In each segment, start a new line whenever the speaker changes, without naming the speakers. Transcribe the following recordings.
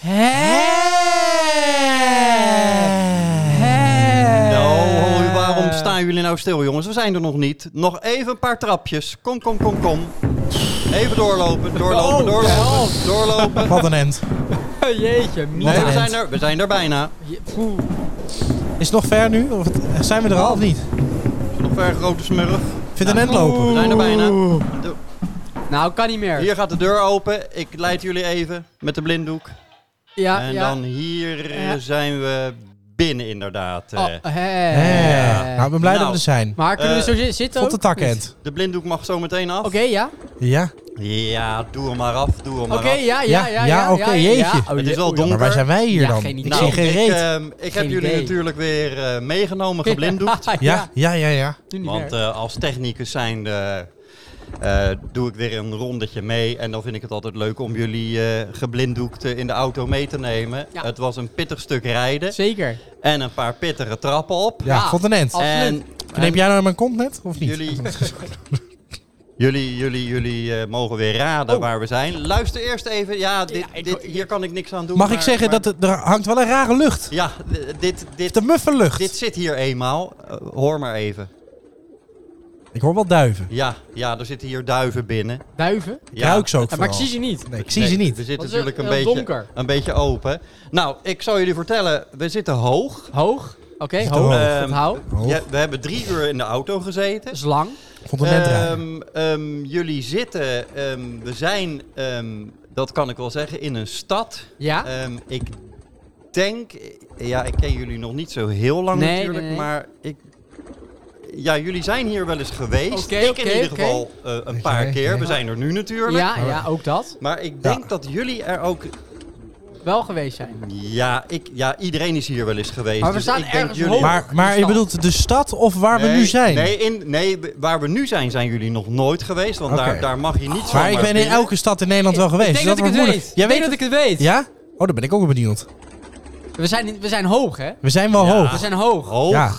Nou,
Eh.
staan jullie nou stil, jongens? We zijn er nog niet. Nog even een paar trapjes. Kom, kom, kom, kom. Even doorlopen, doorlopen,
Oh,
doorlopen,
help.
doorlopen.
Wat een end.
Oh, Jeetje, mina.
Nee, we
Wat
zijn er, we zijn er bijna.
Je- poeh.
Is het nog ver nu? Of het- zijn we er al of niet?
Nog ver, grote smurf.
Vind een end
We
lopen.
zijn er bijna. Doe-
Nou, kan niet meer.
Hier gaat de deur open. Ik leid jullie even met de blinddoek.
ja,
en
Ah, ja.
dan hier eh,
Ja.
zijn we binnen inderdaad. eh.
Oh, hè.
Ja. Nou, ik ben blij dat
Nou.
we er zijn.
Maar kunnen we
Eh,
zo zi- zitten
Tot
ook?
de takend.
De blinddoek mag zo meteen af.
Oké, ja.
Nou.
Ja.
Ja, doe hem maar af. Doe hem
Oké,
maar af.
ja, ja,
Ja,
ja.
ja, oké, jeetje.
Oh,
Het is
ja,
wel
oei, dan-
Maar waar zijn wij hier
Ja,
dan?
geen idee.
Ik zie geen
ik,
reet.
ehm, ik heb
Geen
jullie
idee.
natuurlijk weer eh, meegenomen, geblinddoekt.
ja, ja, ja, ja.
doe niet
Want
meer.
eh, als technicus zijnde eh, doe ik weer een rondetje mee. En dan vind ik het altijd leuk om jullie eh geblinddoekt eh, in de auto mee te nemen.
Ja.
Het was een pittig stuk rijden
Zeker. Ah,
en een paar pittige trappen op.
Ja,
Ja.
vond een end.
Al-
En
Neem jij nou in mijn kont net? Of niet?
jullie, jullie, jullie, jullie eh, mogen weer raden
Oh.
waar we zijn. Luister eerst even. Ja, dit,
Ja, ik-
dit, hier kan ik niks aan doen.
Mag ik
maar-
zeggen
maar-
dat het- er hangt wel een rare lucht?
Ja, d- dit, dit,
De muffe
dit
lucht.
zit hier eenmaal. Eh, hoor maar even.
Ik hoor wel duiven.
Ja, ja, er zitten hier duiven binnen.
Duiven.
Ik
Ja.
ruik ze ook
Ja, maar ik
vooral.
zie ze niet.
Nee, ik zie
Nee,
ze
We
niet.
zitten
Want het is
natuurlijk een
heel
beetje,
donker.
een beetje open. Nou, ik zal jullie vertellen, we zitten hoog.
Hoog. Oké,
Zit
hoog.
er
hoog. Ehm,
Onthoud.
Oh,
Ja, we hebben drie uur in de auto gezeten.
Dat is lang.
vond een end raar.
Ehm, ehm, jullie zitten, ehm, we zijn, ehm, dat kan ik wel zeggen, in een stad.
Ja.
Ehm, ik denk, ja, ik ken jullie nog niet zo heel lang
Nee,
natuurlijk,
nee, nee.
maar ik. Ja, jullie zijn hier wel eens geweest.
Oké,
ik
oké,
in ieder
oké.
geval eh, een paar
Oké,
keer.
oké.
We zijn er nu natuurlijk.
Ja, ja, ook dat.
Maar ik denk dat jullie er ook.
Wel geweest zijn.
Ja, ik, ja, iedereen is hier wel eens geweest.
Maar we
dus
staan
ik denk
ergens
jullie...
hoog.
Maar, maar je
Stad.
bedoelt de stad of waar we
Nee,
nu zijn?
Nee, in, nee, waar we nu zijn, zijn jullie nog nooit geweest. Want
Oké.
daar, daar mag je niet van.
Maar ik ben in elke stad in Nederland wel geweest.
Ik denk dat, ik
wordt
het
moeilijk.
weet.
Jij
Ik denk
weet
dat ik het weet.
Ja? Oh, dan ben ik ook wel benieuwd.
We, zijn, we zijn hoog, hè?
We zijn wel
Ja.
We
hoog.
zijn hoog.
Hoog.
Ja.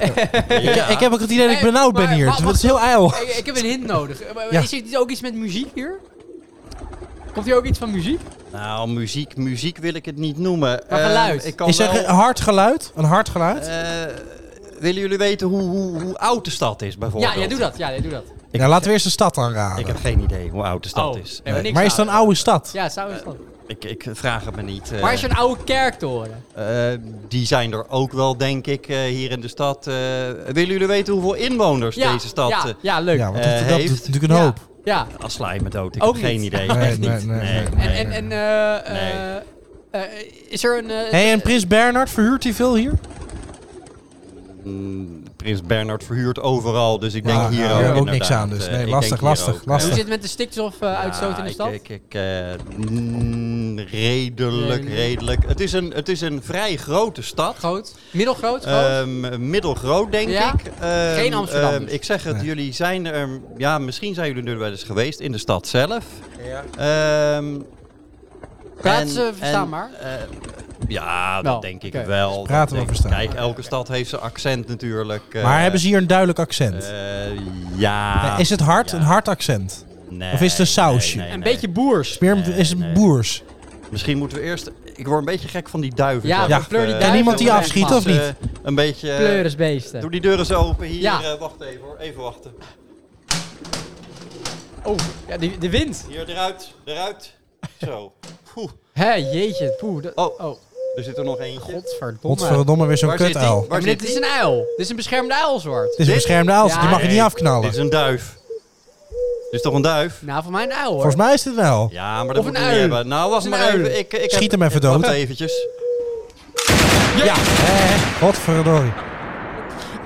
Oh, Ja.
Ik heb ook het idee dat ik
Hey,
benauwd ben
maar
hier.
wacht,
Het is heel ijl.
Ik, ik heb een hint nodig. Eh, maar
Ja.
Is er niet ook iets met muziek hier? Komt hier ook iets van muziek?
Nou, muziek, muziek wil ik het niet noemen.
Maar
Eh,
geluid.
ik kan
Is
wel-
er een hard geluid? Een hard geluid?
Eh, willen jullie weten hoe, hoe, hoe oud de stad is, bijvoorbeeld?
Ja, jij doet dat. Ja, jij doet dat.
nou, laten we eerst de stad aanraden.
Ik heb geen idee hoe oud de stad
Oh,
is. Eh,
nee, maar niks
maar is het
aan.
een oude stad?
Ja, zou is dat.
Ik, ik vraag het me niet. eh.
Waar is er een oude kerktoren?
Eh, die zijn er ook wel, denk ik, eh, hier in de stad. Eh, willen jullie weten hoeveel inwoners
Ja,
deze stad...
Ja,
eh,
ja leuk.
Ja, want
Eh,
dat, dat doet
heeft-
natuurlijk een
Ja,
hoop.
Ja.
Als sla je me dood, ik
Ook
heb geen
niet.
idee.
Nee,
Echt
nee,
niet.
nee, nee.
nee.
En, en, en eh,
Nee.
eh, eh, is er een... eh,
hey, en Prins Bernhard, verhuurt hij veel hier?
Mm, Prins Bernhard verhuurt overal, dus ik denk
Ja,
hier
ja,
ook,
ook niks
inderdaad.
aan dus.
Eh,
Nee,
ik
lastig,
denk hier
lastig,
ook, eh,
hoe
lastig.
zit het met de stikstofuitstoot in de
Ja,
stad?
Ik, ik, ik, eh, mm, redelijk,
Redelijk.
redelijk. Het is een, het is een vrij grote stad.
Groot? Middelgroot? Groot?
Ehm, middelgroot, denk
Ja?
ik. Ehm,
Geen Amsterdam
ehm,
dus.
ik zeg het,
Nee.
jullie zijn er... Ja, misschien zijn jullie er wel eens geweest in de stad zelf.
Ja.
Ehm
Praat
en-
ze
en,
verstaanbaar?
eh, ja, dat
Wel,
denk ik
oké.
wel. Dat
Dus praten wel
denk ik.
verstaanbaar.
Kijk, elke stad heeft zijn accent natuurlijk. eh,
Maar hebben ze hier een duidelijk accent?
eh, ja.
is het hard?
ja.
Een hard accent?
Nee,
of is het een sausje?
nee, nee,
een
nee.
beetje boers.
Meer
Nee,
is het
nee.
boers?
Misschien moeten we eerst... Ik word een beetje gek van die duiven.
Ja,
zeg.
Ja.
fleur die
Eh,
duiven.
iemand die
Fleur-
afschiet,
dus,
of niet?
eh, een beetje... eh,
Pleurisbeesten.
doe die deuren zo open hier.
Ja.
eh, wacht even hoor. Even wachten.
Oh, ja, de, de wind.
Hier, eruit. Eruit. Zo. Poeh.
Hé, jeetje. Poeh. dat-
Oh.
oh,
Er zit er nog eentje.
godverdomme.
Godverdomme, weer zo'n
Waar zit
kutuil.
die?
Het
Waar
Ja, maar
zit die?
dit is een uil. Dit is een beschermde uilsoort.
is een
Dit?
beschermde als,
Ja.
die mag je niet
Nee,
afknallen.
Dit is een duif. Dit is toch een duif?
Nou, voor mij een uil hoor.
Volgens mij is dit wel.
Ja, maar dat
Of een
moeten we niet
ui.
hebben. Nou, wacht
Een
maar
ui.
even. Ik, ik
Schiet
heb-
hem even
Wacht
dood.
eventjes.
Ja. Eh, Godverdorie.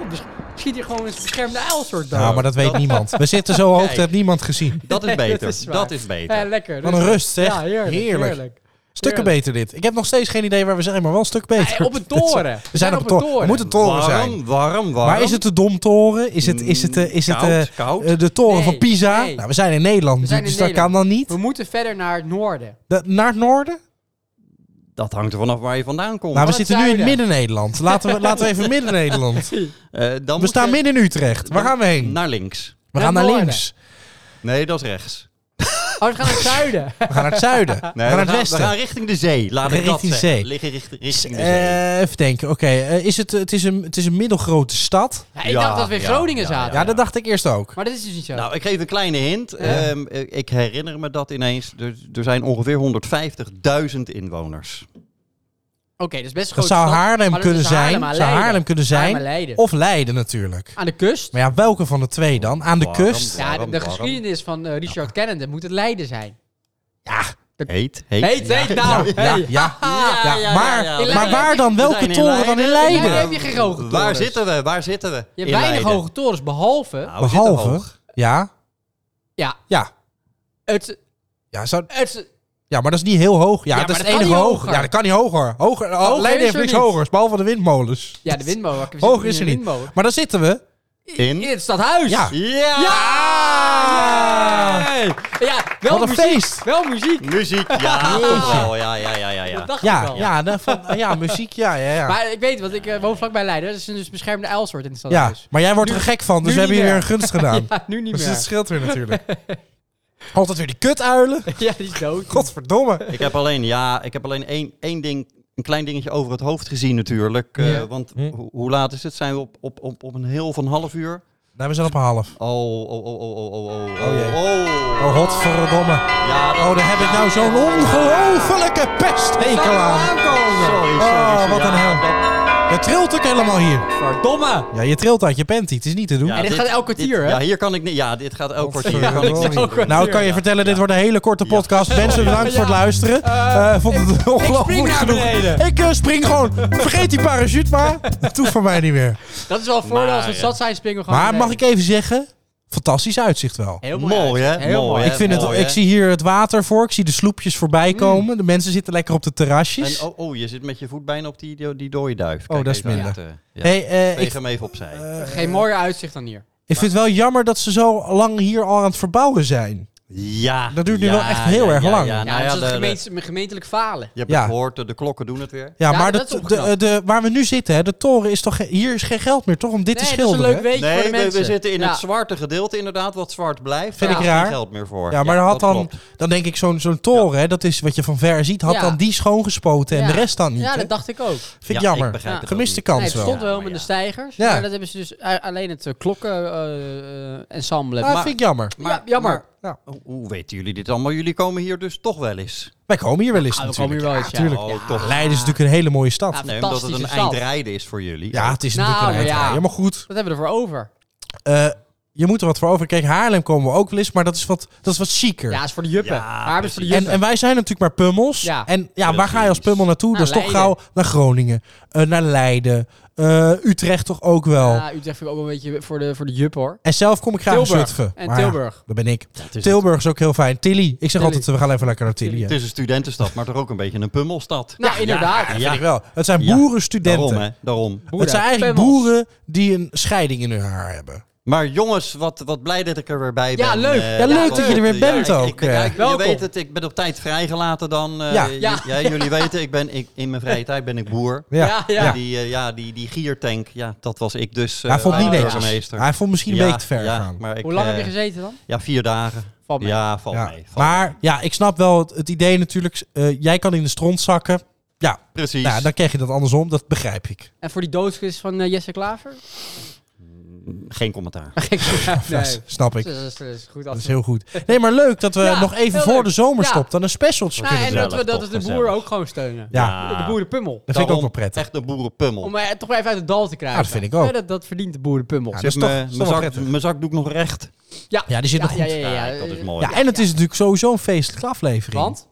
dus Schiet hier gewoon een beschermde uilsoort dood.
Nou, maar dat weet
Dat-
niemand. We zitten zo hoog, dat
Kijk.
heeft niemand gezien.
Dat is
Nee,
beter.
dat is waar.
dat is beter.
Hé, lekker. dus-
Wat een rust, zeg.
Ja, heerlijk.
Heerlijk.
heerlijk.
Stukken
Heerlijk.
beter dit. Ik heb nog steeds geen idee waar we zijn, maar wel een stuk beter.
Hey, op een toren.
We zijn op een toren. Het moet een toren zijn.
warm, warm, warm.
Maar is het de Domtoren? Is het, is het, eh, is het
Koud,
eh,
koud.
eh, de toren
Nee,
van Pisa?
nee.
Nou, we zijn in Nederland,
We zijn
dus
in
dat
Nederland.
kan dan niet.
We moeten verder naar het noorden.
Da- naar het noorden?
Dat hangt er vanaf waar je vandaan komt.
nou, we
het
zitten nu in
zuiden.
Midden-Nederland. Laten we, laten we even Midden-Nederland.
Eh, dan
We
moet
staan
je
midden in Utrecht. Waar gaan we heen?
Naar links.
We
naar
gaan naar
noorden.
links.
Nee, dat is rechts.
Oh, we gaan naar het zuiden.
We gaan naar het zuiden. we gaan
we,
naar het
gaan,
westen.
we gaan richting de zee. Laat ik dat
Richting
zeggen.
zee.
Liggen richt- richting de zee.
Eh, even denken. Oké, eh, is het, het, is een, het is een middelgrote stad.
Ja, ik
Ja,
dacht dat we in
ja,
Groningen
ja,
Ja,
zaten.
dat dacht ik eerst ook.
Maar dat is dus niet zo.
Nou, ik geef een kleine hint.
Ja.
Ehm, eh, ik herinner me dat ineens. Er, er zijn ongeveer 150.000 inwoners.
Oké, dat is best een
Dat
grote
zou
stad,
Haarlem
maar dat is
kunnen zijn.
Haarlem aan
Zou
Leiden.
Haarlem kunnen
Haarlem aan
zijn.
Leiden.
Of Leiden natuurlijk.
Aan de kust.
Maar ja, welke van de twee dan? Aan de
Waarom?
kust.
Ja, de,
Waarom,
de
waarom?
geschiedenis van eh, Richard Kennedy moet het Leiden zijn.
Heet, heet.
Heet, heet nou.
Ja, ja,
hey.
ja.
Ja, ja,
maar,
ja,
ja.
maar waar dan?
We
Welke
zijn in
toren dan in
Leiden.
Leiden?
heb je geen hoge torens.
Waar zitten we? Waar zitten we?
Je
In
hebt weinig
Leiden.
hoge torens, behalve...
Nou, we zitten
Behalve.
hoog.
Ja.
Ja,
Ja.
het...
Ja, zou,
het
ja, maar dat is niet heel hoog. Ja,
Ja,
dat is
maar
het
dat kan
enige
niet
hoog.
hoger.
Ja, dat kan niet hoger. hoger oh,
Hoger
Leiden
is
heeft
er
niks
niet.
hogers, behalve de windmolens.
ja, de windmolen. We
Hoog
zitten
is er
in de
niet.
windmolen.
Maar daar zitten we.
In?
In het stadhuis.
Ja.
Ja!
Ja!
Hey!
Ja, wel
Wat een
muziek.
feest.
Wel muziek.
Muziek, ja, toch wel. Ja, ja, ja, ja.
Dat
ja.
dacht ik
Ja,
wel.
ja, dan van, eh, ja, muziek, ja, ja, ja.
Maar ik weet, want ik eh, woon vlakbij Leiden. Dat is een dus beschermde uilsoort in het
ja.
stadhuis.
Maar jij wordt er
Nu-
gek van, dus
nu
we hebben
niet
je weer
meer.
een gunst gedaan.
Ja, nu niet
Dus dat
meer.
scheelt weer natuurlijk. Altijd weer die kutuilen.
Ja, die is dood.
Godverdomme.
Ik heb alleen, ja, ik heb alleen één, één ding, een klein dingetje over het hoofd gezien natuurlijk. eh,
Ja.
Want
Hm.
ho- hoe laat is het? Zijn we op, op, op, op een heel van half uur?
Nou, we zijn op een half.
Oh, oh, oh, oh, oh, oh, oh,
Oh, jee.
oh.
Oh, godverdomme.
Ja, dat-
Oh, daar heb ik nou zo'n ongelofelijke pesthekel aan.
Sorry, sorry.
Oh,
sorry.
wat een hel. Je trilt ook helemaal hier.
Verdomme.
Ja, je trilt uit je panty. Het is niet te doen.
Ja,
En dit gaat elk kwartier,
dit-
hè?
Ja, hier kan ik niet. Ja, dit gaat elk kwartier. Hier kan ik
Godverdomme.
niks aan doen.
Nou, ik kan je vertellen, dit wordt een hele korte
Ja.
podcast. Mensen, bedankt voor het
Ja.
luisteren. Eh vond het ongelooflijk
spring
goed
naar
genoeg.
beneden.
Ik eh, spring gewoon. Vergeet die parachute maar. Dat hoeft voor mij niet meer.
Dat is wel een voordeel als we
Maar,
het zat zijn, springen we gewoon
Maar mag
beneden.
ik even zeggen, fantastisch uitzicht wel.
Heel
Mooi,
uitzicht.
hè?
Heel
Mooi,
mooi.
hè?
Ik, vind het,
mooi,
ik
hè?
zie hier het water voor, ik zie de sloepjes voorbij komen. De mensen zitten lekker op de terrasjes.
En, oh, oh, je zit met je voet bijna op die, die, die dode duif.
Oh, dat is
even aan
minder.
het, eh, ja.
hey, eh,
Veeg
ik, eh,
hem even opzij.
Geen mooier uitzicht dan hier.
ik vind het wel jammer dat ze zo lang hier al aan het verbouwen zijn.
ja.
dat duurt nu
ja,
wel echt heel
ja,
erg
ja,
lang.
Ja,
Ja,
nou ja,
dat is
de-
het
de-
gemeente, gemeentelijk falen.
je hebt
Ja.
het gehoord, de, de klokken doen het weer.
Ja,
Ja,
maar
dat
dat,
is
de, eh,
opgeknapt.
de, waar we nu zitten, hè, de toren, is toch, ge- hier is geen geld meer toch om dit te
nee, dat is een
schilderen?
leuk weetje voor
Nee,
de
we,
mensen.
we zitten in
Ja.
het zwarte gedeelte inderdaad, wat zwart blijft.
Vind
Daar
ik
is geen
raar.
geld meer voor.
Ja, maar dan had
dat
dan,
klopt.
dan denk ik zo'n zo'n toren, hè, dat is wat je van ver ziet, had
Ja.
dan die schoongespoten en
Ja.
de rest dan niet.
Ja,
hè?
dat dacht ik ook.
Vind ik
Ja, ik
jammer.
begrijp het ook
Gemiste
niet.
kans
Nee, het
wel.
stond wel
Ja,
met
maar
de
ja.
stijgers.
Ja.
Maar dat hebben ze dus eh, alleen het klokken-ensemble.
Ah,
maar,
vind ik jammer.
Ja, jammer.
Nou,
Hoe- Hoe weten jullie dit allemaal? Jullie komen hier dus toch wel eens.
wij komen hier wel eens
Ah, we komen
natuurlijk.
hier wel eens, ja.
Tuurlijk.
Oh, toch.
Leiden is natuurlijk een hele mooie stad.
Ja,
Nee, omdat het een
Fantastische
eind
stad.
rijden is voor jullie.
Ja, het is
Nou,
natuurlijk een
ja.
uitdraai. Maar goed,
Dat hebben we ervoor over.
eh, je moet er wat voor over. Kijk, Haarlem komen we ook wel eens, maar dat is wat, dat is wat chiquer.
Ja, is voor de juppen.
Ja,
maar hebben ze voor de
en,
juppen.
en wij zijn natuurlijk maar pummels.
Ja.
En ja,
Heel
waar ga je als
typisch.
pummel naartoe?
Naar
dat is toch
Leiden.
gauw naar Groningen, eh, naar Leiden, eh, Utrecht toch ook wel.
Ja, Utrecht vind ik ook wel een beetje voor de, voor de juppen, hoor.
En zelf kom ik graag in
Tilburg.
Zutphen.
En
Maar ja,
Tilburg.
dat ben ik.
het is
Tilburg is ook heel fijn. Tilly. Ik zeg
Tilly.
altijd, we gaan even lekker naar Tilly. hè.
Het is een studentenstad, maar toch ook een beetje een pummelstad.
Nou, inderdaad.
Ja,
Vind
ja.
ik wel. Het zijn
Ja.
boerenstudenten.
Daarom, hè. Daarom.
het zijn eigenlijk
Pummels.
boeren die een scheiding in hun haar hebben.
Maar jongens, wat, wat blij dat ik er weer bij ben.
Ja, leuk.
Eh,
Ja, leuk
ja,
dat je er weer bent
ik-
ook,
ik ben- ja,
eh.
ik- je
Welkom.
weet het, ik ben op tijd vrijgelaten dan. eh,
Ja.
j-
Ja.
ja, jullie weten, ik ben, ik, in mijn vrije tijd ben ik boer.
Ja.
Ja, ja.
En Die, eh, ja, die, die giertank, ja, dat was ik dus. eh,
Hij vond het niet
bij de
netjes.
burgemeester.
Hij vond misschien een
Ja,
beetje te ver
ja,
gaan.
maar ik,
Hoe lang heb je
eh,
gezeten dan?
Ja, vier dagen.
Valt mee.
Ja, valt
Ja.
mee. valt
Maar ja, ik snap wel het, het idee natuurlijk. eh, jij kan in de stront zakken. Ja,
mee. Precies.
nou, dan krijg je dat andersom. Dat begrijp ik.
En voor die doodskist van eh, Jesse Klaver?
Geen commentaar.
nee.
Ja, s- snap ik.
Dat is, dat is goed
Dat is
af.
heel goed. Nee, maar leuk dat we
Ja,
nog even
heel
voor
leuk.
de zomer
Ja.
stopt. Dan een specialtje
Nou,
kunnen
en
doen.
dat we,
Gezellig,
dat we de
toch,
boeren
gezellig.
ook gewoon steunen.
Ja,
De boerenpummel.
dat vind ik ook
Daarom
wel prettig.
Echt de boerenpummel.
Om eh, toch even uit het dal te krijgen.
Ja, dat vind ik ook.
Ja, dat, dat verdient de boerenpummel.
Ja,
Ja,
dat is
Zit mijn-
toch- is toch
mijn
wel
zak-
prettig.
mijn zakdoek nog recht?
Ja, die zit nog
ja,
goed.
ja, ja,
Kijk, dat is
eh,
mooi.
Ja, en het is natuurlijk sowieso een feestelijke aflevering.
Want?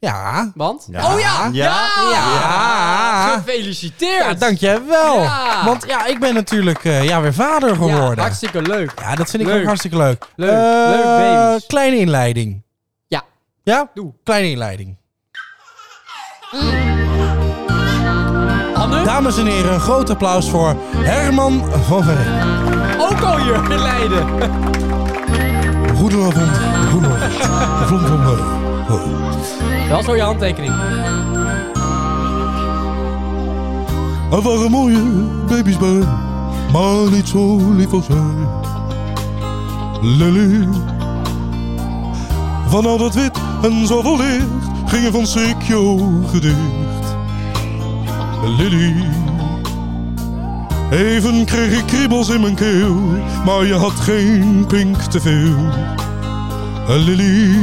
Ja.
Want?
Ja.
Oh ja!
Ja.
Ja.
Gefeliciteerd!
Ja, dankjewel.
Ja.
Want ja, ik ben natuurlijk eh, ja, weer vader
Ja,
geworden. Ja,
hartstikke leuk.
dat vind ik
Leuk.
ook hartstikke leuk.
Leuk.
Eh,
Leuk baby's.
Kleine inleiding.
Ja.
Ja?
Doe.
Kleine inleiding.
Anne,
Dames en heren, een groot applaus voor Herman van Veen.
ook al hier in Leiden.
Goedenavond, goedenavond. Vlom van Veen. Hoi.
Wel zo je handtekening.
Er waren mooie baby's bij, maar niet zo lief als hij. Lily. Van al dat wit en zoveel licht gingen van Sikjo gedicht. Lily. Even kreeg ik kriebels in mijn keel, maar je had geen pink te veel. Lily.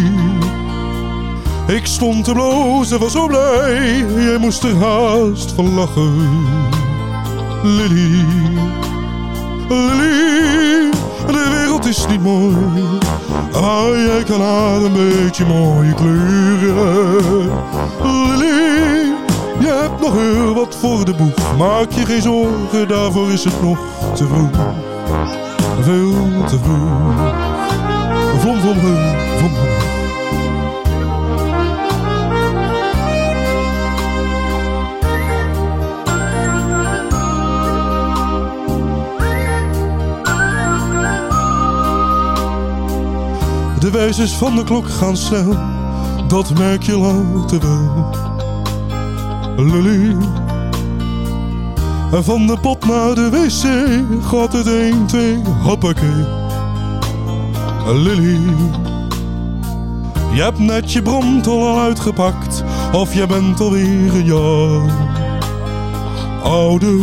Ik stond te blozen, was zo blij, jij moest er haast van lachen. Lily. Lili, de wereld is niet mooi, maar jij kan haar een beetje mooie kleuren. Lili, je hebt nog heel wat voor de boeg, maak je geen zorgen, daarvoor is het nog te vroeg. Veel te vroeg. Vom, vom, vom, vom, vom. De wijzers van de klok gaan snel, dat merk je later wel. Lulu. En van de pot naar de wc gaat het 1, 2, hoppakee. Lily. Je hebt net je bromtol al uitgepakt, of je bent alweer een jaar ouder.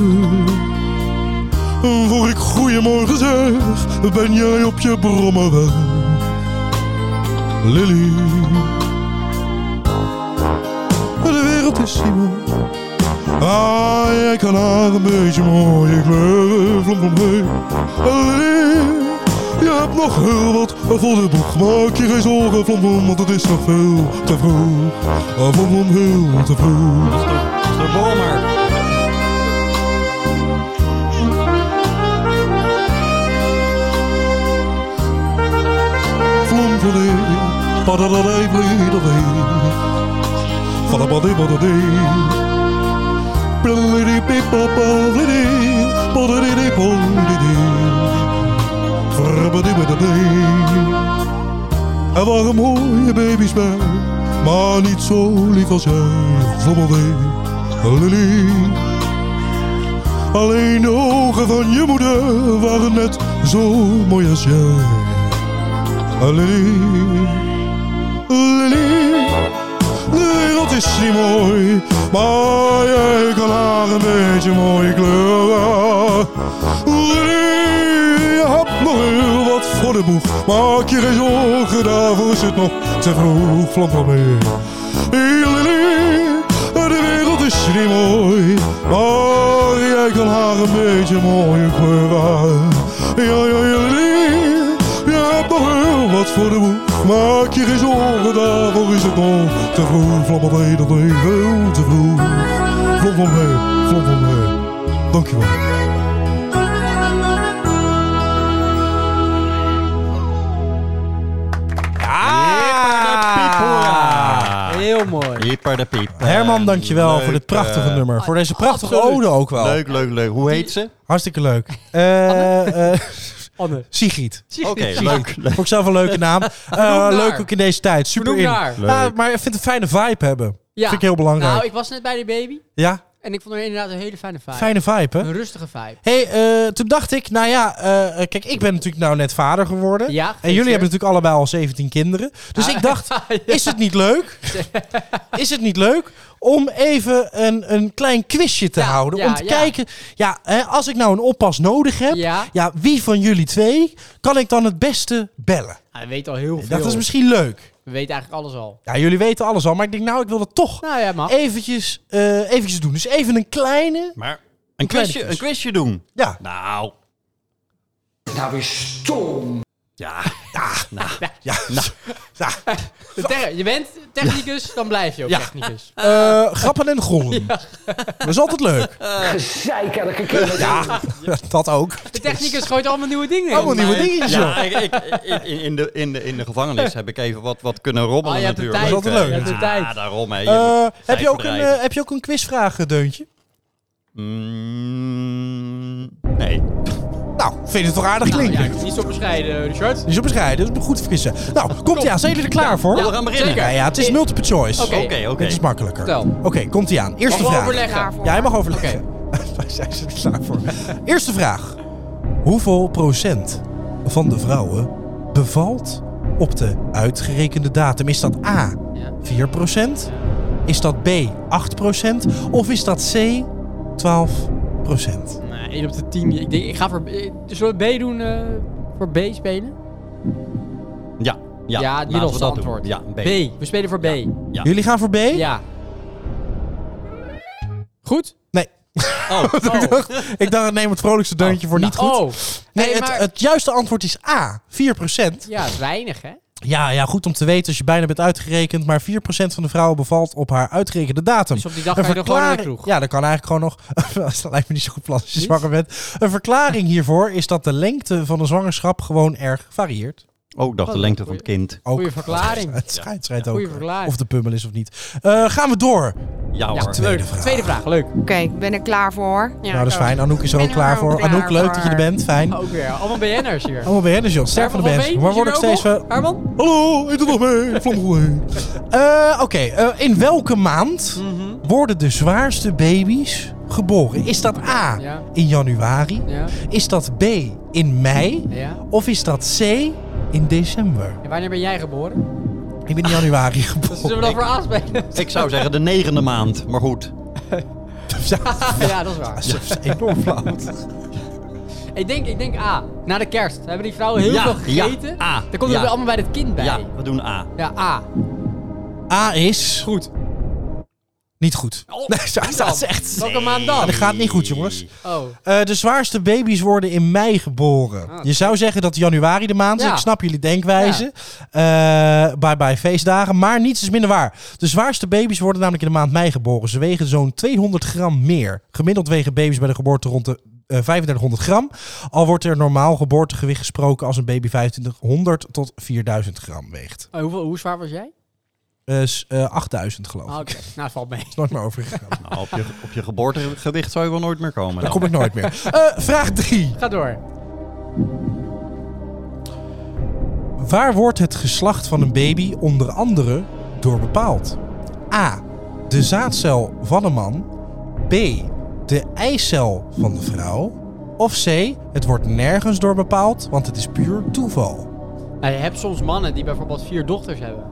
Voor ik goeiemorgen zeg, ben jij op je brommer weg. Lily. De wereld is Simon. Ah, jij kan haar een beetje mooie kleuren. Vlam, vlam, hey. Lily, je hebt nog heel wat voor de boeg. Maak je geen zorgen, vlam, vlam, want het is nog veel te vroeg. Ah, Vlam, vlam, heel te vroeg.
Mr. Bommer.
Vloempelee, padadadee, bleedadee. Vadabadee, badadee. Bladadee, pipapa, bladadee. Badadee, bodadee. Vrabadee, badadee. Er waren mooie baby's bij, maar niet zo lief als jij. Vlommelee, lily. Alleen de ogen van je moeder waren net zo mooi als jij. Lily, Lily, de wereld is niet mooi, maar jij kan haar een beetje mooie kleuren. Lily, je hebt nog heel wat voor de boeg, maak je geen zorgen, daarvoor is het nog te vroeg, vlam van meer. Lily, de wereld is niet mooi, maar jij kan haar een beetje mooie kleuren. Ja, ja, ja, Lily, je hebt nog heel wat voor de boeg. Maak je geen zorgen, daarvoor is het nog te vroeg. Vlam op heen, dat ben je heel te vroeg. Vlam van heen, vlam van heen. Dankjewel.
Ah.
Heel mooi.
Hyper de piep.
Herman, dankjewel
Leuk,
voor dit prachtige
eh,
nummer. Voor deze prachtige
absoluut.
ode ook wel.
Leuk, leuk, leuk. Hoe heet ze?
Hartstikke leuk. Eh eh
Anne.
Sigrid.
Oké, leuk. leuk.
Vond ik zelf een leuke naam. Eh,
naar.
leuk ook in deze tijd. Super
Vernoem
in.
naar.
Ja,
Leuk.
maar ik vind het een fijne vibe hebben.
Ja.
Vind ik heel belangrijk.
Nou, ik was net bij de baby.
Ja,
En ik vond er inderdaad een hele fijne vibe.
fijne vibe hè?
Een rustige vibe.
hey, eh, toen dacht ik, nou ja, eh, kijk, ik ben natuurlijk nou net vader geworden.
Ja, Ah.
en jullie hebben natuurlijk allebei al 17 kinderen. Dus ik dacht, is het niet leuk? Is het niet leuk om even een, een klein quizje te
Ja,
houden?
ja,
om te
ja.
kijken, ja, hè, als ik nou een oppas nodig heb, ja.
Ja.
wie van jullie twee kan ik dan het beste bellen?
Hij weet al heel
Ik
veel.
dacht, dat is misschien leuk.
We weten eigenlijk alles al.
Ja, jullie weten alles al, maar ik denk, nou, ik wil dat toch
Nou ja, mag.
eventjes, eh, eventjes doen. Dus even een kleine,
Maar een
kleine
quizje,
quiz.
een quizje doen.
ja,
Nou. Nou is stom.
ja, ja.
De ter- je bent technicus, dan blijf je ook
Ja.
technicus.
Eh, grappen en grollen. Dat is altijd leuk.
Gezeik elke keer. Ja.
Dat ook.
De technicus gooit allemaal nieuwe dingen in.
Allemaal nieuwe
Maar-
dingetjes,
Ja,
joh.
ja ik, ik, in, in, de, in, de, in de gevangenis heb ik even wat, wat kunnen rommelen
Oh, je hebt de
natuurlijk.
tijd.
Dat is altijd leuk.
Je hebt de
Ja,
tijd.
daarom. Hè. Je
Eh,
moet
heb,
tijd
je ook een,
bereiden.
eh, heb je ook een quizvraag, eh, Deuntje?
Mm, nee.
Nou, vind je het toch aardig
Nou,
klinken?
ja, niet zo bescheiden, eh, Richard.
Die is op bescheiden, dat is goed vergissen. Nou, komt ie aan. Zijn jullie er klaar voor?
Ja, we gaan beginnen.
Ja, ja, het is
Ik-
multiple choice.
Oké.
Oké, oké.
Het is makkelijker.
Vertel.
Oké, komt ie aan. Eerste
Mag wel
vraag.
overleggen.
Ja, je mag overleggen. Wij zijn er klaar voor. Eerste vraag. Hoeveel procent van de vrouwen bevalt
Op de uitgerekende datum is dat A
Ja.
4%? Is dat B 8%? Of is dat C 12%?
Nee, 1 op de 10. Ik denk, ik ga voor... eh, Zullen we B doen? eh, voor B spelen?
Ja, ja,
het middelste
laten we
antwoord.
Ja, B.
B. We spelen voor B.
Ja.
Jullie gaan voor B?
Ja. Goed?
Nee.
Oh. oh.
Ik dacht, neem het vrolijkste deuntje voor niet goed.
Oh.
Nee,
Hey,
het,
maar-
het juiste antwoord is A, 4%.
Ja, dat is weinig, hè?
Ja, ja, goed om te weten als je bijna bent uitgerekend. Maar 4% van de vrouwen bevalt op haar uitgerekende datum.
Dus op die dag ga je nog gewoon naar de kroeg.
Ja, dat kan eigenlijk gewoon nog. als dat lijkt me niet zo goed plan als je zwanger bent. Een verklaring hiervoor is dat de lengte van de zwangerschap gewoon erg varieert.
Oh, ik dacht
Oh,
de lengte van het kind.
Ook,
Goeie verklaring.
Het schijnt, schijnt ook.
Goeie verklaring.
Of de pummel is of niet. Eh, gaan we door.
Ja hoor.
Tweede vraag.
Tweede vraag, leuk.
Oké, ik ben er klaar voor. Ja,
nou, dat is fijn. Anouk is er ook
Ik ben er
klaar
ook
voor.
klaar
Anouk, leuk dat je er
voor. Oh.
bent. Fijn.
Ook weer, allemaal BN'ers hier.
Allemaal bij Henderson. Sterk Oh, van de band. Waar word ik steeds... eh,
Herman?
Hallo, ik doe nog mee. Vlam mee. Eh, Oké, eh, in welke maand
Mhm.
worden de zwaarste baby's geboren? Is dat A
Ja.
in januari?
Ja.
Is dat B in mei?
Ja.
Of is dat C in december?
En wanneer ben jij geboren?
Ik ben in januari
Zullen we dan
geboren.
voor aanspelen?
Ik zou zeggen de negende maand, maar goed.
Ja,
ja, dat is waar.
dat is enorm flauw.
Ik denk, ik denk A. Na de kerst hebben die vrouwen heel
Ja,
veel
ja,
gegeten.
A,
Dan komt
ja.
het allemaal bij het kind bij.
Ja, we doen A.
Ja, A.
A is
Goed.
niet goed.
Oh,
Nee, dat is echt...
Welke maand dan?
Dat gaat niet goed, jongens.
Oh.
Eh, de zwaarste baby's worden in mei geboren. Je zou zeggen dat januari de maand is.
Ah, Ja.
Ik snap jullie denkwijze. Eh, bye bye feestdagen. Maar niets is minder waar. De zwaarste baby's worden namelijk in de maand mei geboren. Ze wegen zo'n 200 gram meer. Gemiddeld wegen baby's bij de geboorte rond de eh, 3500 gram. Al wordt er normaal geboortegewicht gesproken als een baby 2500 tot 4000 gram weegt.
Oh, hoeveel, hoe zwaar was jij?
Eh, s- eh, 8000 geloof ik.
Ah, Oké, nou dat valt mee.
Is nooit meer overgegaan.
Nou, op, je, op je geboortegewicht zou je wel nooit meer komen.
Daar
dan.
kom ik nooit meer. Eh, vraag 3.
Ga door.
Waar wordt het geslacht van een baby onder andere door bepaald? A. De zaadcel van een man. B. De eicel van de vrouw. Of C. Het wordt nergens door bepaald, want het is puur toeval.
Nou, je hebt soms mannen die bijvoorbeeld vier dochters hebben.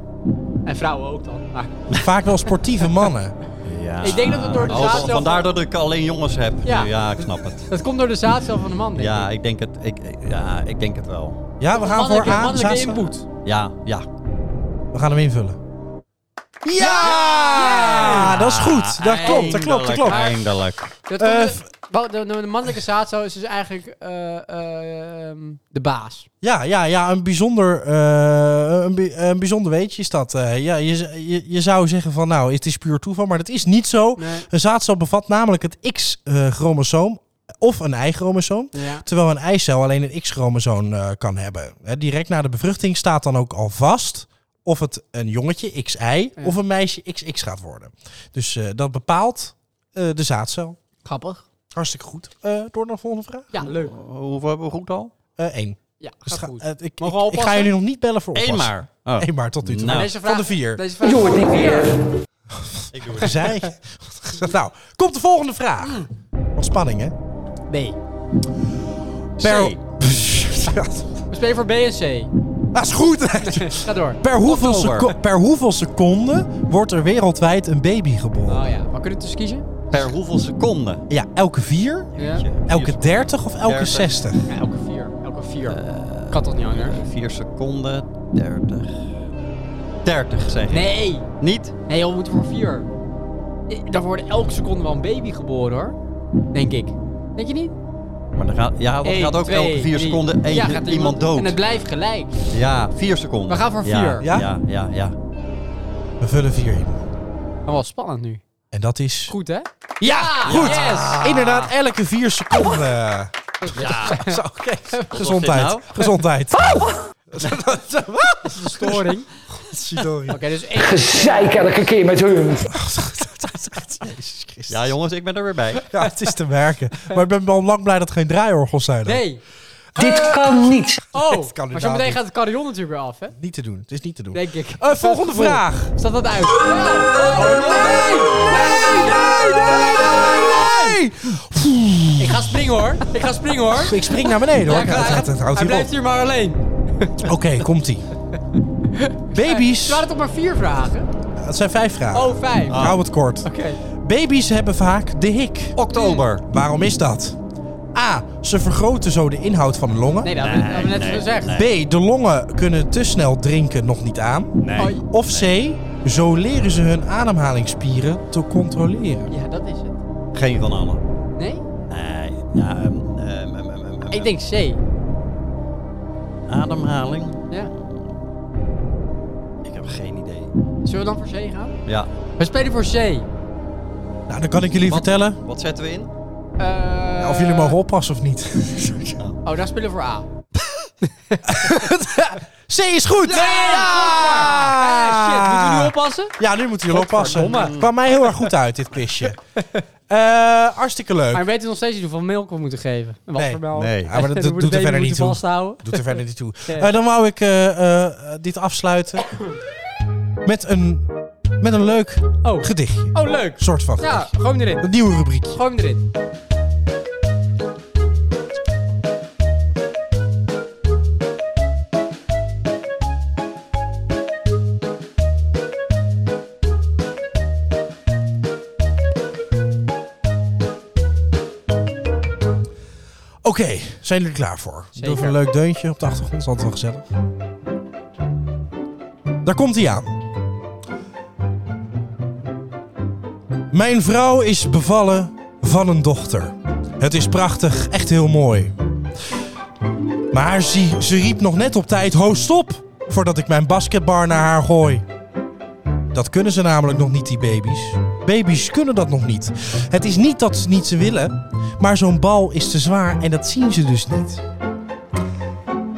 En vrouwen ook dan. Maar,
Vaak wel sportieve mannen.
Ja.
Ik denk dat het door de
Oh,
zaadcel van-
Vandaar dat ik alleen jongens heb. nu.
Ja.
Ja, ik snap het.
dat komt door de zaadcel van de man, denk
Ja,
ik.
ik denk het, ik, ik- ja, ik denk het wel.
Ja, we gaan voor
Mannelijke-
A.
mannelijke
zaadcel.
input.
Ja, ja.
We gaan hem invullen. Ja! Dat is
Ah,
goed. Dat klopt, dat klopt, dat klopt.
Eindelijk.
Dat
Eh,
komt- wa- de, de- de mannelijke zaadcel is dus eigenlijk eh, eh, ehm, de baas.
Ja, ja, ja een, bijzonder, eh, een, bi- een bijzonder weetje is dat. eh, ja, je, z- je, je zou zeggen van nou, het is puur toeval, maar dat is niet zo.
Nee.
Een zaadcel bevat namelijk het X-chromosoom eh, of een Y-chromosoom.
Ja.
Terwijl een eicel alleen een X-chromosoom eh, kan hebben. Hè, direct na de bevruchting staat dan ook al vast of het een jongetje XY of een meisje XX gaat worden. Dus eh, dat bepaalt eh, de zaadcel.
Grappig.
Hartstikke goed. Eh, door naar de volgende vraag.
Ja, leuk.
Hoeveel hebben we goed al?
Eh Eén.
Ja,
Dus
gaat
ga-
goed.
eh, ik,
Mogen we
ik- ik ga
oppassen?
jullie nog niet bellen voor
Eén
oppassen.
maar. Oh.
Eén maar tot nu toe.
Nou.
Van
Deze vraag-
de vier.
Deze vraag
Jongen, ik weer.
Ik doe het.
Zij. nou, komt de volgende vraag.
Mm.
Wat spanning, hè?
B.
Per... Ja,
We spelen voor B en C.
Dat is goed. hè?
Ga door.
per, hoeveel
Oktober.
seco- per hoeveel seconden wordt er wereldwijd een baby geboren?
Oh ja, maar kunnen we tussen kiezen?
Per hoeveel seconden?
Ja, elke vier,
Ja.
elke dertig of elke
30.
zestig?
Ja, elke vier. Elke vier.
Eh,
kan toch niet anders?
4 seconden, 30. 30 zeg ik.
Nee.
Niet?
Nee, joh, we moeten voor vier. Eh, Daar worden elke seconde wel een baby geboren hoor. Denk ik. Denk je niet?
Maar dan gaat, ja, dan
Eén,
gaat ook
twee,
elke 4
drie.
seconden één,
Ja, gaat
iemand, dood.
En het blijft gelijk.
Ja, 4 seconden.
We gaan voor vier.
Ja,
Ja?
ja, ja. ja.
We vullen vier in.
Maar wel spannend nu.
En dat is...
Goed hè?
Ja, goed. Ah.
yes.
Inderdaad, elke vier seconden. Zo, oké. Gezondheid.
nou?
Gezondheid.
Oh! De storing. Oké,
Sorry.
dus één.
Gezeik elke keer met hun. Nou,
Jezus Christus.
Ja, jongens, ik ben er weer bij.
Ja, het is te werken. Maar ik ben wel lang blij dat het geen draaiorgels zijn. dan.
Nee.
Dit kan niet.
Oh,
kan
maar
inderdaad
zo meteen
niet.
gaat het carillon natuurlijk weer af, hè?
Niet te doen. Het is niet te doen.
Denk ik.
Eh, volgende vraag.
Staat dat uit? Oh, nee. Ik ga springen hoor. Ik ga springen hoor.
Ik spring naar beneden hoor.
Ja, ik ga-
het, het houdt
hij
hier
blijft
op.
hier maar alleen.
Oké, komt ie. Baby's...
Ze waren toch maar vier vragen?
Het zijn vijf vragen.
Oh, vijf.
Hou het kort.
Oké.
Baby's hebben vaak de hik. Hmm.
Oktober.
Waarom is dat? A. Ze vergroten zo de inhoud van de longen.
Nee, dat hebben we- dat hebben we net
Nee,
gezegd.
B. De longen kunnen te snel drinken nog niet aan.
Nee.
Oh,
Of C. Zo leren ze hun ademhalingsspieren te controleren.
ja, dat is het.
Geen van allen.
Nee?
Nee. Ja, ehm, ehm, ehm, ehm, ehm,
Ik denk C.
Ademhaling.
Ja.
Ik heb geen idee.
Zullen we dan voor C gaan?
Ja.
We spelen voor C.
Nou, dan kan ik jullie
Wat?
vertellen
Wat zetten we in?
Eh,
of jullie mogen oppassen of niet.
Oh, dan spelen we voor A.
C is goed!
Ah, shit. Moeten we nu oppassen?
Ja, nu moeten jullie oppassen.
Godverdomme.
kwam mij heel erg goed uit, dit quizje. Eh, hartstikke leuk.
Maar we weten nog steeds niet hoeveel melk we moeten geven. En wat
Nee,
voor melk.
nee.
Ja, maar dat
We
doet-
moeten
doet er
de
verder
baby
niet toe.
moeten vasthouden.
Doet er verder niet toe.
Ja.
Eh, dan wou ik eh, eh, eh, dit afsluiten met een, met een leuk
Oh.
gedichtje.
Oh, leuk.
soort van
Ja,
gedichtje.
gooi hem erin.
Een nieuwe rubriekje.
Gooi hem erin.
Oké, zijn jullie er klaar voor? Ik Doe even
Zeker.
een leuk deuntje op de achtergrond, is altijd wel gezellig. Daar komt hij aan. Mijn vrouw is bevallen van een dochter. Het is prachtig, echt heel mooi. Maar zie, ze riep nog net op tijd: Ho, stop! Voordat ik mijn basketbar naar haar gooi. Dat kunnen ze namelijk nog niet, die baby's. Baby's kunnen dat nog niet. Het is niet dat ze niet ze willen, maar zo'n bal is te zwaar en dat zien ze dus niet.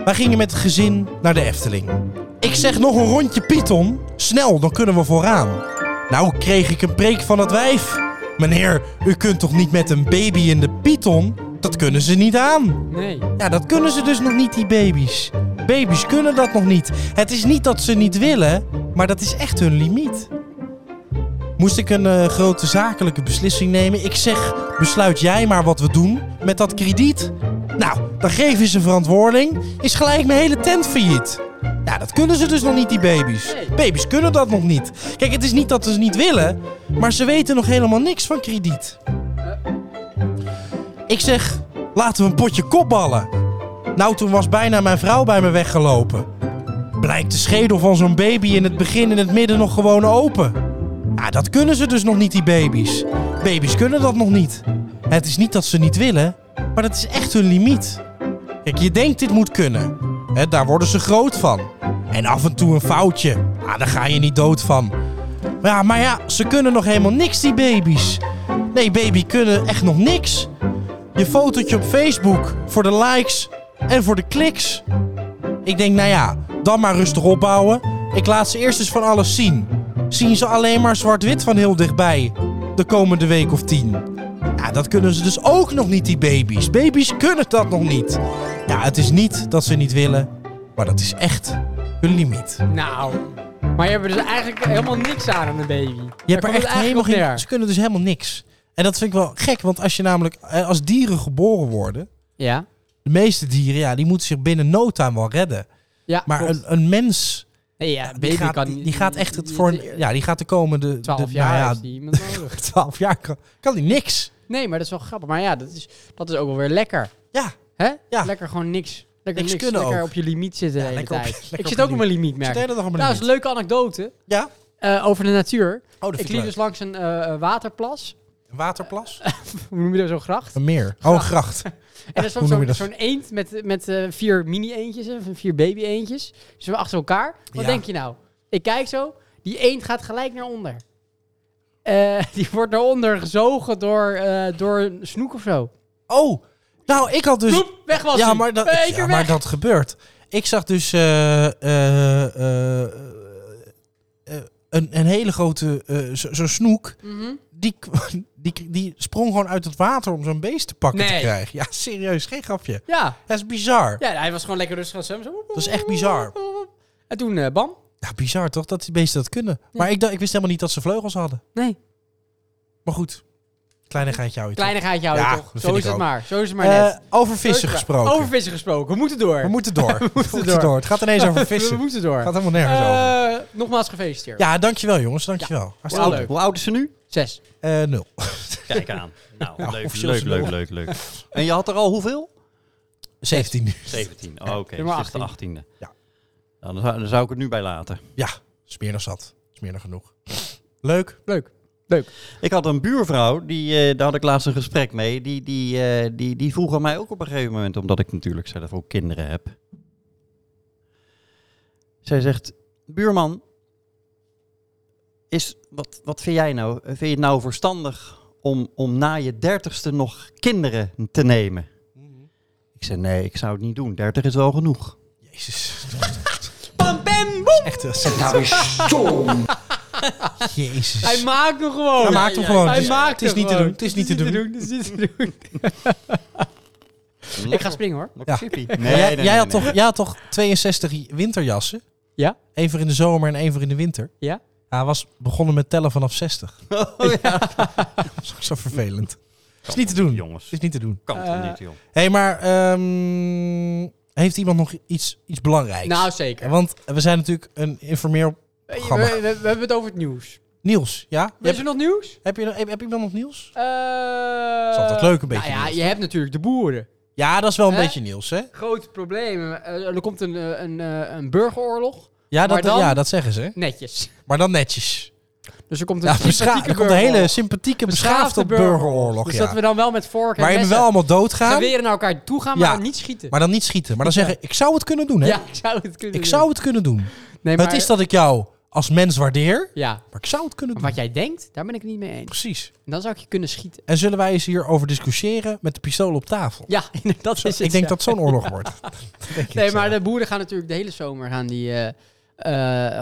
Wij gingen met het gezin naar de Efteling. Ik zeg nog een rondje Python. Snel, dan kunnen we vooraan. Nou kreeg ik een preek van het wijf. Meneer, u kunt toch niet met een baby in de Python? Dat kunnen ze niet aan.
Nee.
Ja, dat kunnen ze dus nog niet, die baby's. Baby's kunnen dat nog niet. Het is niet dat ze niet willen, maar dat is echt hun limiet. Moest ik een eh, grote zakelijke beslissing nemen? Ik zeg, besluit jij maar wat we doen met dat krediet. Nou, dan geven ze verantwoording. Is gelijk mijn hele tent failliet. Ja, dat kunnen ze dus nog niet, die baby's.
Nee.
Baby's kunnen dat nog niet. Kijk, het is niet dat ze niet willen, maar ze weten nog helemaal niks van krediet. Ik zeg, laten we een potje kopballen. Nou, toen was bijna mijn vrouw bij me weggelopen. Blijkt de schedel van zo'n baby in het begin en het midden nog gewoon open. Ja, dat kunnen ze dus nog niet, die baby's. Baby's kunnen dat nog niet. Het is niet dat ze niet willen, maar dat is echt hun limiet. Kijk, je denkt dit moet kunnen. Hè, daar worden ze groot van. En af en toe een foutje. Ah, daar ga je niet dood van. Maar ja, maar ja, ze kunnen nog helemaal niks, die baby's. Nee, baby kunnen echt nog niks. Je fotootje op Facebook voor de likes en voor de kliks. Ik denk, nou ja, dan maar rustig opbouwen. Ik laat ze eerst eens van alles zien. Zien ze alleen maar zwart-wit van heel dichtbij de komende week of tien. Ja, dat kunnen ze dus ook nog niet, die baby's. Baby's kunnen dat nog niet. Ja, het is niet dat ze niet willen, maar dat is echt hun limiet.
Nou. Maar je hebt er dus eigenlijk helemaal niks aan aan de baby.
Je hebt er echt helemaal geen... Ze
meer.
kunnen dus helemaal niks. En dat vind ik wel gek, want als je namelijk... eh, Als dieren geboren worden...
Ja.
De meeste dieren, ja, die moeten zich binnen no time wel redden.
Ja,
Maar
klopt.
een, een mens,
Nee, ja,
die,
baby
gaat,
kan
die,
niet-
die gaat echt het voor een, ja, die gaat de komende
12
de,
jaar
nou ja,
heeft die iemand nodig.
12 jaar kan, kan die niks.
Nee, maar dat is wel grappig. Maar ja, dat is, dat is ook wel weer lekker.
Ja,
Hè?
Ja.
Lekker gewoon niks. Lekker
Niks
niks.
kunnen
lekker
ook.
op je limiet zitten de hele
lekker op-
tijd.
lekker
ik
op
zit
je
ook op mijn limiet,
de
merk ik.
hele dag op
Nou, dat is een leuke anekdote
Ja,
eh, over de natuur.
oh, dat
ik
vind
liep
ik
dus
leuk.
langs een eh, waterplas.
Een waterplas?
Hoe noem je dat, zo'n gracht?
Een meer. Oh, een gracht.
En er
hoe
stond
noem je
zo'n
dat?
zo'n eend met, met eh, vier mini-eendjes, eh, van vier baby-eendjes. Dus we achter elkaar. Wat
Ja.
denk je nou? Ik kijk zo, die eend gaat gelijk naar onder. Eh, die wordt naar onder gezogen door, eh, door een snoek of zo.
Oh, nou, ik had dus...
Ploep, weg was
ja,
hij.
maar dat,
In één
ja,
keer
maar
weg.
dat gebeurt. Ik zag dus eh, eh, eh, eh, eh, een, een hele grote, eh, zo- zo'n snoek,
Mhm.
die, k- die, die sprong gewoon uit het water om zo'n beest te pakken te
Nee.
krijgen. Ja, serieus, geen grapje.
Ja.
Dat is bizar.
ja, hij was gewoon lekker rustig aan het zwemmen. Zo.
Dat is echt bizar.
En toen, eh, bam.
Ja, bizar toch, dat die beesten dat kunnen. Maar ik, dacht- ik wist helemaal niet dat ze vleugels hadden.
Nee.
Maar goed, Kleinigheid jou.
Kleine gaatje houden
Ja,
toch?
dat
Zo
vind
is
ik
het
ook.
maar. Zo is het maar
Eh,
net.
over
Zo is
vissen
het maar.
gesproken.
Over vissen gesproken. We moeten door.
We moeten door. We moeten door. Het gaat ineens over vissen.
We moeten door.
Het gaat helemaal nergens over.
Eh, Nogmaals gefeliciteerd.
Ja, dankjewel jongens. Dankjewel.
Hoe
Hartstikke
Wauw.
oud,
leuk.
hoe oud is ze nu?
Zes.
Eh, nul.
Kijk aan. Nou,
Ja,
leuk,
officieel
leuk,
is het
leuk,
nul.
leuk, leuk. En je had er al hoeveel?
17.
17. Oh, Oké,
Nummer
dus dit is de 18e.
Ja.
Dan zou, dan zou ik het nu bij laten.
Ja, smeer nog zat. Smeer nog genoeg. Leuk.
Leuk.
Ik had een buurvrouw, die, eh, daar had ik laatst een gesprek mee. Die, die, eh, die, die vroeg aan mij ook op een gegeven moment, omdat ik natuurlijk zelf ook kinderen heb. Zij zegt, buurman, is, wat, wat vind jij nou? Vind je het nou verstandig om, om na je dertigste nog kinderen te nemen? Ik zei, nee, ik zou het niet doen. Dertig is wel genoeg.
Jezus.
Pam, pam, boem.
Echt. eh,
Nou is stom.
Jezus.
Hij maakt hem gewoon.
Hij maakt hem gewoon.
Hij
Het is-
maakt
het is
hem
niet te
gewoon.
doen. Het is niet te doen.
Het is niet te doen. Ik ga springen hoor.
Ja.
Nee,
Maar jij,
nee, nee,
jij, had
nee.
Toch, jij had toch 62 winterjassen?
Ja?
Eén voor in de zomer en één voor in de winter.
Ja?
Ja, hij was begonnen met tellen vanaf 60.
Oh,
Dat is ook zo vervelend. is niet te doen.
Jongens,
is niet te doen.
kan toch
Eh,
niet, joh.
Hé, hey, maar ehm, heeft iemand nog iets, iets belangrijks?
Nou, zeker.
Want we zijn natuurlijk een informeel...
We, we,
Programma.
we- we hebben het over het nieuws.
Nieuws, ja?
Is er nog nieuws?
Heb je, nog- heb, heb je dan nog nieuws?
Eh,
Is altijd leuk een beetje
Nou ja,
nieuws.
je hebt natuurlijk de boeren.
Ja, dat is wel een
Hè?
beetje nieuws, hè?
Groot probleem. Eh, er komt een, eh, een, eh, een burgeroorlog.
Ja dat,
Maar dan-
ja, dat zeggen ze.
Netjes.
Maar dan netjes.
Dus er komt een
Ja, bescha-
sympathieke
er komt een hele
burgeroorlog.
sympathieke,
Beschaafde
beschaafde burgeroorlog,
Dus
ja.
dat we dan wel met vork en
Waarin we
messen
wel allemaal doodgaan,
geweren naar elkaar toe gaan, maar
Ja.
niet schieten.
maar dan niet schieten. Maar dan zeggen, ik zou het kunnen doen, hè?
ja, ik zou het kunnen
Ik
doen.
zou het kunnen doen.
nee,
Het is dat ik jou als mens waardeer,
Ja,
maar ik zou het kunnen
maar
doen.
wat jij denkt, daar ben ik het niet mee eens.
Precies.
En Dan zou ik je kunnen schieten.
En zullen wij eens hierover discussiëren met de pistool op tafel?
Ja, dat is het.
ik denk
ja.
dat het zo'n oorlog wordt. Dat denk ik
Nee,
zo.
maar de boeren gaan natuurlijk de hele zomer gaan die, eh, eh,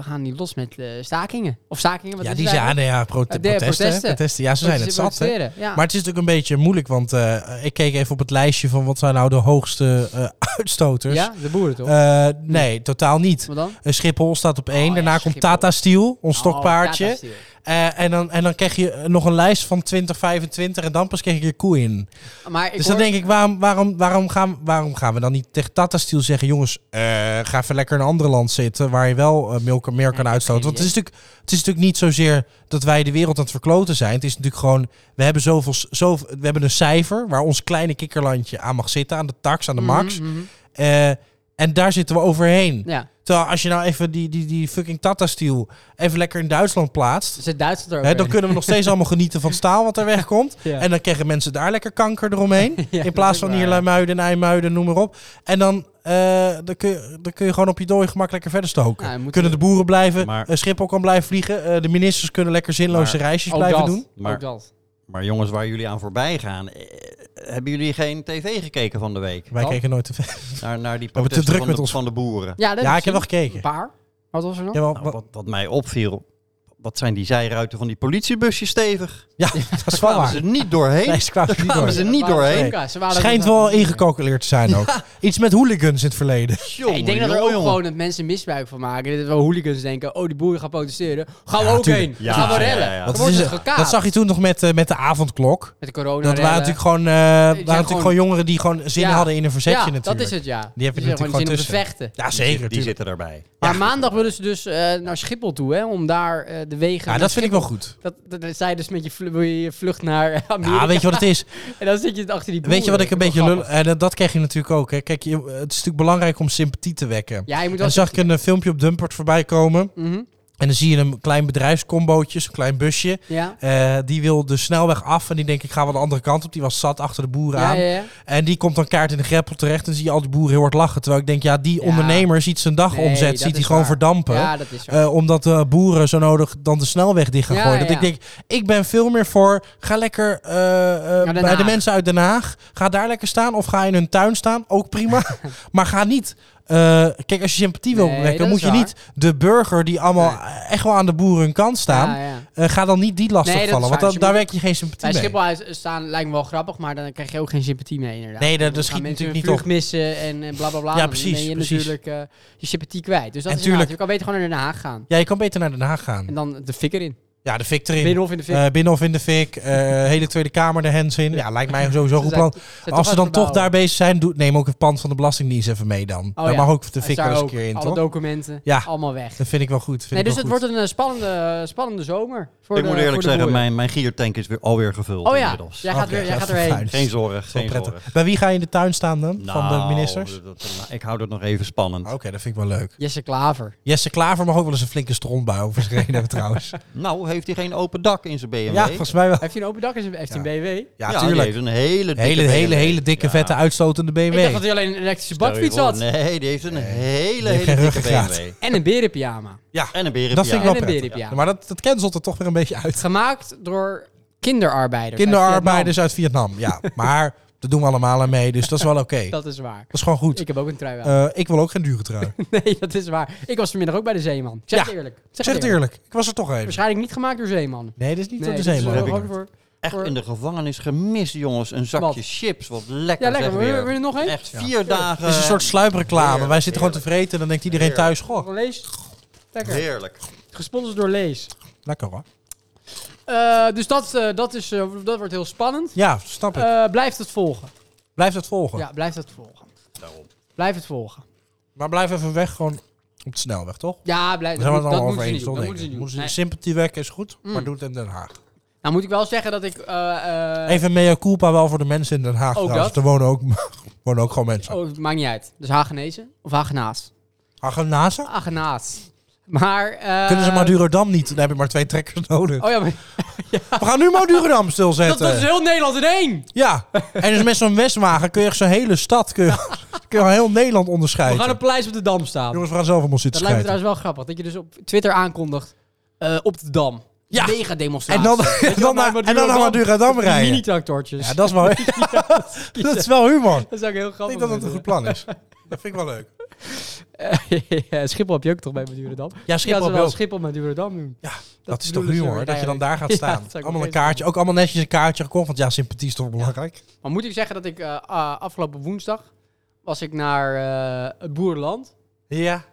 gaan die los met eh, stakingen. Of stakingen, wat
ja,
is
die
het
zijn,
eigenlijk?
nee, ja, pro-
de
protesten, hè,
protesten.
protesten. Ja, ze
Want
zijn het
ze
zat. hè.
protesteren, Ja.
Maar het is natuurlijk een beetje moeilijk, want eh, ik keek even op het lijstje van wat zijn nou de hoogste eh, uitstoters.
ja, de boeren toch?
Eh, nee, totaal niet.
wat dan?
Eh, Schiphol staat op één.
Oh, ja,
Daarna komt
Schiphol.
Tata Steel, ons
Oh,
stokpaardje.
Tata Steel.
Eh, en, dan, en dan krijg je eh, nog een lijst van 20, 25 en dan pas krijg je je koe in.
Maar ik
dus dan
hoor-
denk ik, waarom, waarom, waarom, gaan, waarom gaan we dan niet tegen Tata Steel zeggen... jongens, eh, ga even lekker in een ander land zitten... waar je wel eh, meer, meer kan
Ja,
uitstoten. Want
precies,
het is, natuurlijk, het is natuurlijk niet zozeer dat wij de wereld aan het verkloten zijn. Het is natuurlijk gewoon, we hebben, zoveel, zoveel, we hebben een cijfer... waar ons kleine kikkerlandje aan mag zitten, aan de tax, aan de max.
Mhm, mhm.
Eh, en daar zitten we overheen.
Ja,
Terwijl als je nou even die, die, die fucking Tata Steel... even lekker in Duitsland plaatst...
dus het Duitsland er ook
Hè, dan
weer.
kunnen we nog steeds allemaal genieten van het staal wat er wegkomt.
Ja.
En dan krijgen mensen daar lekker kanker eromheen.
Ja,
in
dat
plaats
is
van
waar,
hier
ja.
Luimuiden en IJmuiden, noem maar op. En dan, eh, dan, kun je, dan kun je gewoon op je dooi gemak lekker verder stoken.
Ja, dan moeten
kunnen de boeren blijven,
Maar-
eh, Schiphol kan blijven vliegen. eh, de ministers kunnen lekker zinloze
Maar-
reisjes
Ook
blijven
Oh, dat,
doen.
Maar-
Ook dat.
Maar jongens, waar jullie aan voorbij gaan, eh, hebben jullie geen tv gekeken van de week?
Wij
Wat?
keken nooit te
Naar, naar die
hebben te
protesten
druk
van,
met
de,
ons.
van de boeren.
Ja, dat
Ja, ik heb wel
gezien.
gekeken.
Een paar. Wat was er nog?
Ja, wel-
Nou,
wel-
wat, wat mij opviel, wat zijn die zijruiten van die politiebusjes stevig?
ja, dat is wel
Kwamen ze
waar.
niet doorheen?
Ah. Nee, ze kwamen er niet
kwamen
door.
ze niet
Waren
doorheen.
ook, ja, ze waren ook
Schijnt
nog-
wel ingecalculeerd te zijn ook. Iets met hooligans in het verleden.
Jongen,
ik denk dat er
jongen,
ook
jongen.
gewoon dat mensen misbruik van maken. Dat wel hooligans denken, oh die boeren gaan protesteren. Gaan we
Ja,
ook
tuurlijk.
heen.
Ja,
gaan we
ja, ja,
rellen.
ja. Dat
Dan
Dat,
wordt
is-
het gekaapt.
dat zag je toen nog met, eh, met de avondklok.
Met de corona
Dat waren natuurlijk gewoon, eh, waren
gewoon-
natuurlijk gewoon jongeren die gewoon zin
Ja.
hadden in een verzetje
ja,
natuurlijk.
dat is het ja.
Die heb je
Die zeggen
natuurlijk gewoon
zin
tussen.
om te vechten.
Ja,
Die
zeker.
zit- Die
tuurlijk.
zitten daarbij.
Maar maandag willen ze dus eh, naar Schiphol toe, hè, om daar eh, de wegen...
Ja, dat vind ik wel goed.
Dat, dat, dat zij dus met je, vlu- wil je je vlucht naar Amerika.
Ja, weet je wat het is?
En dan zit je achter die boeren.
Weet je wat ik een
Dat is
beetje
wel
lul...
grappig.
En dat, dat krijg je natuurlijk ook. Hè. Kijk, je, het is natuurlijk belangrijk om sympathie te wekken.
Ja, je moet wel...
Dan zag ik een eh, filmpje op Dumpert voorbij komen.
Mhm.
En dan zie je een klein bedrijfscombootje, zo'n klein busje.
Ja.
Eh, die wil de snelweg af en die denkt, ik ga wel de andere kant op. Die was zat achter de boeren
Ja,
aan.
ja, ja.
En die komt dan kaart in de greppel terecht. En zie je al die boeren heel hard lachen. Terwijl ik denk, ja, die
Ja.
ondernemer ziet zijn
Nee,
dagomzet,
dat
ziet hij
is
gewoon
waar.
verdampen.
Ja, dat is zo.
Eh, omdat de boeren zo nodig dan de snelweg dicht gaan
Ja,
gooien. Dat
ja,
ik
ja.
denk, ik ben veel meer voor. Ga lekker eh, eh,
Den
bij de
Haag.
mensen uit Den Haag. Ga daar lekker staan. Of ga in hun tuin staan. Ook prima. maar ga niet. eh, kijk, als je sympathie
Nee,
wil wekken,
dat
moet
is
je
waar.
niet de burger die allemaal eh, echt wel aan de boeren hun kant staan.
Ja, ja.
eh, ga dan niet die lastig
Nee, dat is
vallen. Want
waar.
dan,
Dus je
daar
moet-
werk je geen sympathie
Bij
mee.
Schiphol uit- staan lijkt me wel grappig, maar dan krijg je ook geen sympathie mee inderdaad.
Nee, dat- dat
Dan gaan
schiet
mensen
natuurlijk
hun
niet
vlucht missen en eh, bla bla bla.
Ja,
Dan
precies,
ben je
precies.
natuurlijk eh, je sympathie kwijt. Dus dat
En
is inderdaad,
tuurlijk-
je kan beter gewoon naar Den Haag gaan.
Ja, je kan beter naar Den Haag gaan.
En dan de fik erin.
Ja, de fik erin.
Binnenhof in de fik.
Eh, Binnenhof in de fik. eh, hele Tweede Kamer de hens in. Ja, lijkt mij sowieso een goed plan. Als ze dan toch daar bezig zijn, doe, neem ook het pand van de Belastingdienst even mee dan. daar
Oh, ja.
mag ook de
Hij
fik
staat
wel eens een
ook
keer in,
alle
toch?
documenten,
Ja.
allemaal weg.
Dat vind ik wel goed. Vind
Nee,
ik
dus
wel
het
goed.
wordt een eh, spannende, spannende zomer. Voor
Ik
de,
moet
voor
eerlijk
de
zeggen,
boeren.
mijn, mijn giertank is weer alweer gevuld
Oh ja,
inmiddels.
jij gaat,
Oké,
weer, jij
dat
gaat
is
erheen.
vervuilend.
Geen zorg,
Wel
geen
prettig.
zorg.
Bij wie ga je in de tuin staan dan? van
Nou,
de ministers?
dat- dat- ik hou dat nog even spannend.
Oké, dat vind ik wel leuk.
Jesse Klaver.
Jesse Klaver mag ook wel eens een flinke stront bij over zijn reden hebben trouwens.
Nou, heeft hij geen open dak in zijn BMW?
Ja, volgens mij wel.
Heeft hij een open dak in zijn heeft hij een BW?
Ja,
die
tuurlijk.
heeft een hele dikke
Hele,
BMW.
hele, hele dikke,
Ja.
vette, uitstotende BMW.
Ik dacht dat hij alleen een elektrische
Stel je
bakfiets
voor,
had.
Nee, die heeft een hele,
heeft geen
hele dikke
ruggengraat.
BMW.
En een berenpyjama.
En een berenpia.
Dat vind ik wel
En een
prettig.
berenpyjama.
Maar dat, dat cancelt er toch weer een beetje uit.
Gemaakt door kinderarbeiders. uit
Kinderarbeiders uit Vietnam, ja. Maar dat doen we allemaal aan mee, dus dat is wel oké.
Vietnam.
Dat
"Nou, Dat is waar.
is gewoon goed.
Ik heb ook een trui aan.
Eh, ik wil ook geen dure trui.
Nee, dat is waar. Ik was vanmiddag ook bij de Zeeman. Ik zeg
Ja,
het eerlijk. Ik
Zeg het eerlijk, ik was er toch even.
Waarschijnlijk niet gemaakt door Zeeman.
Nee, dit is niet
Nee,
door de
dat is
zeeman.
wel
heb ik
gewoon
het.
voor-
Echt
voor-
in de gevangenis gemist, jongens. Een zakje
Wat?
chips, wat lekker
Ja, lekker.
zeg
Wil je,
weer.
wil je er nog een?
Echt vier dagen.
Het
eh,
is een soort sluipreclame. Wij
Heerlijk,
zitten gewoon te vreten en dan denkt iedereen
Heerlijk.
thuis, goh,
Lees. Lekker.
Heerlijk.
Gesponsord door Lees.
lekker hoor.
Eh, dus dat, eh, dat, is, eh, dat wordt heel spannend.
Ja, Oh. snap ik.
Eh blijf het volgen.
Blijf dat volgen.
Ja, blijf het volgen. Blijf het volgen.
Maar blijf even weg, gewoon op de snelweg, toch?
Ja, blijf,
Daar
dat,
zijn we het
moet, dat
allemaal
moeten
over
ze
eens,
niet doen.
toch?
Dat
denk ik.
moeten ze niet
Moeten
doen.
ze-
Nee.
Sympathie wekken is goed, maar
Mm.
doe het in Den Haag.
Nou moet ik wel zeggen dat ik... eh, eh,
Even mea culpa wel voor de mensen in Den Haag
Ook
trouwens.
Oh, dat.
Er wonen ook, wonen ook gewoon mensen.
Oh, het maakt niet uit. Dus Hagenezen of Hagenaas?
Hagenazen?
Hagenaas. Maar... eh,
Kunnen ze Madurodam niet? Dan heb je maar twee trekkers nodig.
Oh ja, maar
We gaan nu Madurodam
dat,
stilzetten.
dat is heel Nederland in één.
Ja, en dus met zo'n westwagen kun je echt zo'n hele stad, kun je, kun je heel Nederland
We
onderscheiden.
gaan een paleis op de Dam staan.
Jongens, we gaan zelf om ons
Dat
zitten
lijkt me
scheiden.
trouwens wel grappig. Dat je dus op Twitter aankondigt. eh, op de Dam.
Ja.
Mega
En
demonstratie.
dan, en dan, naar, en dan naar Madurodam rijden.
Mini-tractortjes.
Ja, dat is wel, dat is wel humor.
Dat is ook heel
Ik
grappig.
denk dat het een goed plan is. Dat vind ik wel leuk.
Ja, Schiphol heb je ook toch bij Madurodam?
Ja,
Ja,
Schiphol
ze
ja,
wel Schiphol Madurodam doen.
Ja, dat,
Dat
is toch
bedoelen ze
humor, dat je dan
eigenlijk.
daar gaat
Ja,
staan.
dat zou ik
Allemaal een
opeens
kaartje, ook allemaal netjes een kaartje gekocht, want ja, sympathie is toch belangrijk.
Maar moet ik zeggen dat ik eh, ah, afgelopen woensdag was ik naar eh, het boerenland.
Ja.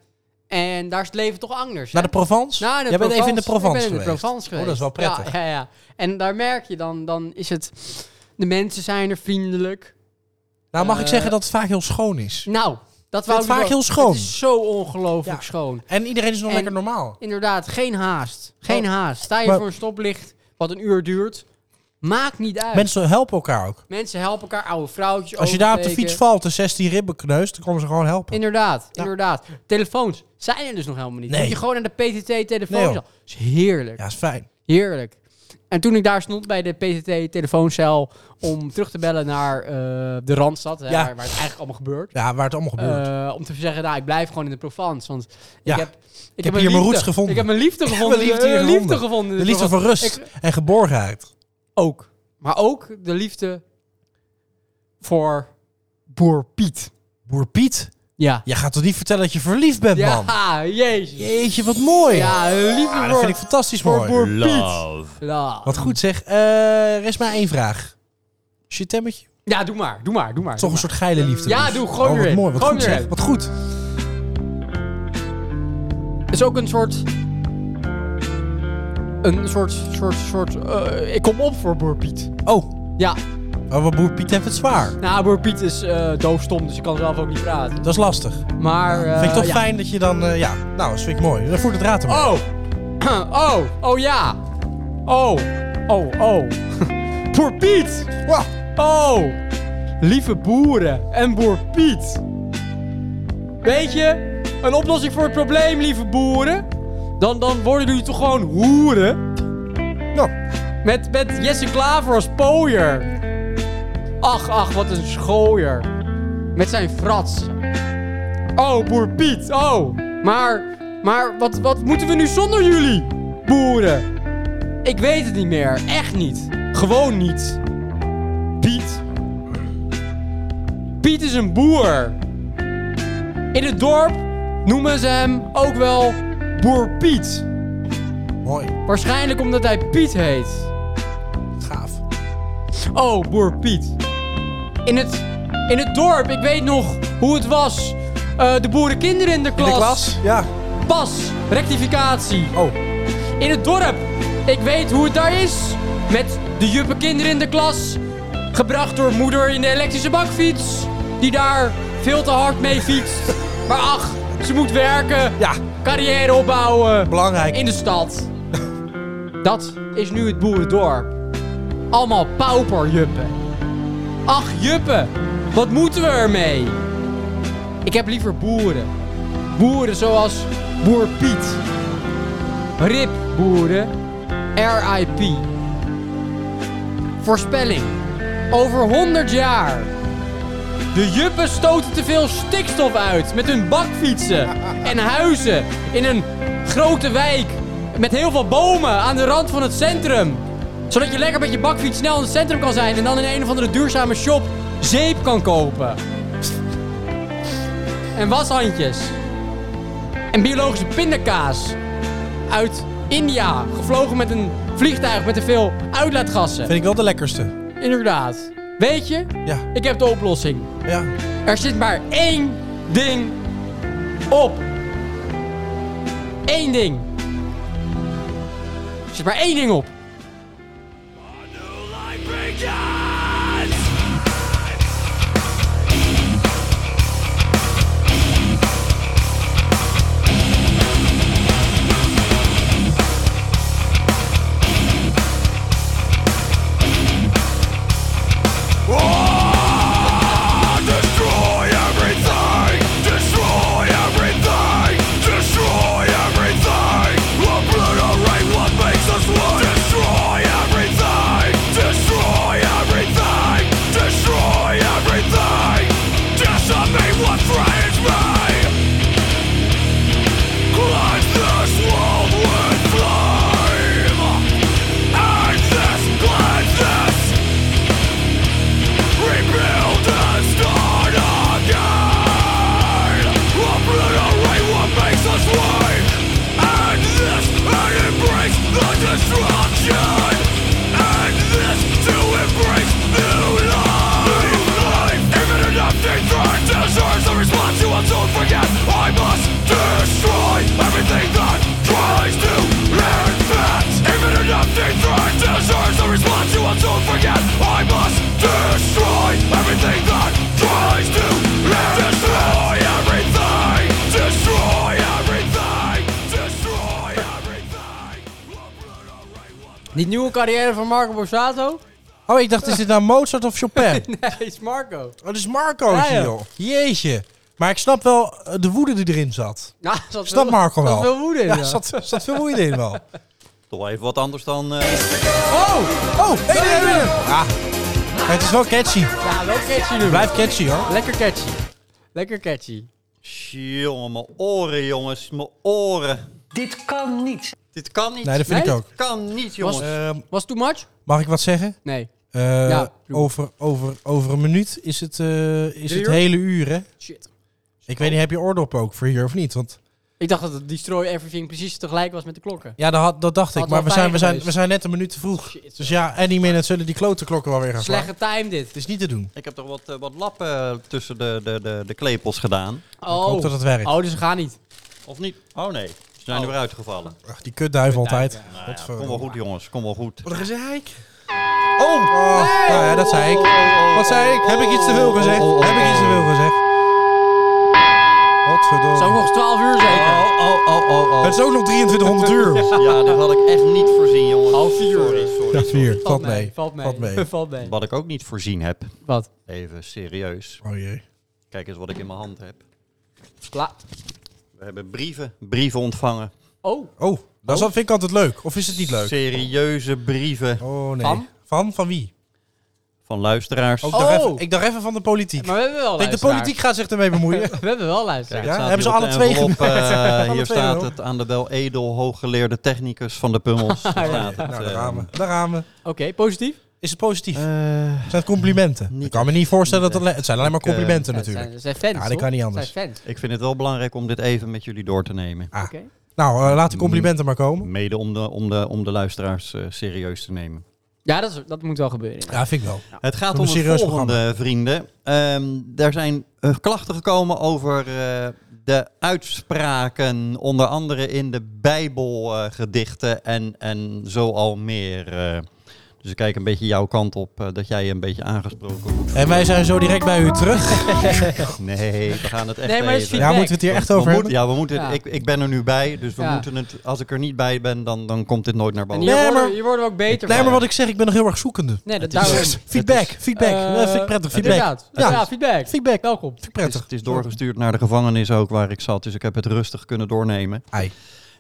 En daar is het leven toch anders.
Naar
hè?
de Provence?
Nou,
Jij bent even in de Provence
ik ben in de
geweest.
Provence geweest.
Oh, dat is wel prettig.
Ja, ja, ja. En daar merk je dan, dan is het... De mensen zijn er vriendelijk.
Nou, mag ik
Eh,
zeggen dat het vaak heel schoon is.
Nou, dat
vind
wou
het
ik
vaak
wel-
heel schoon.
Het is zo ongelooflijk
Ja.
schoon.
En iedereen is nog
en-
lekker normaal.
Inderdaad, geen haast. Geen
Oh,
haast. Sta je
maar-
voor een stoplicht wat een uur duurt, maakt niet uit.
Mensen helpen elkaar ook.
Mensen helpen elkaar, oude vrouwtjes.
Als je daar op de
oversteken.
fiets valt en 16 ribben kneust, dan komen ze gewoon helpen.
Inderdaad,
Ja.
inderdaad. Telefoons zijn er dus nog helemaal niet.
Nee.
Moet je gewoon naar de
Nee, joh.
PTT-telefoon. is heerlijk,
Ja, is fijn.
heerlijk. En toen ik daar stond bij de PTT-telefooncel om terug te bellen naar eh, de Randstad, hè,
Ja.
waar, waar het eigenlijk allemaal gebeurt.
Ja, waar het allemaal gebeurt.
Eh, om te zeggen, nou, ik blijf gewoon in de Provence. Want
Ja.
ik heb, ik
heb hier mijn
liefde.
roots gevonden.
Ik heb mijn liefde gevonden.
liefde
eh,
hier
liefde
gevonden.
gevonden in
de liefde voor
Provence.
rust
Ik-
en geborgenheid.
ook. Maar ook de liefde voor boer Piet.
Boer Piet,
Ja.
jij gaat toch niet vertellen dat je verliefd bent,
Ja,
man?
jezus.
Jeetje, wat mooi. Ja,
Ja, liefde voor...
dat vind ik fantastisch
voor
mooi.
Boer Piet.
Love.
Ja.
Wat goed zeg. Eh, er is maar één vraag. Is je temmetje?
Ja, doe maar, doe maar, doe maar.
Toch een
doe
soort geile liefde.
Eh, Ja,
dus.
doe, gooi
wat
erin.
mooi, wat
Gooi
goed
erin.
zeg. Wat goed.
maar. is ook een soort... Een soort, soort, soort... eh, ik kom op voor Boer Piet.
Oh,
Ja,
oh, wat boer Piet heeft het zwaar.
nou, Boer Piet is eh, doofstom, dus ik kan zelf ook niet praten.
Dat is lastig.
Maar... eh,
vind ik toch
ja.
fijn dat je dan... eh, ja, nou, dat vind ik mooi. Dan voert het raad hem.
Oh! oh, oh ja! Oh, oh, oh. Boer Piet!
Wow.
Oh! Lieve boeren en boer Piet. Weet je, een oplossing voor het probleem, lieve boeren. Dan, dan worden jullie toch gewoon hoeren?
Nou,
Met, met Jesse Klaver als pooier. Ach, ach, wat een schooier. Met zijn frats. Oh, boer Piet, oh. Maar, maar wat, wat moeten we nu zonder jullie, boeren? Ik weet het niet meer, echt niet. Gewoon niet. Piet. Piet is een boer. In het dorp noemen ze hem ook wel Boer Piet.
mooi.
Waarschijnlijk omdat hij Piet heet.
Gaaf.
Oh, boer Piet. In het, in het dorp, ik weet nog hoe het was. Eh, de boerenkinderen in de
In
klas.
de klas? Ja.
Pas, rectificatie.
Oh,
In het dorp Ik weet hoe het daar is. Met de juppe kinderen in de klas. Gebracht door moeder in de elektrische bakfiets. Die daar veel te hard mee fietst. Maar ach, ze moet werken.
Ja,
Carrière opbouwen.
belangrijk.
In de stad. Dat is nu het boerendorp. Allemaal pauperjuppen. Ach, juppen. Wat moeten we ermee? Ik heb liever boeren. Boeren zoals boer Piet. Rip boeren. RIP. Voorspelling. Over 100 jaar. De juppen stoten te veel stikstof uit met hun bakfietsen en huizen in een grote wijk met heel veel bomen aan de rand van het centrum. Zodat je lekker met je bakfiets snel in het centrum kan zijn en dan in een of andere duurzame shop zeep kan kopen. En washandjes. En biologische pindakaas. Uit India, gevlogen met een vliegtuig met te veel uitlaatgassen.
Vind ik wel de lekkerste.
Inderdaad. Weet je,
Ja,
ik heb de oplossing.
ja.
Er zit maar één ding op. Eén ding. Er zit maar één ding op.
Destroy everything! Destroy everything! Destroy everything! Obliterate what makes us one! Destroy everything! Destroy everything! Destroy everything! Decimate what frightens me! Let this world with flame! And this, cleanse this! Rebuild and start again. Obliterate what makes us white. And this, and embrace the destruction. And this, to embrace new life. New life. Even an empty threat deserves a response you will soon forget. I must destroy everything that tries to infect. Even an empty threat deserves a response you will soon forget. I must destroy everything that tries to infect. Destroy everything. Destroy everything. Destroy everything.
Die nieuwe carrière van Marco Borsato?
Oh, ik dacht, is dit nou Mozart of Chopin?
Nee, is Marco.
Oh, dat is Marco
Ja, ja.
joh. Jeetje. Maar ik snap wel eh, de woede die erin zat.
Ja, er zat
Snap
veel-
Marco
er
wel.
zat veel woede in,
Ja,
ja.
er zat, er zat veel woede in wel.
Toch even wat anders dan... eh,
Oh!
Oh, hey, nee, nee, nee. Ja. Maar het is wel catchy.
Ja, wel catchy nu.
Blijf catchy hoor.
Lekker catchy. Lekker catchy.
Jongen, mijn oren, jongens. Mijn oren.
Dit kan niet.
Dit kan niet.
Nee, dat vind
Nee?
ik ook.
kan niet, jongens.
Ehm,
Was too much?
mag ik wat zeggen?
Nee.
Eh,
Ja, doe.
over, over, over een minuut is het, eh, is
Drie
het
uur?
hele uur, hè?
Shit.
Ik weet niet, heb je oordop ook voor hier of niet? Want
Ik dacht dat het Destroy Everything precies tegelijk was met de klokken.
ja, dat, had- dat dacht ik.
Had
Maar
wel
we zijn,
fijn
we, zijn,
geweest.
we zijn net een minuut te vroeg.
Shit,
Dus ja, any minute zullen die klote klokken wel weer gaan slaan.
Slechte time dit.
Het is niet te doen.
Ik heb toch wat, eh, wat lappen tussen de, de, de, de klepels gedaan.
Oh.
Ik hoop dat het werkt.
Oh, dus we gaan niet.
Of niet? Oh nee, ze zijn er weer uitgevallen.
Ach, die kutduif altijd.
ja.
Nou ja,
Godver-
kom wel goed, jongens. Kom wel goed.
Wat gezeik. Oh! Nou ja, dat
oh,
zei ik. Wat zei ik? Heb ik iets te veel gezegd? Heb ik iets te veel gezegd? Godverdomme.
Zou ook nog 12 uur zeker.
oh, oh, oh,
Het is ook nog 2300 uur.
Ja, dat had ik echt niet voorzien, jongens.
Half vier.
Sorry, sorry.
Ja, vier. Valt mee.
Valt mee. Valt mee. Valt mee.
Wat ik ook niet voorzien heb,
Wat?
even serieus.
Oh jee.
Kijk eens wat ik in mijn hand heb.
Sla.
We hebben brieven, brieven ontvangen.
Oh.
Oh, dat vind ik altijd leuk. Of is het niet leuk?
Serieuze brieven
Oh nee.
Van?
Van? Van wie?
van luisteraars.
Oh, ik, dacht
Oh.
even, ik dacht even van de politiek.
Maar we hebben wel
Ik denk, de
luisteraar.
politiek gaat zich ermee bemoeien.
We hebben wel
Kijk,
luisteraar.
het
Ja,
staat
hebben ze
hier op
alle
de
twee
envelop, eh,
Alle
hier
twee
staat
wel.
het aan de wel edel hooggeleerde technicus van de Pummels. staat het,
nou,
eh,
daar gaan we. Daar gaan we.
Oké, positief.
Is het positief?
eh,
zijn het complimenten?
niet
Ik kan me niet voorstellen dat het... le- Het zijn alleen maar
eh,
complimenten
Ja, het
natuurlijk.
Zijn, het zijn fans,
Ja, dat
toch?
kan niet
Het
anders.
Zijn fans.
ik vind het wel belangrijk om dit even met jullie door te nemen.
Ah.
Oké.
Nou, eh, laat de complimenten maar komen.
Mede om de, om de, om de luisteraars eh, serieus te nemen.
Ja, dat, is, dat moet wel gebeuren.
Ja, vind ik wel.
Het gaat
Een
om het
serieus
volgende, vrienden. Ehm, er zijn eh, klachten gekomen over eh, de uitspraken, onder andere in de Bijbelgedichten en, en zo al meer. eh. dus ik kijk een beetje jouw kant op, eh, dat jij je een beetje aangesproken wordt.
En wij zijn zo direct bij u terug.
Nee, we gaan het echt
Nee, maar het is
even-
Ja, moeten we het hier echt over
we
hebben?
moeten, ja, we moeten,
Ja.
Ik, ik ben er nu bij, dus we
Ja.
moeten het, als ik er niet bij ben, dan, dan komt dit nooit naar
En
boven.
hier,
Nee,
worden,
maar-
hier worden we ook beter
Nee,
van.
maar wat ik zeg, ik ben nog heel erg zoekende. Dus,
Nee, dat
Het is-
daarom.
Feedback, feedback.
Eh,
dat vind ik prettig, feedback.
Inderdaad. Ja.
Ja.
feedback.
Feedback.
Welkom.
Vind ik
Het is,
prettig.
het is doorgestuurd naar de gevangenis ook waar ik zat, dus ik heb het rustig kunnen doornemen.
Ai.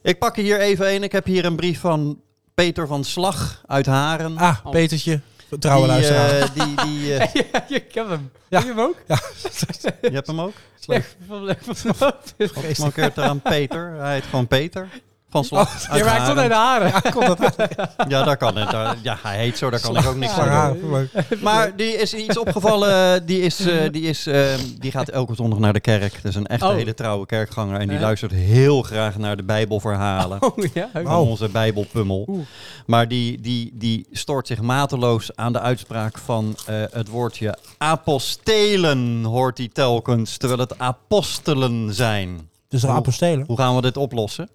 Ik pak er hier even een. Ik heb hier een brief van Peter van Slag uit Haren.
Ah, Petertje. Trouwe
die,
luisteraar.
eh, die, die, eh,
ja, ik heb hem.
Ja.
Heb je hem ook?
je hebt hem ook?
Ja, van leuk van
God, het mankeert eraan Peter. Hij heet gewoon Peter. Van Slag uit
Oh, Je raakt tot in
Haren.
de haren.
Ja, daar kan het. Daar, ja, hij heet zo, daar kan ik ook niks aan
Ja,
doen.
leuk.
Maar die is iets opgevallen. Die, is, eh, die, is, eh, die gaat elke zondag naar de kerk. Dat is een echte
Oh.
hele trouwe kerkganger. En die
Ja.
luistert heel graag naar de Bijbelverhalen.
Oh ja. oké.
Van onze Bijbelpummel.
Oeh.
Maar die, die, die stoort zich mateloos aan de uitspraak van eh, het woordje apostelen, hoort hij telkens, terwijl het apostelen zijn.
Dus de
Hoe-
apostelen.
Hoe gaan we dit oplossen?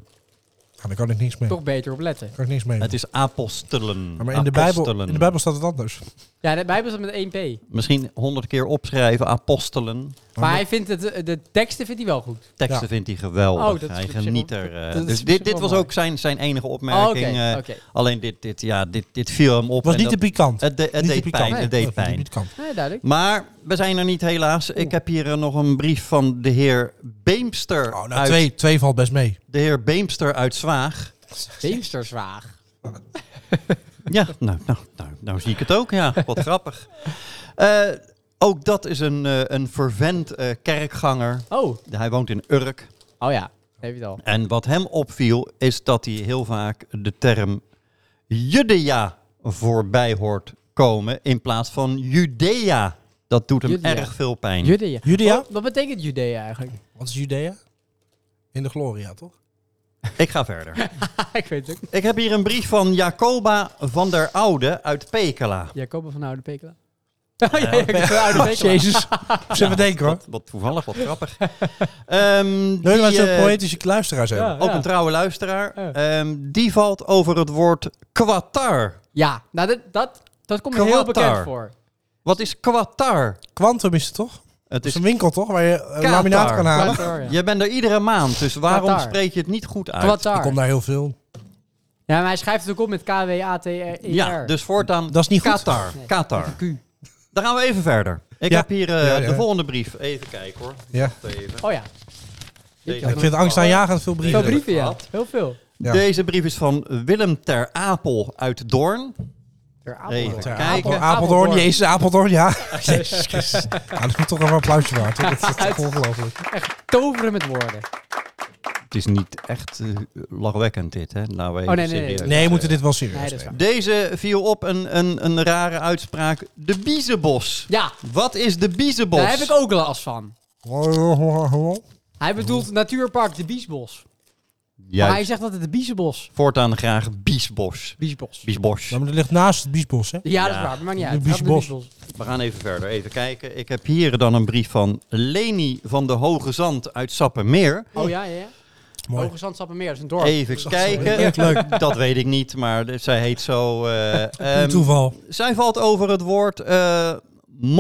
Ja, daar kan ik niks mee. Daar
Toch beter op letten.
kan ik niks mee.
Het is apostelen.
Ja, maar in de, Bijbel,
Apostelen.
in de Bijbel staat het anders.
Ja, de Bijbel staat met 1 P.
Misschien honderd keer opschrijven, apostelen.
Maar hij vindt het, de teksten vindt hij wel goed.
Teksten
Ja.
vindt hij
Oh,
geweldig.
dat is
hij
op zich wel-
geniet er. eh,
dat is
dus
op zich
dit, dit
wel
was
mooi.
ook zijn, zijn enige
Oh,
opmerking.
Oké,
eh,
oké.
Alleen dit, dit, ja, dit, dit viel hem op.
was
en
niet te
dat-
pikant.
het, de- het
Niet te
deed
pikant.
pijn. Het deed
Nee,
pijn.
Niet pikant.
Nee, duidelijk.
Maar we zijn er niet helaas. Ik heb hier eh, nog een brief van de heer Beemster.
Oh, nou,
uit,
twee, twee valt best mee.
De heer Beemster uit Zwaag.
Beemsterswaag.
Ja, nou, nou, nou, nou zie ik het ook. Ja, wat grappig. Eh, ook dat is een, eh, een vervent eh, kerkganger.
Oh,
Hij woont in Urk.
oh ja. Heb je het al.
En wat hem opviel is dat hij heel vaak de term Judea voorbij hoort komen in plaats van Judea. Dat doet hem
Judea.
erg veel pijn.
Judea. Oh,
Judea?
Wat, wat betekent Judea eigenlijk?
Wat is Judea? In de Gloria, toch?
Ik ga verder.
ik weet het ook.
Ik heb hier een brief van Jacoba van der Oude uit Pekela.
Jacob van Oude Pekela. Oh, ja, Jacob van Oude Pekela.
Jezus. Moet ze even denken hoor.
Wat, wat toevallig, wat grappig. Ehm,
Nee, maar het
die,
zijn
eh,
poëtische luisteraars hebben.
Ja,
ook
ja.
een trouwe luisteraar.
Ja.
Ehm, die valt over het woord kwatar.
Ja, nou, dat, dat, dat komt me heel
Kwatar.
bekend voor.
Wat is kwatar?
Quantum is het toch? Het
Het
is
is
een winkel toch? Waar je eh,
Qatar.
laminaat kan halen.
Kwatar, ja.
Je bent er iedere maand, dus waarom
Qatar.
spreek je het niet goed uit?
Kwatar.
Ik kom daar heel veel.
Ja, maar hij schrijft het ook op met K-W-A-T-R.
Ja, dus voortaan
Dat is niet goed.
Qatar.
Nee.
Qatar.
Q.
Dan gaan we even verder. Ik
Ja.
heb hier eh,
Ja, ja.
de volgende brief. Even kijken hoor.
Ja.
Wacht Even.
Oh ja,
Deze
Ik vind het angstaanjagend veel
veel
brieven.
Iedereen
brieven, ja.
gehad.
Heel veel.
Ja.
Deze brief is van Willem Ter Apel uit Doorn.
Ter
Even
Apeldoorn.
kijken.
Apel, eh, Apeldoorn, Jezus, Apeldoorn, ja. Jezus Christus. Ja, dat is toch wel een applausje waard. hoor. Dat is toch ongelooflijk.
Toveren met woorden.
Het is niet echt eh, lachwekkend dit, hè? Nou, even
Oh, nee, nee, nee.
serieus.
Nee, we moeten dit wel serieus
Nee, dat is
nemen.
waar.
Deze viel op een, een, een rare uitspraak. De biezenbos.
Ja,
Wat is de biezenbos?
daar heb ik ook last van.
Oké.
Hij bedoelt natuurpark de Biesbos. Maar
Juist.
hij zegt dat het de Biesbos.
Voortaan graag biesbos.
Biesbos.
Biesbos.
Maar dat ligt naast het biesbos, hè?
Ja, dat
Ja.
is waar. Maar niet uit.
De
Het gaat om
Biesbos.
We gaan even verder, even kijken. Ik heb hier dan een brief van Leni van de Hoge Zand uit Sappemeer.
Oh ja, ja. ja.
Mooi.
Hoge Zandstappenmeer is een
Oh,
dorp.
Even kijken. Dat weet ik niet, maar de- zij heet zo. eh, ehm,
Een toeval.
zij valt over het woord eh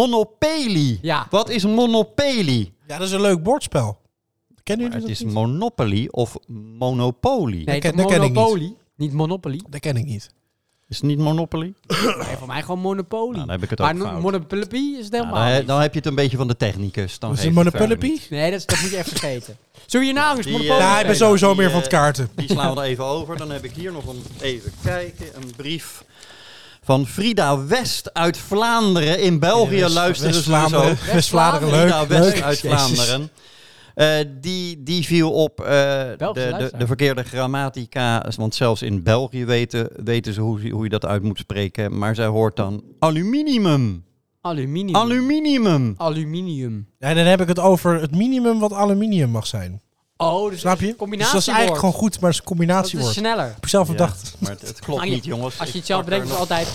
monopolie.
Ja.
Wat is monopolie?
Ja, dat is een leuk bordspel. Kennen
Maar
jullie
het
dat niet?
is monopoly of monopolie.
Nee,
ken-
toch
dat ken ik niet.
Monopoly. Niet. Monopoly.
Dat ken ik niet.
Oh, Is het niet monopoly?
Nee, voor mij gewoon Monopoly.
Nou, dan heb ik het ook
maar
fout.
Monopoly is het
Nou,
helemaal
dan, he-
niet.
dan heb je het een beetje van de technicus. Dan
Dat is
geeft
een
het verder
Monopoly?
niet.
Nee, dat, is, dat moet je echt vergeten. Zullen we hier nou eens
Die, eh,
Monopoly
Ja, ik ben
spelen?
sowieso
Die,
meer van
eh,
het kaarten.
Die slaan we er even over. Dan heb ik hier nog een, even kijken, een brief van Frida West uit Vlaanderen. In België
West-
luisteren ze dus
West-Vlaanderen.
ook.
West-Vlaanderen, leuk.
Frida West
leuk.
nou, uit
Jezus.
Vlaanderen. Eh, die, die viel op eh, de, de,
luisteraar.
de verkeerde grammatica. Want zelfs in België weten, weten ze hoe, hoe je dat uit moet spreken. Maar zij hoort dan aluminium.
Aluminium. Oh,
Aluminium.
Aluminium.
En dan heb ik het over het minimum wat aluminium mag zijn.
Oh, dus
Snap je? Dus
Combinatie
dat is eigenlijk gewoon goed, maar het is een
Dat is
combinatiewoord. Ik
sneller.
heb zelf
Ja,
bedacht.
maar het, het klopt
Maar Ah, je-
niet, jongens.
Als je
Ik
het zelf
pak er
bedenkt, is het
nog-
altijd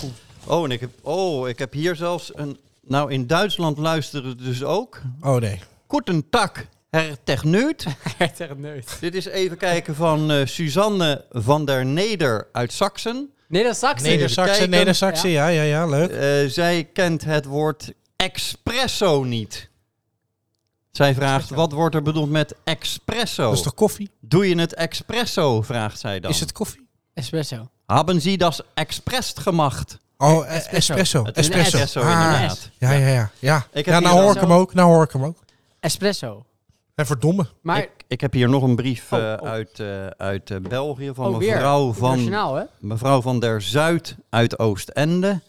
goed.
Oh, en ik heb, oh, ik heb hier zelfs een... Nou, in Duitsland luisteren ze dus ook.
Oh nee.
Goedendag. Hertechneut.
Hertogneut.
Dit is even kijken van eh, Suzanne van der Neder uit Saksen.
Neder-Saxie.
Neder-
Neder-Saxen,
kijken.
Neder-Saxen, ja, ja, ja, leuk.
Eh, zij kent het woord expresso niet. Zij vraagt, wat wordt er bedoeld met expresso?
Dat is toch koffie?
Doe je het expresso, vraagt zij dan.
Is het koffie?
Espresso.
Haben Sie das express gemacht?
Oh, eh, espresso.
Het is een
Espresso.
espresso,
Ah,
inderdaad.
Ja, ja, ja. Ja,
heb
ja
hier
nou hoor
al-
ik hem ook. Nou hoor ik hem ook.
Espresso.
En verdomme.
Maar
Ik, ik heb hier nog een brief
Oh,
eh,
oh.
uit, eh, uit eh, België van
oh, weer.
mevrouw, van,
Internationaal, hè?
mevrouw van der Zuid uit Oostende.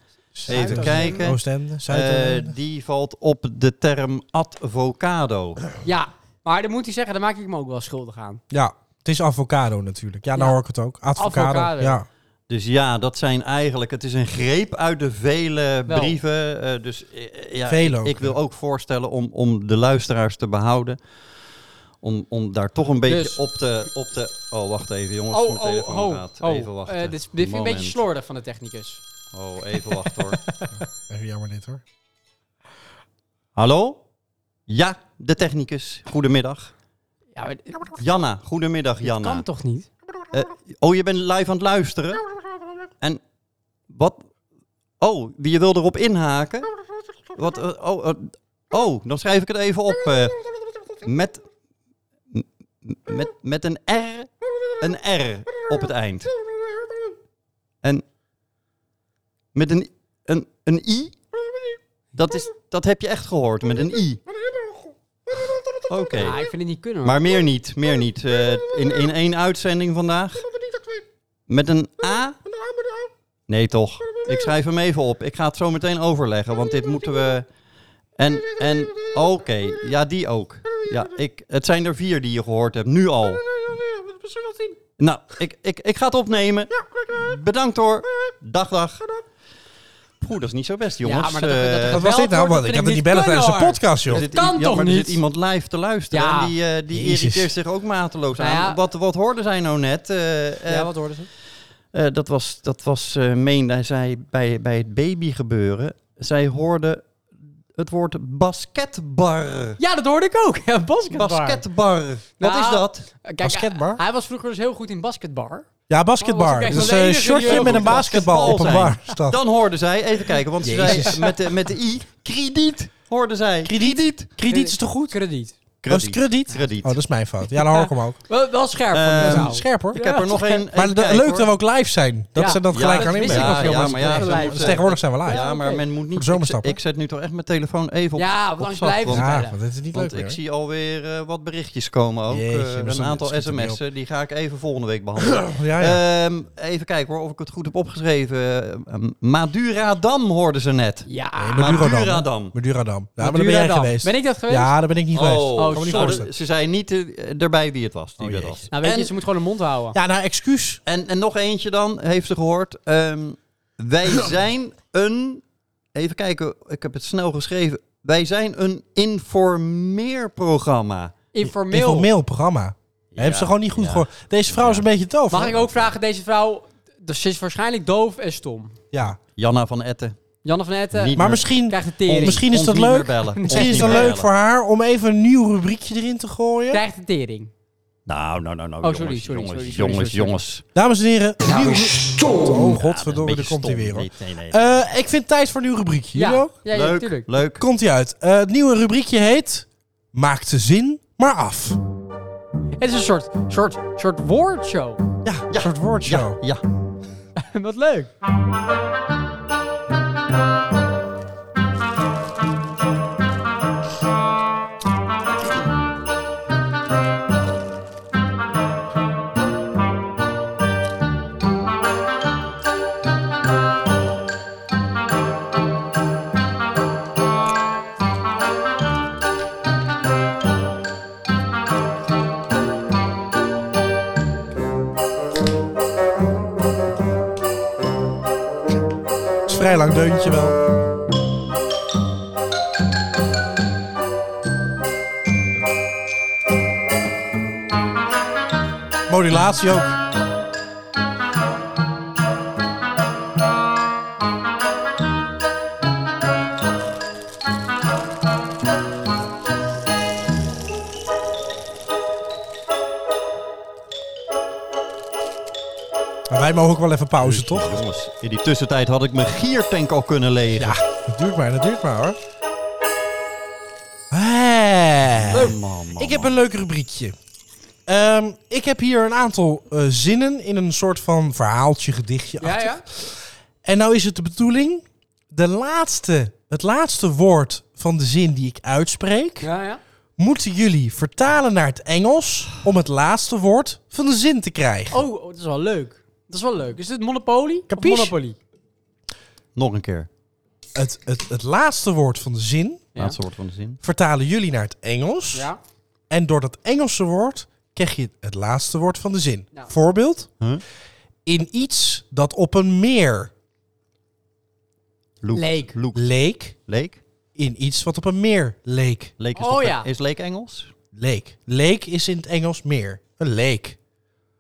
Even kijken.
Oostende,
Eh,
Zuid-Oostende.
die valt op de term advocado.
Ja. Maar dan moet hij zeggen, daar maak ik me ook wel schuldig aan.
ja, het is avocado natuurlijk. Ja, nou
Ja.
hoor ik het ook. Advocado.
Avocado.
Ja.
Dus ja, dat zijn eigenlijk. Het is een greep uit de vele
Wel.
brieven. eh, dus eh, ja,
Veel ook,
ik, ik wil
ja.
ook voorstellen om, om de luisteraars te behouden. Om, om daar toch een beetje
Dus-
op te, op te. Oh, wacht even, jongens.
Oh,
mijn
oh,
telefoon
oh.
gaat.
oh.
even wachten.
Eh, dit is- dit vind ik een
Moment.
beetje slordig van de technicus.
Oh, even wachten hoor.
Even jammer dit hoor.
Hallo? Ja, de technicus. Goedemiddag.
Ja, maar dit-
Janna, goedemiddag
dit
Janna.
kan toch niet?
Eh, oh, je bent live aan het luisteren? En wat? Oh, wie- je wil erop inhaken? Wat? eh, oh, eh, oh, dan schrijf ik het even op. eh. met, m- met, met een R, een R op het eind. En met een, een, een I? Dat, is, dat heb je echt gehoord, met een I. Oké.
Ja, ik vind het niet kunnen. hoor.
Maar meer niet, meer niet. Eh, in, in één uitzending vandaag. Met een A? Nee toch. Ik schrijf hem even op. Ik ga het zo meteen overleggen, want dit moeten we... En, en, oké. Ja, die ook. Ja, ik, het zijn er vier die je gehoord hebt, nu al. Nou, ik, ik, ik ga het opnemen. Bedankt hoor. Dag, dag. Oeh, dat is niet zo best, jongens.
maar dat- dat-
Eh,
Wat was dit nou?
Welk
Want
woord vind
ik had
ik
het niet
niet
bellen
kunnen,
tijdens de
hoor.
podcast, joh.
Dit- kan
ja,
toch
maar Er
niet?
zit iemand live te luisteren
Ja.
en die, eh, die
Jezus.
irriteert zich ook mateloos
Nou ja.
aan. Wat, wat hoorden zij nou net? Eh, eh,
Ja, wat hoorden ze?
eh, dat was, dat was eh, meende zij, bij, bij het baby gebeuren. Zij hoorde het woord basketbar.
Ja, dat hoorde ik ook. Ja, basketbar.
Basketbar. Wat
Nou,
is dat?
Kijk,
Basketbar?
Hij, hij was vroeger dus heel goed in basketbar.
Ja,
Oh,
basketbar.
was ik echt
dus
wel de
een
enige die
shortje
heel
met
goed
een basketbal
Bal
op een
zijn.
bar. is dat.
Dan hoorde zij, even kijken, want ze
Jezus.
zei met de, met de I, krediet, hoorde zij.
Krediet. Krediet is toch goed?
Krediet.
Oh, is het krediet?
Krediet. dus
Oh, dat is mijn fout. Ja, dan hoor ik hem ook.
Wel, wel scherp van
Ehm,
de vrouw.
Scherp hoor.
Ik heb er nog één.
Maar
even
de-
kijken,
leuk
hoor.
dat we ook live zijn. Dat
Ja.
ze dat
Ja,
gelijk
dat
aan
wist
inbeelden.
ik ook heel
ja,
erg.
maar ja,
Ja,
ze
live.
moeten-
Dus tegenwoordig zijn we live.
Ja, maar
oké.
men moet
Voor de
niet. Ik,
zomerstap,
ik zet nu toch echt mijn telefoon even op.
Ja,
op
want
zak,
blijven
want,
staan.
Ja,
spelen.
want dit is niet
want
leuk
ik
meer.
zie alweer eh, wat berichtjes komen ook.
Jeetje,
eh,
maar
een
schiet-
aantal
schiet er niet op.
sms'en. Die ga ik even volgende week behandelen.
Ja, ja.
Ehm, even kijken hoor, of ik het goed heb opgeschreven. Ehm, Madurodam hoorden ze net.
Ja.
Nee,
Ah, maar-
Madurodam.
Madurodam.
Madurodam. Ja, maar daar ben jij
Madurodam.
geweest.
Ben ik dat geweest?
Ja, daar ben ik niet geweest.
Oh,
Kan me niet
sorry.
voorstellen.
ze zei niet eh, erbij wie het was. Die
Oh,
dat
jeetje.
was.
Nou, weet je,
En-
ze moet gewoon hun mond houden.
Ja, nou, excuus.
En, en nog eentje dan, heeft ze gehoord. Ehm, wij zijn een. Even kijken, ik heb het snel geschreven. Wij zijn een informeerprogramma.
Informeel.
Informeel programma.
Ja.
Hebben ze gewoon niet goed
Ja.
gehoord. Deze vrouw is een beetje doof.
Mag
hoor.
ik ook vragen, deze vrouw... Dus ze is waarschijnlijk doof en stom.
Ja.
Janna van Etten.
Janne van Etten
Niet-
Maar misschien,
krijgt de tering.
misschien is
Ons
dat
niet meer
leuk.
bellen. Ons
Misschien
niet
is dat
meer
leuk
bellen.
voor haar om even een nieuw rubriekje erin te gooien.
Krijgt de tering.
Nou, nou, nou, nou.
Oh,
jongens,
sorry, sorry,
jongens,
sorry, sorry,
jongens,
sorry.
jongens.
Dames en heren, nieuw...
Stom!
Oh,
Ja, een
godverdomme,
beetje
daar komt hij
stom,
weer. Hoor.
dit. Nee, nee.
Eh, ik vind tijd voor een nieuw rubriekje. Jullie
ja.
ook?
Ja, ja,
leuk,
tuurlijk.
leuk.
Komt hij uit. Eh, het nieuwe rubriekje heet... Maakt de zin maar af.
Het is een soort, soort, soort woordshow.
Ja, een soort woordshow.
Ja, ja.
Wat leuk.
Het is vrij lang deuntje wel. Modulatie ook. wij mogen ook wel even pauze, toch?
Jongens, in die tussentijd had ik mijn giertank al kunnen legen.
Ja, dat duurt maar, dat duurt maar hoor. Hey.
Man, man, man.
Ik heb een leuk rubriekje. Ehm, ik heb hier een aantal eh, zinnen in een soort van verhaaltje, gedichtje.
Ja, ja.
En nou is het de bedoeling, de laatste, het laatste woord van de zin die ik uitspreek,
Ja, ja.
moeten jullie vertalen naar het Engels om het laatste woord van de zin te krijgen.
Oh, oh, dat is wel leuk. Dat is wel leuk. Is dit Monopoly?
Capiche?
Of Monopoly?
Nog een keer.
Het, het, het laatste woord van de zin
Ja.
Laatste woord van de zin.
vertalen jullie naar het Engels.
Ja.
En door dat Engelse woord krijg je het laatste woord van de zin.
Ja.
Voorbeeld,
Huh?
in iets dat op een meer
Loek.
Leek.
Loek.
leek,
Leek.
in iets wat op een meer leek.
Leek is,
Oh,
toch-
ja.
is leek Engels?
Leek. Leek is in het Engels meer. Een leek.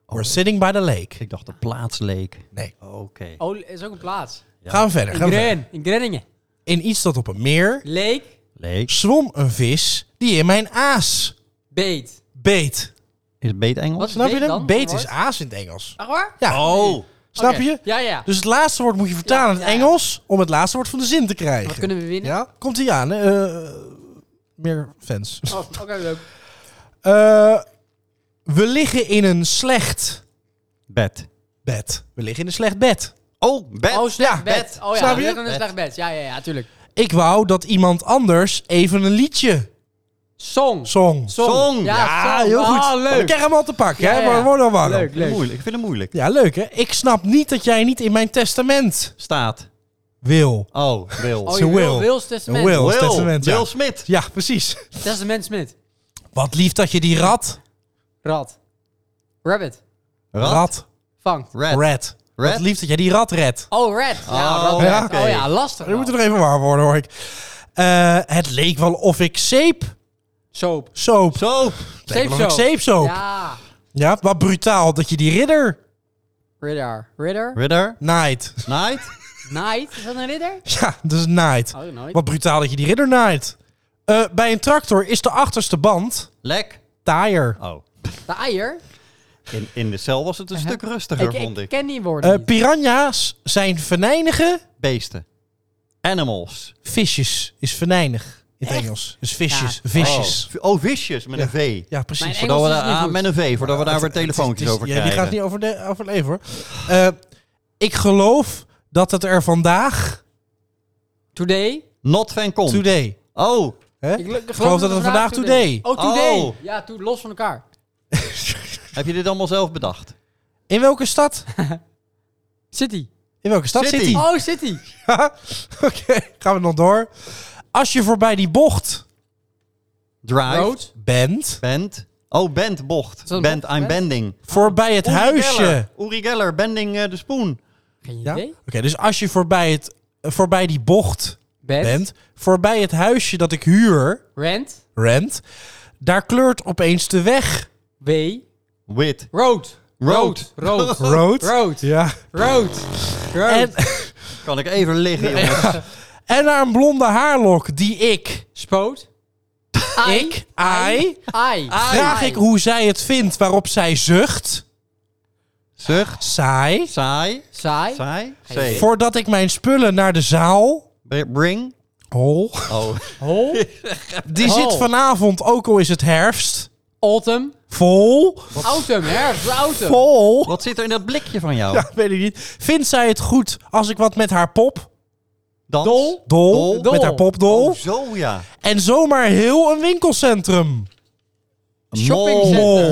We're sitting by the lake.
Oh. Ik dacht de plaats leek.
Nee.
Oké.
Oh, is ook een plaats.
Gaan we verder.
In
Gaan we verder.
Gren. In Grenningen.
In iets dat op een meer
Leek.
Leek.
zwom een vis die in mijn aas
Beet.
beet.
Is beet Engels?
Wat?
Snap je
Beet
dat?
dan?
Beet
Wat?
is aas in het Engels.
Echt waar?
Ja.
Oh.
Snap
Oké.
je?
Ja, ja.
Dus het laatste woord moet je vertalen
Ja,
in het
ja, ja.
Engels om het laatste woord van de zin te krijgen.
Wat kunnen we winnen?
Ja? Komt ie aan. hè? Eh, meer fans.
Oh, oké, leuk.
Eh, we liggen in een slecht
Bed.
bed. We liggen in een slecht bed.
Oh, bed.
Oh, slecht
Ja,
bed.
bed.
Oh ja,
Snap
we
je?
liggen in een
Bed.
slecht bed. Ja, ja, ja, tuurlijk.
Ik wou dat iemand anders even een liedje
Song.
zong.
Song.
Ja,
Ja,
song.
heel goed.
Oh, leuk.
We krijgen hem al te pakken,
Ja,
hè?
ja.
Maar word dan warm.
Leuk, leuk.
Moeilijk. Ik vind het moeilijk.
Ja, leuk, hè? Ik snap niet dat jij niet in mijn testament
Staat.
wil.
Oh, wil.
Oh,
Ze
je
wil.
wil. Will's testament.
Wil.
Will.
testament, ja.
Will Smith.
Ja, precies.
Testament Smit.
Wat lief dat je die rat...
Rat. Rabbit.
Rat.
Vang.
Red.
Red.
Red?
Wat lief dat jij die rat redt.
Oh, red. Ja,
Oh,
rat, red.
oké.
Oh ja, lastig.
We
wel.
moeten er even warm worden, hoor ik. Eh, het leek wel of ik zeep...
Soap.
Soap.
Zo.
Het leek wel of ik
Zeepsoap.
zeepsoap. Ja.
Ja.
wat brutaal dat je die ridder
Ridder. Ridder.
Ridder.
naait.
Knight.
Knight. Is dat een ridder?
Ja, dat is naait.
Oh, nooit.
Wat brutaal dat je die ridder naait. Eh, bij een tractor is de achterste band
Lek.
taaier.
Oh.
De eier.
In, in de cel was het een stuk rustiger,
Ik,
vond
ik
ik.
ken die woorden
Eh,
niet.
piranha's zijn venijnige
Beesten. Animals.
visjes. Is venijnig in het Engels. Dus visjes,
Ja.
visjes.
Oh, v- oh, visjes met een V.
Ja, precies.
Mijn
Voordat we
Engels is
daar- ah,
niet goed.
met een V, voordat we daar
Het-
weer
het is-
telefoontjes
het is-
over
ja,
krijgen.
die gaat niet over de, overleven hoor. Eh, ik geloof dat het er vandaag,
Today.
Not van Kom.
today...
Oh,
Hè?
Ik geloof,
geloof dat het vandaag today.
Oh, today.
Oh.
Ja, to- los van elkaar.
heb je dit allemaal zelf bedacht?
In welke stad?
City.
In welke stad
City.
zit hij?
Oh, City.
Oké, gaan we nog door. Als je voorbij die bocht
Drive.
Road.
bent,
Bent. Oh, bent bocht.
dat een
Bent,
bocht?
I'm
Bent?
bending.
voorbij het huisje...
Geller. Uri Geller, bending eh, de spoon.
Geen
Ja?
idee.
Oké, dus als je voorbij, het, eh, voorbij die bocht
Bed.
bent, voorbij het huisje dat ik huur,
Rent.
rent, daar kleurt opeens de weg
Way.
Wit.
Road.
Road.
Road. Road.
rood.
Road.
Ja.
Road.
En,
Road.
Kan ik even liggen, jongens?
en naar een blonde haarlok die ik,
Spoot.
ik, I,
Ai.
vraag ik hoe zij het vindt waarop zij zucht,
Zucht.
saai,
Saai.
Saai.
Saai.
Hey.
Zee.
voordat ik mijn spullen naar de zaal,
Br- Bring.
hol,
Oh.
Hol.
die
Hol.
zit vanavond, ook al is het herfst,
Autumn.
vol,
Autumn. Herfst. Autumn.
vol,
Wat zit er in dat blikje van jou?
Ja, weet ik niet, vindt zij het goed als ik wat met haar pop,
Dans.
Dol.
Dol,
Dol.
met haar popdol.
Oh, zo ja.
En zomaar heel een winkelcentrum.
Shoppingcenter.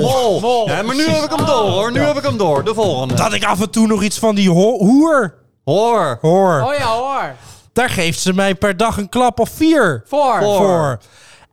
Mol.
Mol.
Mol. Ja, maar nu heb ik hem door, hoor. Nu heb ik hem door. De volgende.
Dat ik af en toe nog iets van die ho- hoer
Hoor.
hoor.
Oh ja hoor.
Daar geeft ze mij per dag een klap of vier
Voor.
Voor.
voor.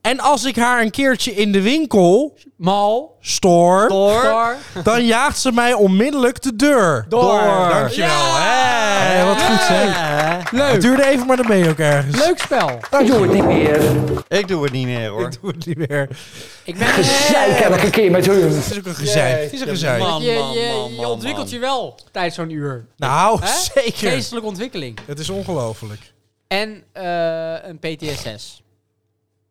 En als ik haar een keertje in de winkel
Mal.
stoor,
Door.
Door.
dan jaagt ze mij onmiddellijk de deur.
Door.
Dankjewel.
Ja.
Hé, wat goed zeg.
Ja.
Het
Leuk.
duurde even, maar dan ben je ook ergens.
Leuk spel.
Ik doe het Nou, niet meer.
Ik doe het niet meer, hoor.
Ik doe het niet meer. Het
Ik ben
Gezeik elke keer met hun.
is ook een gezeik. Het is een gezeik.
Man,
eh, Je,
man,
je,
man,
je
man,
ontwikkelt je
man.
wel tijdens zo'n uur.
Nou,
Hè?
zeker.
Geestelijke ontwikkeling.
Het is ongelooflijk.
En eh, een PTSS.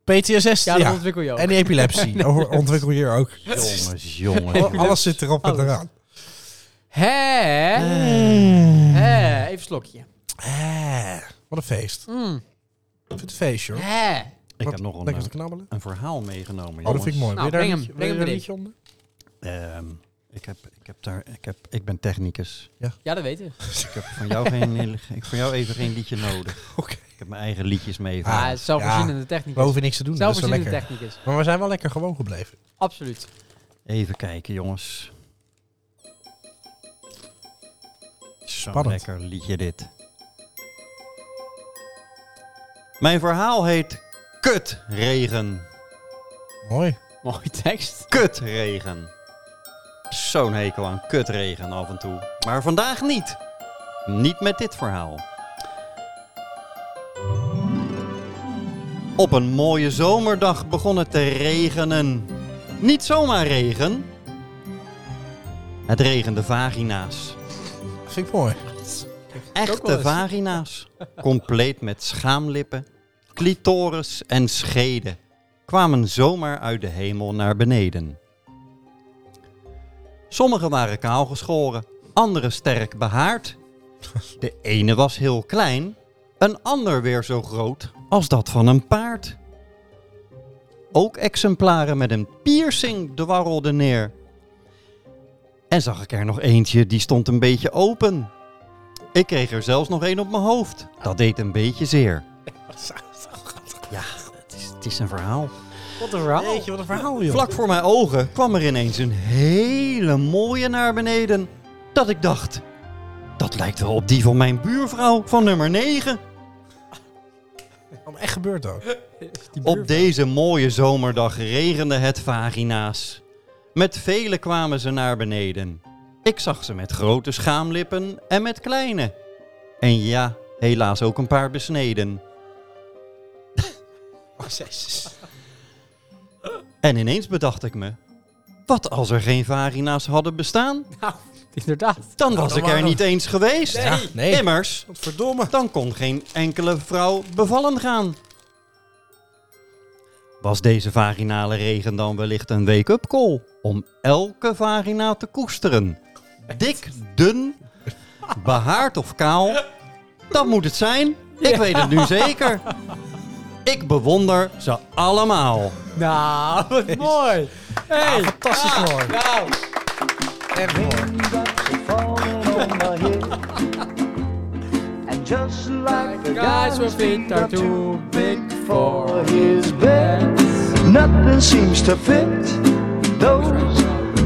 PTSS,
Ja,
ja.
dat ontwikkel je ook.
En die epilepsie. Over- Ontwikkel je ook.
Jongens, jongens.
Alles zit erop en eraan.
Hè?
Hmm.
Hè? Even een slokje.
Eh, wat een feest.
Mm.
Ik vind het een feest, joh.
Hè?
Ik
Wat-
heb nog een,
Lekker te
eh,
knabbelen.
een verhaal meegenomen.
Oh, dat vind ik
jongens.
mooi. wil je
Nou, breng
daar
hem,
een liedje-
breng hem
wil je daar een
erin.
liedje onder?
Ehm, ik, heb, ik, heb daar, ik, heb, ik ben technicus.
Ja, dat weet ik.
Dus ik heb van jou, geen, ik- van jou even geen liedje nodig.
Oké.
Ik heb mijn eigen liedjes mee.
Ah, zelfvoorzienende
We
technicus.
hoeven niks te doen, dat is wel
Zelfvoorzienende
lekker.
technicus.
Maar we zijn wel lekker gewoon gebleven.
Absoluut.
Even kijken, jongens. Zo'n
Spannend.
lekker liedje dit. Mijn verhaal heet Kutregen.
Mooi.
Mooie tekst.
Kutregen. Zo'n hekel aan kutregen af en toe. Maar vandaag niet. Niet met dit verhaal. Op een mooie zomerdag begon het te regenen. Niet zomaar regen. Het regende vagina's.
Vind ik mooi.
Ook wel
Echte
eens.
vagina's, compleet met schaamlippen, clitoris en scheden, kwamen zomaar uit de hemel naar beneden. Sommige waren kaal geschoren, andere sterk behaard. De ene was heel klein, een ander weer zo groot als dat van een paard. Ook exemplaren met een piercing dwarrelden neer. En zag ik er nog eentje, die stond een beetje open. Ik kreeg er zelfs nog één op mijn hoofd. Dat deed een beetje zeer. Ja, het is, het is een verhaal.
Wat een verhaal.
Jeetje, wat een verhaal, joh.
Vlak voor mijn ogen kwam er ineens een hele mooie naar beneden. Dat ik dacht, dat lijkt wel op die van mijn buurvrouw van nummer 9.
Oh, Echt gebeurd ook.
Die buurvrouw.
Op deze mooie zomerdag regende het vagina's. Met velen kwamen ze naar beneden. Ik zag ze met grote schaamlippen en met kleine. En ja, helaas ook een paar besneden.
Oh,
En ineens bedacht ik me: wat als er geen vagina's hadden bestaan?
Nou, inderdaad.
Dan was
dan
ik er
waren-
niet eens geweest.
Ja, nee.
Immers,
Wat verdomme.
dan kon geen enkele vrouw bevallen gaan. Was deze vaginale regen dan wellicht een wake-up call om elke vagina te koesteren? Dik, dun, behaard of kaal? Dat moet het zijn. Ik weet het nu zeker. Ik bewonder ze allemaal.
Nou, wat mooi. Hey.
Fantastisch mooi.
Nou,
Echt mooi.
And just like the
guys
guys
were
with
feet
feet
are
are
too big
for
for
his bed, nothing seems to fit. Those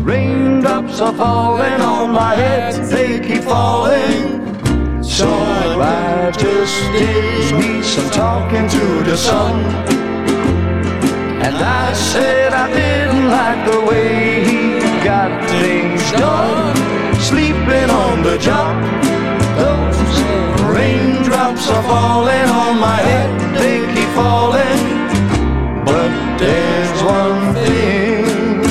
raindrops are falling on my head, they keep falling. So I just did me some talking to the sun. And I said I didn't like the way he got things done. Sleeping on the job, those raindrops are falling on my head, they keep falling. But there's one thing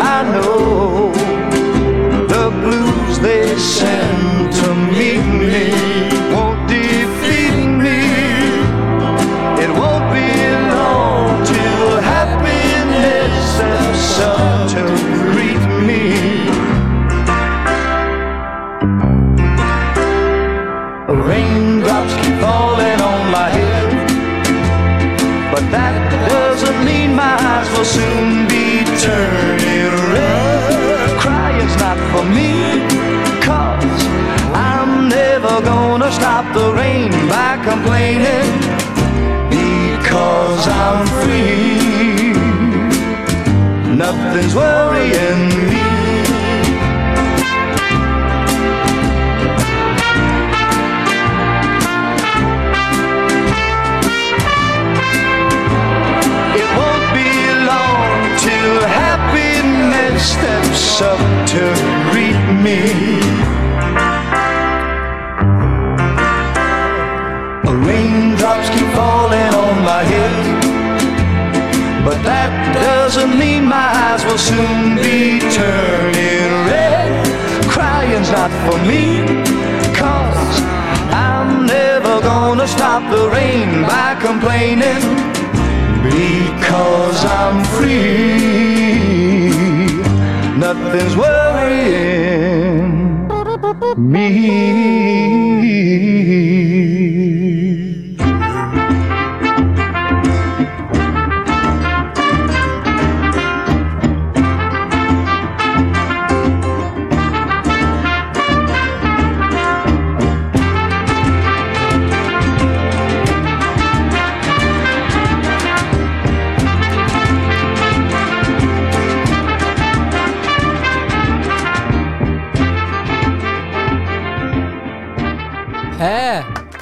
I know the blues they send to meet me won't defeat me. It won't be long till happiness and sun to greet me. Raindrops keep falling on my head. But that doesn't mean my eyes will soon be turning red. Crying's not for me, cause I'm never gonna stop the rain by complaining. Because I'm free, nothing's worrying me. It won't be long till happiness steps up to greet me. Raindrops keep falling on my head, but that doesn't mean my eyes will soon be turning red. Crying's not for me, cause I'm never gonna stop the rain by complaining. Because I'm free, nothing's worrying.
Ah.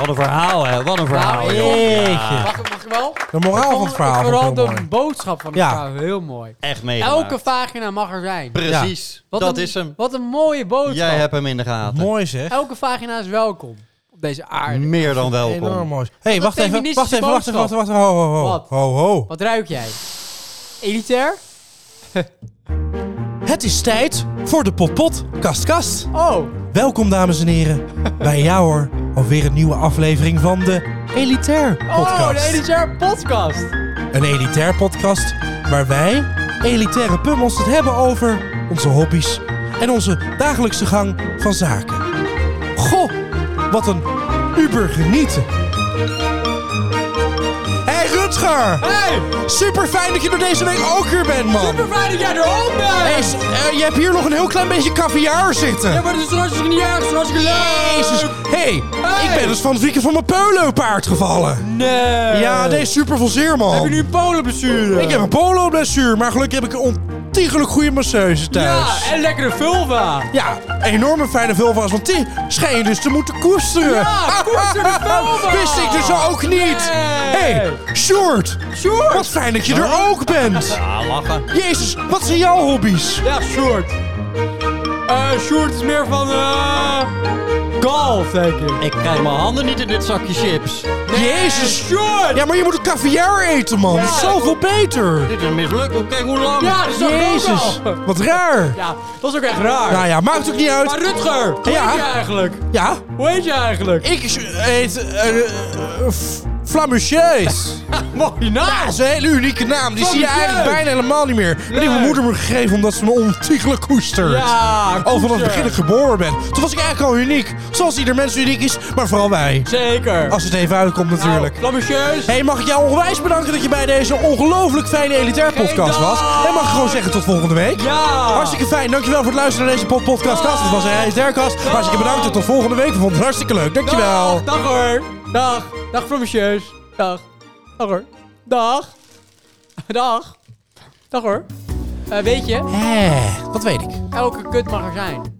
Wat een verhaal, hè? Wat een verhaal.
Nou,
joh.
Jeetje.
Mag, ik- mag ik wel?
De moraal van het verhaal.
Vooral
vond ik wel
de
mooi.
boodschap van het
Ja.
verhaal. Heel mooi.
Echt meegemaakt.
Elke vagina mag er zijn.
Precies.
Wat
dat
een,
is hem.
Wat een mooie boodschap.
Jij hebt hem in de gaten.
Mooi zeg.
Elke vagina is welkom op deze aarde.
Meer dan welkom.
Enorm mooi. Hé, hey,
een
wacht even. Wacht
feministische
even, wacht even, wacht
boodschap.
even. wacht even. Ho, ho, ho.
Wat?
Ho, ho.
Wat ruik jij? Elitair?
Het is tijd voor de Potpot Kast Kast.
Oh,
Welkom, dames en heren. Bij jou hoor. Alweer een nieuwe aflevering van de Elitair
oh de
Podcast.
Elitair podcast.
Een elitair podcast waar wij, elitaire pummels, het hebben over onze hobby's en onze dagelijkse gang van zaken. Goh, wat een uber genieten. Hey Rutger!
Hey,
Super fijn dat je er deze week ook weer bent, man.
super fijn dat jij er ook
Hey,
bent.
s- eh, je hebt hier nog een heel klein beetje caviar
Ja,
zitten.
maar het is hartstikke niet erg, het is hartstikke leuk.
Jezus, hey,
Hey.
ik ben dus van het weekend van mijn polo-paard gevallen.
Nee.
Ja, deze is super veel zeer, man.
Heb je nu een polenblessure?
Ik heb een polo-blessuur, maar gelukkig heb ik een ontiegelijk goede masseuse thuis.
Ja, en lekkere vulva.
Ja, enorme fijne vulva's, want die schijn je dus te moeten koesteren.
Ja, koester de vulva.
Wist ik dus ook niet.
Nee.
hey, Sjoerd.
Sjoerd.
Wat fijn dat je er ook bent.
Ah, lachen.
Jezus, wat zijn jouw hobby's?
Ja, Sjoerd. Eh, Sjoerd is meer van eh golf, denk ik.
Ik krijg mijn handen niet in dit zakje chips.
Jezus.
Sjoerd!
Ja, maar je moet een caviar eten, man. Dat is zoveel beter.
Dit is een mislukking. Kijk hoe lang.
Ja, dat is
Jezus,
ook wel.
wat raar.
Ja, dat is ook echt raar.
Nou ja, maakt ook niet
Maar
uit.
Rutger, hoe
Ja.
heet je eigenlijk?
Ja,
Hoe heet je eigenlijk?
ik eet uh,
Mooi naam.
Dat is een hele unieke naam. Die zie je
Flammetje.
eigenlijk bijna helemaal niet meer. Ik heb
Nee.
mijn moeder me gegeven omdat ze me ontiegelijk koestert.
Ja,
Al vanaf het
koester.
begin dat ik geboren ben. Toen was ik eigenlijk al uniek. Zoals ieder mens uniek is, maar vooral wij.
Zeker.
Als het even uitkomt natuurlijk.
Nou, ambitieus.
Hey, mag ik jou onwijs bedanken dat je bij deze ongelooflijk fijne elitair podcast
dank.
was? En mag ik gewoon zeggen tot volgende week?
Ja.
Hartstikke fijn. Dankjewel voor het luisteren naar deze pod- podcast. Het was een elitairkast. Hartstikke bedankt en tot volgende week. We vonden het hartstikke leuk. Dankjewel.
Dag, dag hoor. Dag. Dag, ambitieus. Dag. Dag hoor. Dag. Dag. Dag hoor. Eh, weet je,
Eh, dat weet ik.
elke kut mag er zijn. Vind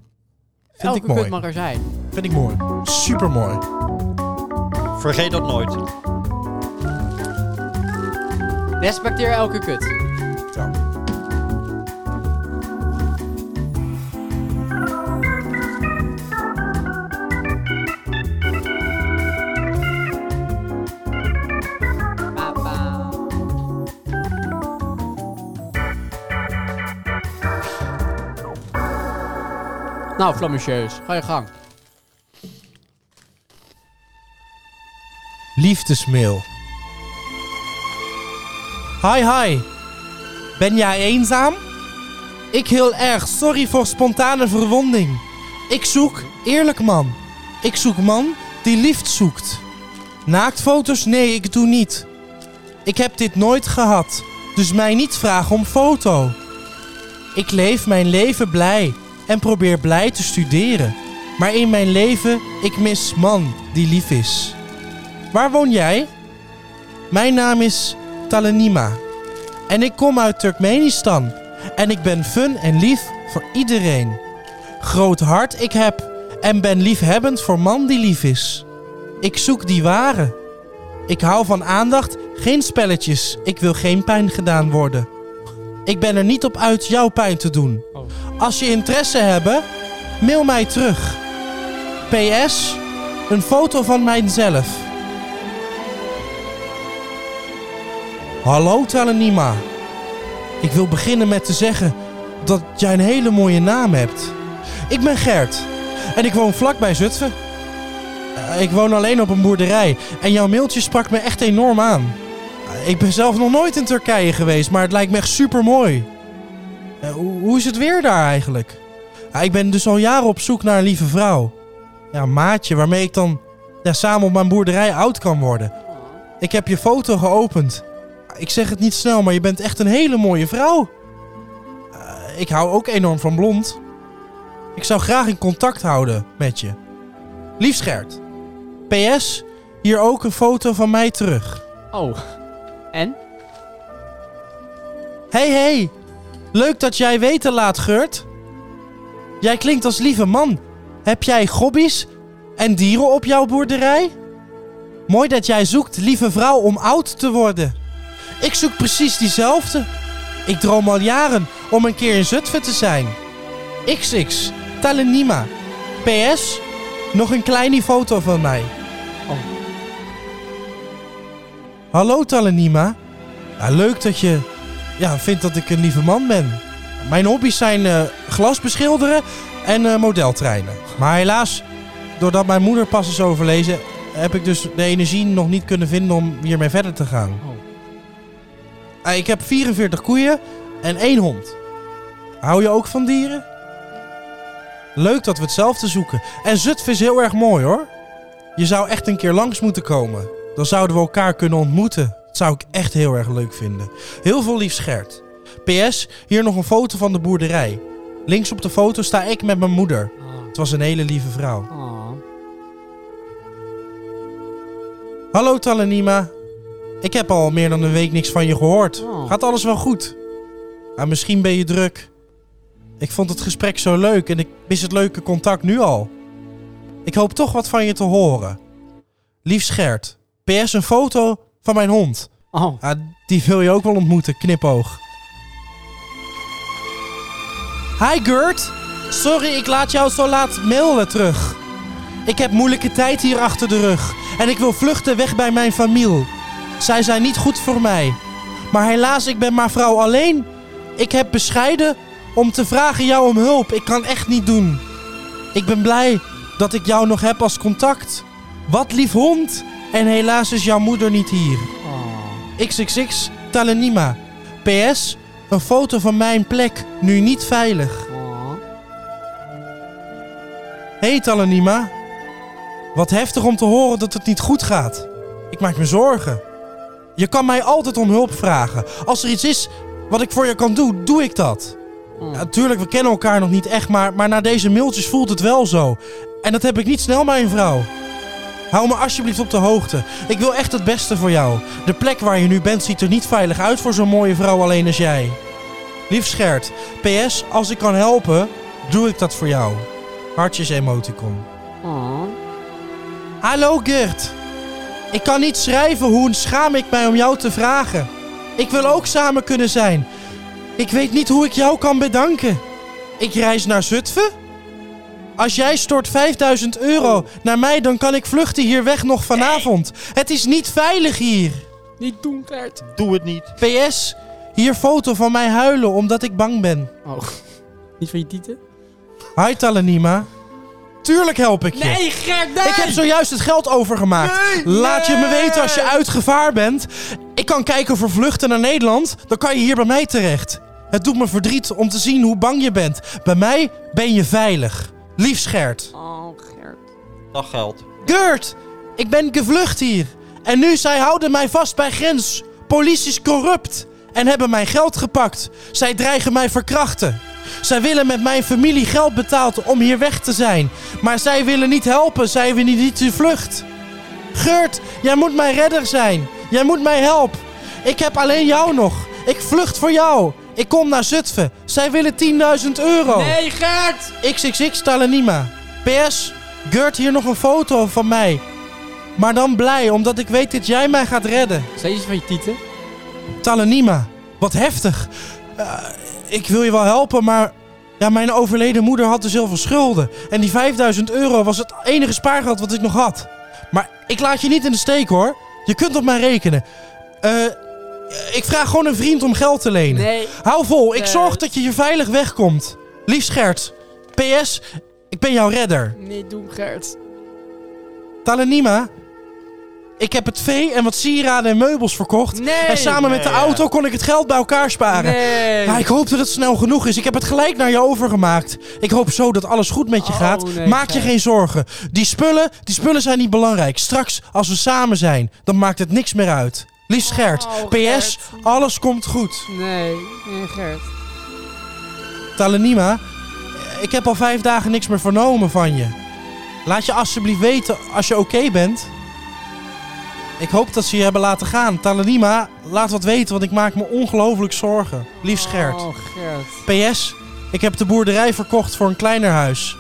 elke
ik mooi.
kut mag er zijn.
Vind ik mooi. Super mooi.
Vergeet dat nooit.
Respecteer elke kut. Nou, flammetjeus, ga je gang.
Liefdesmail. Hi, hi. Ben jij eenzaam? Ik heel erg. Sorry voor spontane verwonding. Ik zoek eerlijk man. Ik zoek man die liefde zoekt. Naaktfoto's? Nee, ik doe niet. Ik heb dit nooit gehad. Dus mij niet vragen om foto. Ik leef mijn leven blij en probeer blij te studeren. Maar in mijn leven, ik mis man die lief is. Waar woon jij? Mijn naam is Talenima. En ik kom uit Turkmenistan. En ik ben fun en lief voor iedereen. Groot hart ik heb en ben liefhebbend voor man die lief is. Ik zoek die ware. Ik hou van aandacht, geen spelletjes. Ik wil geen pijn gedaan worden. Ik ben er niet op uit jouw pijn te doen. Als je interesse hebben, mail mij terug. PS, een foto van mijzelf. Hallo Talenima. Ik wil beginnen met te zeggen dat jij een hele mooie naam hebt. Ik ben Gert en ik woon vlakbij Zutphen. Eh, Ik woon alleen op een boerderij en jouw mailtje sprak me echt enorm aan. Eh, Ik ben zelf nog nooit in Turkije geweest, maar het lijkt me echt super mooi. Hoe is het weer daar eigenlijk? Ah, Ik ben dus al jaren op zoek naar een lieve vrouw. Ja, een maatje waarmee ik dan ja, samen op mijn boerderij oud kan worden. Ik heb je foto geopend. Ik zeg het niet snel, maar je bent echt een hele mooie vrouw. Eh, ik hou ook enorm van blond. Ik zou graag in contact houden met je. Lief Gert. PS, hier ook een foto van mij terug.
Oh. En?
Hey hey, leuk dat jij weten laat, Gert. Jij klinkt als lieve man. Heb jij hobby's en dieren op jouw boerderij? Mooi dat jij zoekt, lieve vrouw, om oud te worden. Ik zoek precies diezelfde. Ik droom al jaren om een keer in Zutphen te zijn. XX, Talenima. PS, nog een kleine foto van mij.
Oh.
Hallo Talenima. Ja, leuk dat je ja, vindt dat ik een lieve man ben. Mijn hobby's zijn eh, glas beschilderen en eh, modeltreinen. Maar helaas, doordat mijn moeder pas is overlezen, heb ik dus de energie nog niet kunnen vinden om hiermee verder te gaan. Eh, Ik heb 44 koeien en één hond. Hou je ook van dieren? Leuk dat we hetzelfde zoeken. En Zutphen is heel erg mooi hoor. Je zou echt een keer langs moeten komen. Dan zouden we elkaar kunnen ontmoeten. Dat zou ik echt heel erg leuk vinden. Heel veel lief Gert. PS, hier nog een foto van de boerderij. Links op de foto sta ik met mijn moeder. Het was een hele lieve vrouw.
Ah.
Hallo Talenima. Ik heb al meer dan een week niks van je gehoord.
Oh.
Gaat alles wel goed? Ah, misschien ben je druk. Ik vond het gesprek zo leuk en ik mis het leuke contact nu al. Ik hoop toch wat van je te horen. Lief Schert. PS een foto van mijn hond.
Oh.
Ah, die wil je ook wel ontmoeten, knipoog. Hi Gert. Sorry, ik laat jou zo laat mailen terug. Ik heb moeilijke tijd hier achter de rug. En ik wil vluchten weg bij mijn familie. Zij zijn niet goed voor mij. Maar helaas, ik ben maar vrouw alleen. Ik heb bescheiden om te vragen jou om hulp. Ik kan echt niet doen. Ik ben blij dat ik jou nog heb als contact. Wat lief hond. En helaas is jouw moeder niet hier. XXX Talenima. PS, een foto van mijn plek, nu niet veilig. Hey Talenima. Wat heftig om te horen dat het niet goed gaat. Ik maak me zorgen. Je kan mij altijd om hulp vragen. Als er iets is wat ik voor je kan doen, doe ik dat. Natuurlijk, we kennen elkaar nog niet echt, maar, maar na deze mailtjes voelt het wel zo. En dat heb ik niet snel, mijn vrouw. Hou me alsjeblieft op de hoogte. Ik wil echt het beste voor jou. De plek waar je nu bent ziet er niet veilig uit voor zo'n mooie vrouw alleen als jij. Lief Schert, PS, als ik kan helpen, doe ik dat voor jou. Hartjes emoticon. Hallo Gert. Ik kan niet schrijven hoe een schaam ik mij om jou te vragen. Ik wil ook samen kunnen zijn. Ik weet niet hoe ik jou kan bedanken. Ik reis naar Zutphen? Als jij stort 5000 euro naar mij, dan kan ik vluchten hier weg nog vanavond. Het is niet veilig hier.
Niet doen, Gert.
Doe het niet.
PS, hier foto van mij huilen omdat ik bang ben.
Oh. Niet van je tieten?
Hi Talenima. Tuurlijk help ik je.
Nee, Gert, nee!
Ik heb zojuist het geld overgemaakt. Laat je me weten als je uit gevaar bent. Ik kan kijken voor vluchten naar Nederland. Dan kan je hier bij mij terecht. Het doet me verdriet om te zien hoe bang je bent. Bij mij ben je veilig. Lief Gert.
Oh, Gert.
Dat geldt.
Gert, ik ben gevlucht hier. En nu, zij houden mij vast bij grens. Politie is corrupt en hebben mijn geld gepakt. Zij dreigen mij verkrachten. Zij willen met mijn familie geld betaald om hier weg te zijn. Maar zij willen niet helpen, zij willen niet de vlucht. Gert, jij moet mijn redder zijn. Jij moet mij helpen. Ik heb alleen jou nog. Ik vlucht voor jou. Ik kom naar Zutphen. Zij willen 10.000 euro.
Nee, Gert!
XXX Talenima. PS, Gert hier nog een foto van mij. Maar dan blij, omdat ik weet dat jij mij gaat redden.
Steeds iets van je tieten?
Talenima, wat heftig. Eh, ik wil je wel helpen, maar... Ja, mijn overleden moeder had dus heel veel schulden. En die 5000 euro was het enige spaargeld wat ik nog had. Maar ik laat je niet in de steek, hoor. Je kunt op mij rekenen. Eh, ik vraag gewoon een vriend om geld te lenen.
Nee.
Hou vol, ik
Nee.
zorg dat je hier veilig wegkomt. Lief Gert, PS, ik ben jouw redder.
Nee, doen, Gert.
Talenima, ik heb het vee en wat sieraden en meubels verkocht.
Nee.
En samen met de auto kon ik het geld bij elkaar sparen.
Nee.
Maar ik hoop dat het snel genoeg is. Ik heb het gelijk naar je overgemaakt. Ik hoop zo dat alles goed met je
Oh,
gaat.
nee,
Maak je
Gert.
geen zorgen. Die spullen, die spullen zijn niet belangrijk. Straks, als we samen zijn, dan maakt het niks meer uit. Liefst Gert,
Oh,
PS,
Gert.
alles komt goed.
Nee, nee, Gert.
Talenima, ik heb al vijf dagen niks meer vernomen van je. Laat je alsjeblieft weten als je oké bent. Ik hoop dat ze je hebben laten gaan. Talenima, laat wat weten, want ik maak me ongelooflijk zorgen. Lief Gert.
Oh, Gert.
PS, ik heb de boerderij verkocht voor een kleiner huis.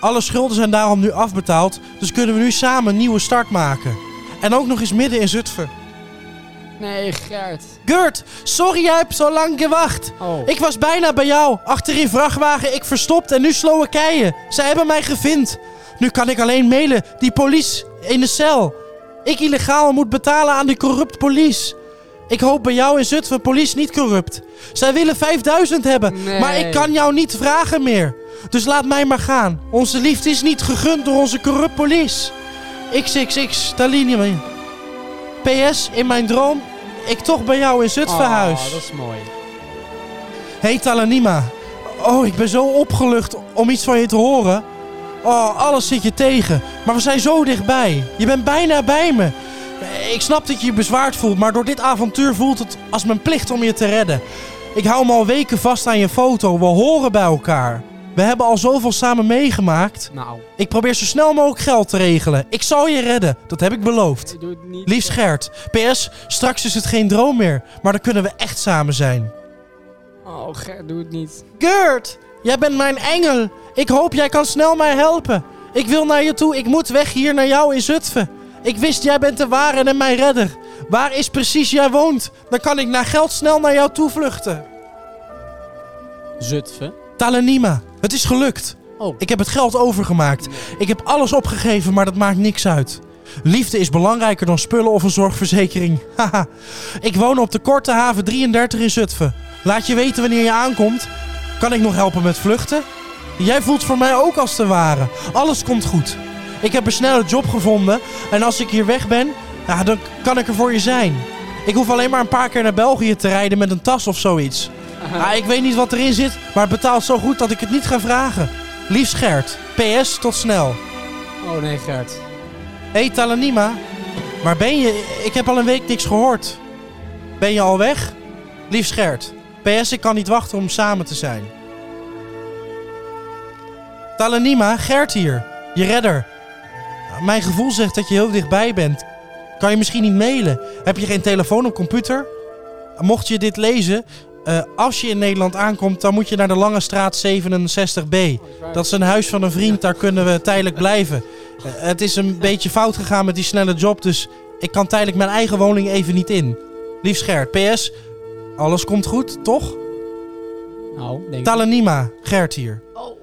Alle schulden zijn daarom nu afbetaald, dus kunnen we nu samen een nieuwe start maken. En ook nog eens midden in Zutphen.
Nee, Gert.
Gert, sorry jij hebt zo lang gewacht.
Oh.
Ik was bijna bij jou, achter in vrachtwagen, ik verstopt en nu Slowakije. Zij hebben mij gevind. Nu kan ik alleen mailen, die police in de cel. Ik illegaal moet betalen aan die corrupt police. Ik hoop bij jou in Zutphen police niet corrupt. Zij willen 5000 hebben,
Nee.
maar ik kan jou niet vragen meer. Dus laat mij maar gaan. Onze liefde is niet gegund door onze corrupt police. XXX, Talinium. PS, in mijn droom, ik toch bij jou in Zutphen
Ah,
huis.
dat is mooi.
Hey Talanima. Oh, ik ben zo opgelucht om iets van je te horen. Oh, alles zit je tegen. Maar we zijn zo dichtbij. Je bent bijna bij me. Ik snap dat je je bezwaard voelt, maar door dit avontuur voelt het als mijn plicht om je te redden. Ik hou me al weken vast aan je foto. We horen bij elkaar. We hebben al zoveel samen meegemaakt.
Nou,
Ik probeer zo snel mogelijk geld te regelen. Ik zal je redden. Dat heb ik beloofd.
doe het niet.
Liefst Gert. PS, straks is het geen droom meer. Maar dan kunnen we echt samen zijn.
Oh, Gert, doe het niet.
Gert, jij bent mijn engel. Ik hoop jij kan snel mij helpen. Ik wil naar je toe. Ik moet weg hier naar jou in Zutphen. Ik wist jij bent de ware en mijn redder. Waar is precies jij woont? Dan kan ik naar geld snel naar jou toe vluchten.
Zutphen.
Talenima, het is gelukt.
Oh.
Ik heb het geld overgemaakt. Ik heb alles opgegeven, maar dat maakt niks uit. Liefde is belangrijker dan spullen of een zorgverzekering. Haha. ik woon op de Korte Haven 33 in Zutphen. Laat je weten wanneer je aankomt. Kan ik nog helpen met vluchten? Jij voelt voor mij ook als de ware. Alles komt goed. Ik heb een snelle job gevonden. En als ik hier weg ben, ja, dan kan ik er voor je zijn. Ik hoef alleen maar een paar keer naar België te rijden met een tas of zoiets. Ah, ik weet niet wat erin zit, maar het betaalt zo goed dat ik het niet ga vragen. Liefst Gert. PS, tot snel.
Oh nee, Gert.
Hé hey, Talanima, waar ben je? Ik heb al een week niks gehoord. Ben je al weg? Liefst Gert. PS, ik kan niet wachten om samen te zijn. Talanima, Gert hier. Je redder. Mijn gevoel zegt dat je heel dichtbij bent. Kan je misschien niet mailen? Heb je geen telefoon of computer? Mocht je dit lezen, eh, als je in Nederland aankomt, dan moet je naar de Lange Straat 67B. Dat is een huis van een vriend, daar kunnen we tijdelijk blijven. Eh, Het is een beetje fout gegaan met die snelle job, dus ik kan tijdelijk mijn eigen woning even niet in. Lief Gert, PS, alles komt goed, toch?
Nou, denk ik.
Talenima, Gert hier.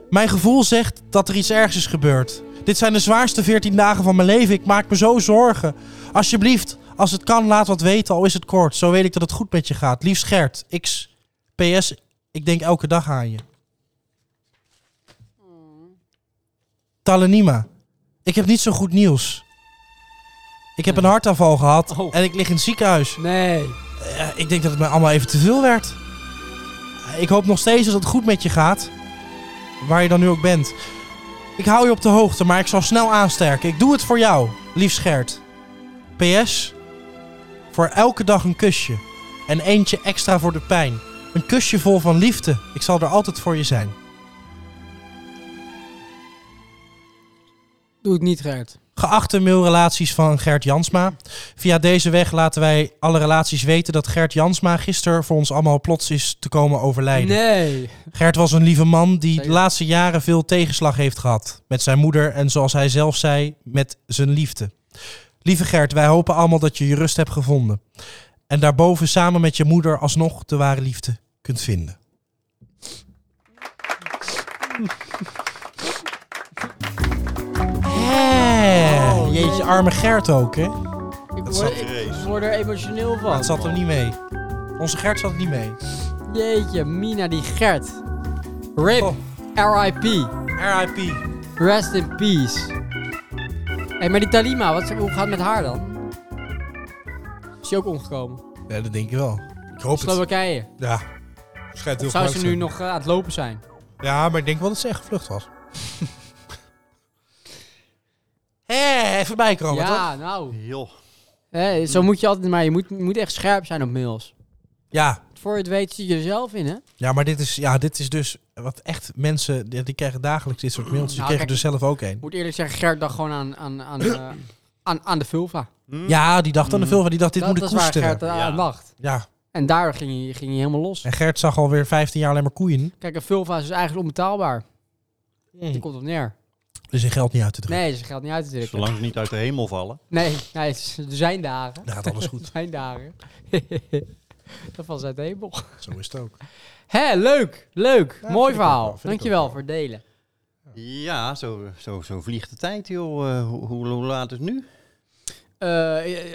Mijn gevoel zegt dat er iets ergs is gebeurd. Dit zijn de zwaarste 14 dagen van mijn leven. Ik maak me zo zorgen. Alsjeblieft, als het kan, laat wat weten, al is het kort. Zo weet ik dat het goed met je gaat. Liefst Gert, X. PS, ik denk elke dag aan je. Talenima, ik heb niet zo goed nieuws. Ik heb een hartaanval gehad
Oh.
en ik lig in het ziekenhuis.
Nee.
Eh, ik denk dat het mij allemaal even te veel werd. Ik hoop nog steeds dat het goed met je gaat. Waar je dan nu ook bent. Ik hou je op de hoogte, maar ik zal snel aansterken. Ik doe het voor jou, lief Gert. PS. Voor elke dag een kusje. En eentje extra voor de pijn. Een kusje vol van liefde. Ik zal er altijd voor je zijn.
Doe het niet, Gert.
Geachte mailrelaties van Gert Jansma. Via deze weg laten wij alle relaties weten dat Gert Jansma gisteren voor ons allemaal plots is te komen overlijden.
Nee.
Gert was een lieve man die de
Zeker.
laatste jaren veel tegenslag heeft gehad. Met zijn moeder en zoals hij zelf zei, met zijn liefde. Lieve Gert, wij hopen allemaal dat je je rust hebt gevonden. En daarboven samen met je moeder alsnog de ware liefde kunt vinden. Hè, Jeetje, arme Gert ook, hè?
Ik
zat-
word, ik word er emotioneel van.
Dat zat er niet mee. Onze Gert zat er niet mee.
Jeetje, Mina die Gert. RIP.
Oh.
R.I.P.
RIP.
Rest in peace. Hé, maar die Talima, wat, hoe gaat het met haar dan? Is die ook omgekomen?
Ja, dat denk ik wel. Ik hoop het.
Slowakije.
Ja. Schijnt heel
Zou
gevaarlijk
ze
te
nu
zijn. Oh,
nog eh, aan het lopen zijn?
Ja, maar ik denk wel dat ze echt gevlucht was. Hé, even bijkomen, toch?
ja, nou.
Joh.
Hé, zo moet je altijd, maar je moet, je moet echt scherp zijn op mails.
Ja.
Voor je het weet zit je er zelf in, hè?
Ja, maar dit is, ja, dit is dus wat echt mensen, die, die krijgen dagelijks dit soort mailtjes. Die
Nou,
kregen er
kijk.
zelf ook een.
Moet eerlijk zeggen, Gert dacht gewoon aan, aan, aan, eh, aan, aan de vulva.
Ja, die dacht aan de veel van, die dacht, dit
Mm. dat
moet ik
was waar
koesteren.
Gert eh, aan dacht.
Ja,
En daar ging hij, ging hij helemaal los.
en Gert zag alweer 15 jaar alleen maar koeien.
Kijk, een vulva is dus eigenlijk onbetaalbaar.
Mm.
Die komt op neer.
Dus je geld niet uit te drukken.
Nee, ze geldt niet uit te drukken.
Zolang ze niet uit de hemel vallen.
Nee, nee, het is- er zijn dagen.
Dan gaat alles
Er
Nou, goed.
zijn dagen. Dat was uit de hemel.
Zo is het
Eh.
ook.
Hé, leuk, leuk.
Ja, vind
Mooi
ik ook wel,
verhaal.
vind ik ook
Dankjewel
wel.
voor het delen.
Ja, zo, zo, zo vliegt de tijd, joh. Eh, hoe, hoe, hoe laat is het nu?
Eh,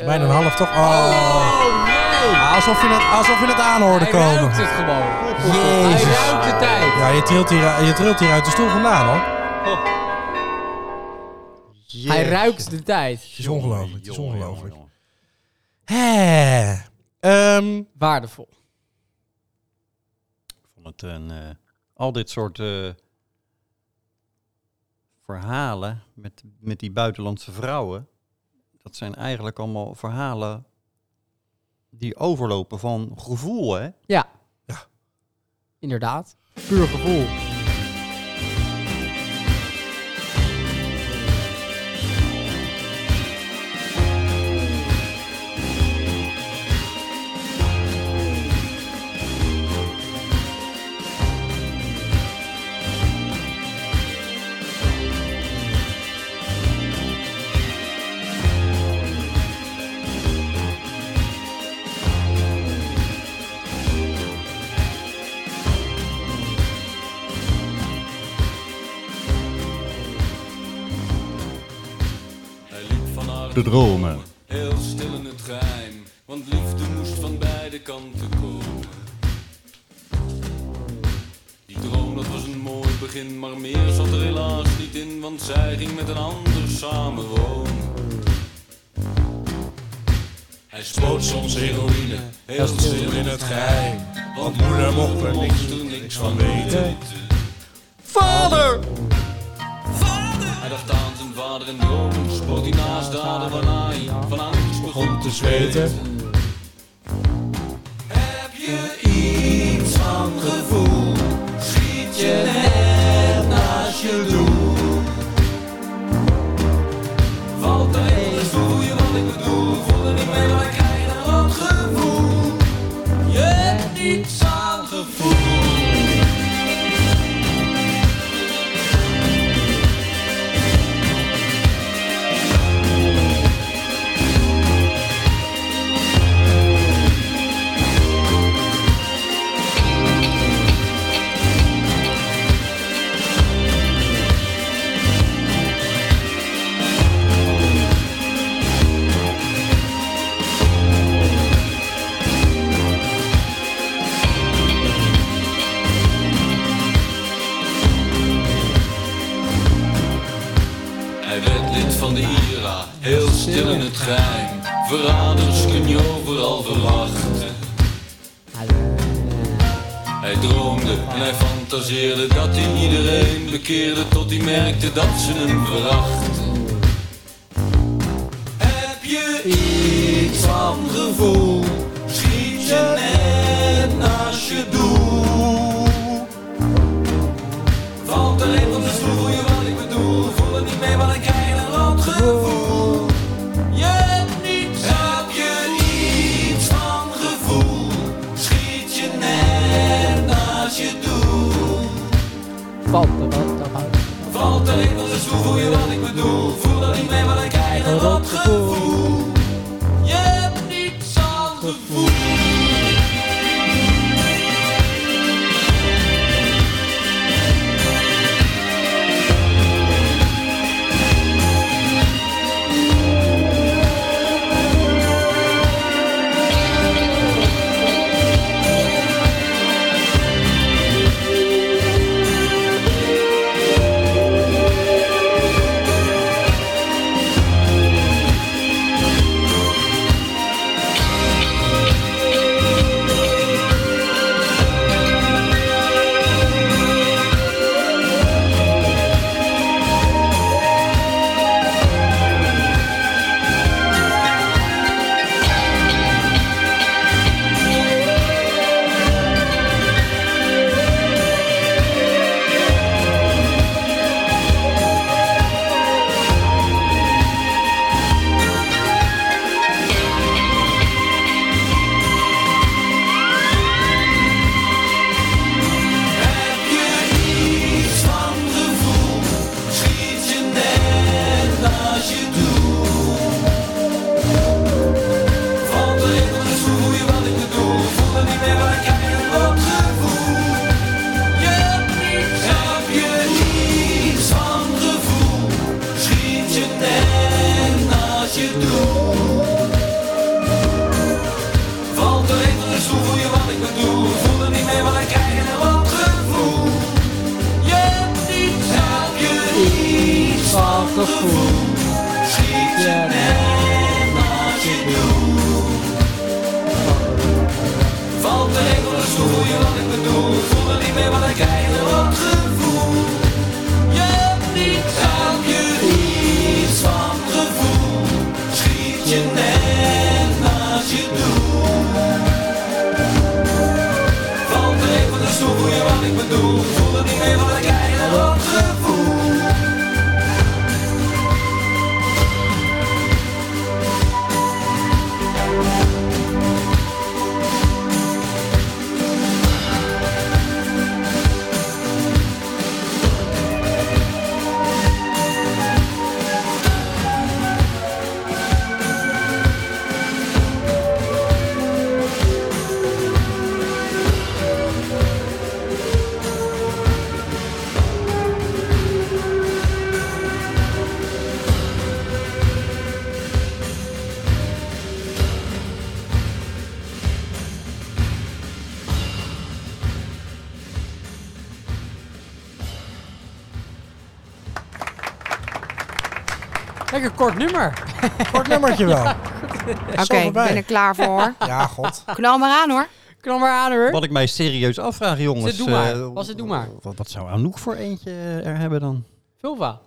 eh,
Bijna een
eh,
half toch? Oh.
Oh nee!
Alsof je het, alsof je het aanhoorde
Hij
komen.
ruikt het gewoon.
Jezus.
Hij ruikt de tijd.
Ja, je trilt, hier, je trilt hier uit de stoel vandaan hoor.
Hij
Jeetje.
ruikt de tijd.
Het is ongelooflijk. Het is
Jongen, jongen,
ongelooflijk.
jongen.
Hè. Ehm,
Waardevol.
Ik vond het een, eh, al dit soort eh, verhalen met, met die buitenlandse vrouwen, dat zijn eigenlijk allemaal verhalen die overlopen van gevoel, hè?
Ja.
Ja.
Inderdaad. Puur gevoel.
Hij liep van haar
De dromen.
heel stil in het geheim, want liefde moest van beide kanten komen. Die droom dat was een mooi begin, maar meer zat er helaas niet in, want zij ging met een ander samenwonen. Hij spoot soms heroïne, heel stil in het geheim, want moeder mocht er niks, er niks van weten.
Vader!
Hij dacht aan zijn vader en dromen, spoot hij naast daden waarna hij van angst begon te zweten. Heb je iets van gevoel? Schiet je net naast je doel? Valt tegen, voel je wat ik bedoel? Voel er niet meer, maar ik krijg er wat gevoel. Je hebt niets aan gevoel. Hij werd lid van de IRA, heel stil in het geheim. Verraders kun je overal verwachten. Hij droomde en hij fantaseerde dat hij iedereen bekeerde tot hij merkte dat ze hem verachten. Heb je iets van gevoel? Schiet je net naast je doel? Valt er een van de stoel, voel je wat ik bedoel? Voel het niet mee, maar ik krijg een rood gevoel. Je hebt niets, heb je iets van gevoel? Schiet je net naast je doel.
Vader, wat dan ook.
Valt er een van de stoel, voel je wat ik bedoel? Voel het niet mee, maar ik krijg een rood gevoel. Je hebt niets aan gevoel.
gevoel. Schiet je net als je doet.
Valt de regel, dus voel je wat ik bedoel. Voel me niet meer wat ik eigenlijk wat gevoel. Je hebt niets aan je iets van gevoel. Schiet je net als je doet. Valt de regel, dus voel je wat ik bedoel. Voel me niet meer wat ik eigenlijk wat gevoel.
Lekker kort nummer.
Kort nummertje wel.
Oké, ik
voorbij.
ben er klaar voor.
Ja, god.
Knal maar aan hoor.
Knal maar aan hoor.
Wat ik mij serieus afvraag, jongens.
Zet, doe maar.
eh,
Was het, doe maar.
Wat, wat zou Anouk voor eentje eh, er hebben dan?
Vulva.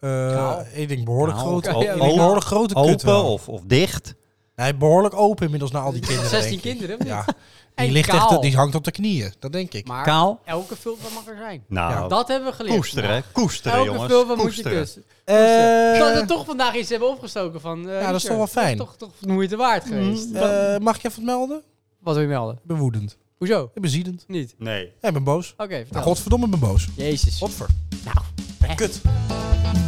Eh ik denk behoorlijk
Nou,
groot.
o-
Ik denk
o-
behoorlijk grote kut
Open
wel.
of, of dicht?
Nee, behoorlijk open inmiddels na al die kinderen.
16
denk ik.
kinderen, of niet?
Ja.
En
Die, ligt
kaal.
echt, die hangt op de knieën, dat denk ik.
Maar
Kaal?
elke vulva mag er zijn.
Nou,
Dat hebben we geleerd.
koesteren,
Nou,
koesteren,
Elke
jongens.
vulva moet je
koesteren.
kussen.
Eh,
Zou we er toch vandaag iets hebben opgestoken van... eh,
Ja, dat is
Richard,
toch wel fijn.
dat is Toch, toch de moeite waard geweest.
eh, mag ik even wat melden?
Wat wil je melden?
Ik ben woedend.
Hoezo?
Ik ben ziedend.
Niet? Oké,
Nee.
En ik ben boos.
vertel.
godverdomme, ik ben boos.
Jezus.
Godver.
Nou, echt.
Kut.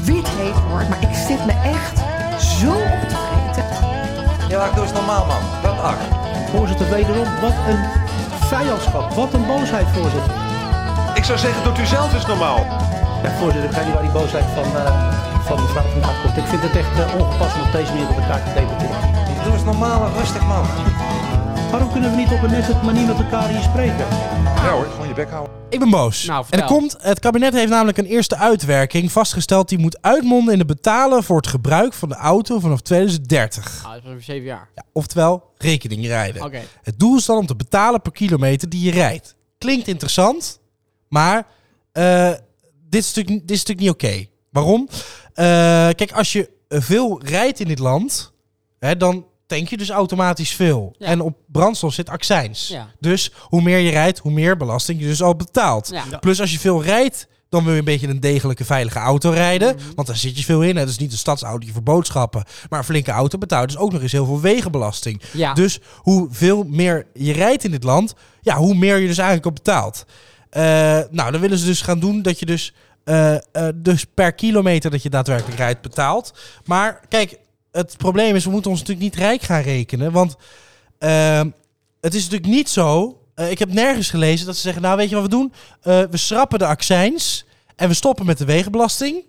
Wie het heeft hoor, maar ik zit me echt zo op te vreten.
Ja, doe eens normaal, man. Dat acht.
Voorzitter, wederom, wat een vijandschap. Wat een boosheid, voorzitter.
Ik zou zeggen, doet u zelf eens normaal.
Ja, voorzitter, ik ga niet waar die boosheid van, eh, van mevrouw vandaan komt. Ik vind het echt eh, ongepast om op deze manier met elkaar te debatteren.
Doe eens normaal en rustig, man.
Waarom kunnen we niet op een nette manier met elkaar hier spreken?
Ja hoor, gewoon je bek houden.
Ik ben boos.
Nou,
en
vertel.
er komt, het kabinet heeft namelijk een eerste uitwerking vastgesteld. Die moet uitmonden in het betalen voor het gebruik van de auto vanaf 2030.
Ah, dat was over 7 jaar.
Ja, oftewel, rekening rijden.
Oké.
Het doel is dan om te betalen per kilometer die je rijdt. Klinkt interessant, maar eh, dit, is natuurlijk, dit is natuurlijk niet oké. Waarom? Eh, kijk, als je eh, veel rijdt in dit land, hè, dan tank je dus automatisch veel.
Ja.
En op brandstof zit accijns.
Ja.
Dus hoe meer je rijdt, hoe meer belasting je dus al betaalt.
Ja. Ja.
Plus als je veel rijdt, dan wil je een beetje een degelijke, veilige auto rijden.
Mhm.
Want daar zit je veel in. Het is niet een stadsauto voor boodschappen. Maar een flinke auto betaalt dus ook nog eens heel veel wegenbelasting.
Ja.
Dus hoe veel meer je rijdt in dit land, ja, hoe meer je dus eigenlijk op betaalt. Eh, nou, dan willen ze dus gaan doen dat je dus, eh, eh, dus per kilometer dat je daadwerkelijk rijdt betaalt. Maar kijk, het probleem is, we moeten ons natuurlijk niet rijk gaan rekenen. Want ehm, het is natuurlijk niet zo. eh, ik heb nergens gelezen dat ze zeggen: Nou, weet je wat we doen? Eh, we schrappen de accijns en we stoppen met de wegenbelasting.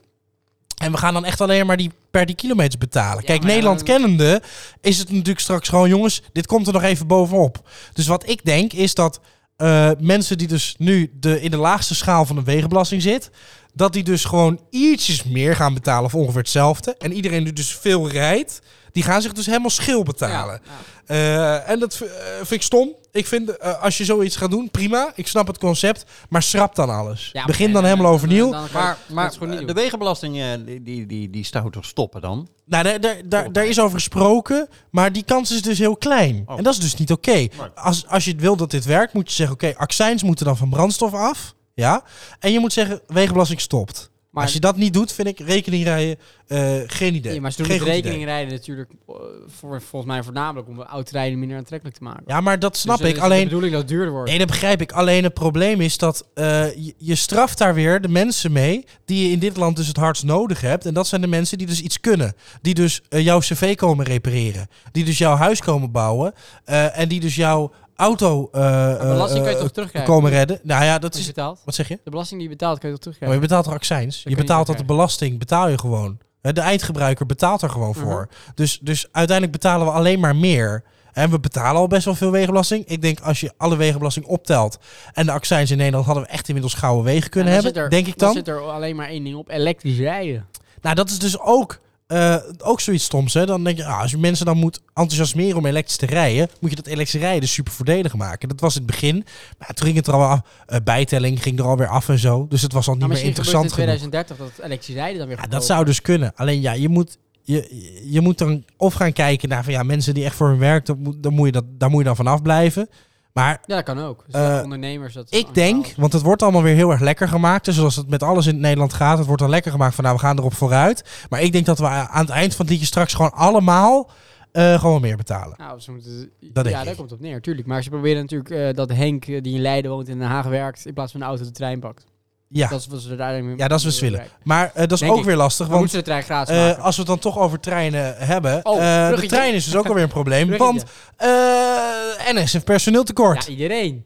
En we gaan dan echt alleen maar die per die kilometers betalen. Kijk,
maar ja,
Nederland
dan-
kennende is het natuurlijk straks gewoon, jongens, dit komt er nog even bovenop. Dus wat ik denk is dat eh, mensen die dus nu de, in de laagste schaal van de wegenbelasting zit, dat die dus gewoon ietsjes meer gaan betalen of ongeveer hetzelfde. En iedereen die dus veel rijdt, die gaan zich dus helemaal schil betalen.
Ja, ja.
Eh, en dat v- eh, vind ik stom. Ik vind, eh, als je zoiets gaat doen, prima. Ik snap het concept. Maar schrap dan alles.
Ja,
Begin
maar-
dan
en-
helemaal
en-
overnieuw.
en dan kan je-
Maar, maar
dat is gewoon niet
eh, de
doen.
wegenbelasting, eh, die, die, die, die zou toch stoppen dan?
Nou, daar, daar, daar, daar is over gesproken, maar die kans is dus heel klein. En dat is dus niet oké. Als, als je wil dat dit werkt, moet je zeggen... oké, accijns moeten dan van brandstof af. Ja? En je moet zeggen, wegenbelasting stopt.
Maar-
als je dat niet doet, vind ik rekening rijden eh, geen idee.
Ja, maar ze doen
geen
het
goed idee.
rekening rijden natuurlijk eh, voor, volgens mij voornamelijk om oud-rijden minder aantrekkelijk te maken.
Ja, maar dat snap
Dus
ik.
dan is het
Alleen,
De bedoeling dat het duurder wordt.
Nee, dat begrijp ik. Alleen het probleem is dat eh, je, je straft daar weer de mensen mee die je in dit land dus het hardst nodig hebt. En dat zijn de mensen die dus iets kunnen. Die dus eh, jouw cv komen repareren. Die dus jouw huis komen bouwen. eh, en die dus jouw auto eh, eh,
belasting kan je toch
eh,
terugkrijgen?
komen redden. Nou ja, dat
Wat je
is...
betaalt.
Wat zeg je?
De belasting die je betaalt kan je toch
Maar je
terugkrijgen.
betaalt er accijns.
kan
Je
je
betaalt dat de
terugkrijgen.
belasting, betaal je gewoon. Hè, De eindgebruiker betaalt er
Mhm.
gewoon voor. dus, dus uiteindelijk betalen we alleen maar meer. En we betalen al best wel veel wegenbelasting. Ik denk als je alle wegenbelasting optelt en de accijns in Nederland hadden we echt inmiddels gouden wegen kunnen
En dan
hebben.
zit er-
denk ik dan.
Dan zit er alleen maar één ding op, elektrisch rijden.
Nou, dat is dus ook, eh, ook zoiets stoms. Hè? Dan denk je, ah, als je mensen dan moet enthousiasmeren om elektrisch te rijden, moet je dat elektrisch rijden super voordelig maken. Dat was in het begin. Maar toen ging het er al af. Eh, bijtelling ging er alweer af en zo. Dus het was al niet
Maar
meer
Nou, misschien
interessant
gebeurt in
genoeg.
2030 dat elektriciteit dan weer
Ja, dat zou dus kunnen. Alleen ja, je moet, je, je moet dan of gaan kijken naar van ja, mensen die echt voor hun werk, dat moet, dan moet je dat, daar moet je dan vanaf blijven. Maar
Ja, dat kan ook. Dus
Eh,
dat ondernemers dat
ik denk, want het wordt allemaal weer heel erg lekker gemaakt. Dus zoals het met alles in Nederland gaat, het wordt dan lekker gemaakt van nou, we gaan erop vooruit. Maar ik denk dat we aan het eind van het liedje straks gewoon allemaal eh, gewoon meer betalen.
Nou, ze moeten,
Dat denk
ja, daar
ik.
komt het op neer, tuurlijk. Maar ze proberen natuurlijk eh, dat Henk, eh, die in Leiden woont en in Den Haag werkt, in plaats van een auto de trein pakt.
Ja.
Dat is wat ze daar eigenlijk
Ja, dat is wat ze willen. Maar eh, dat is
Denk
ook
ik.
weer lastig,
We
want
moeten de trein gratis
eh,
maken.
als we het dan toch over treinen hebben,
Oh,
eh, de
bruggetje.
trein is dus ook alweer een probleem, want
Bruggetje.
eh, NS heeft personeeltekort.
Ja, iedereen.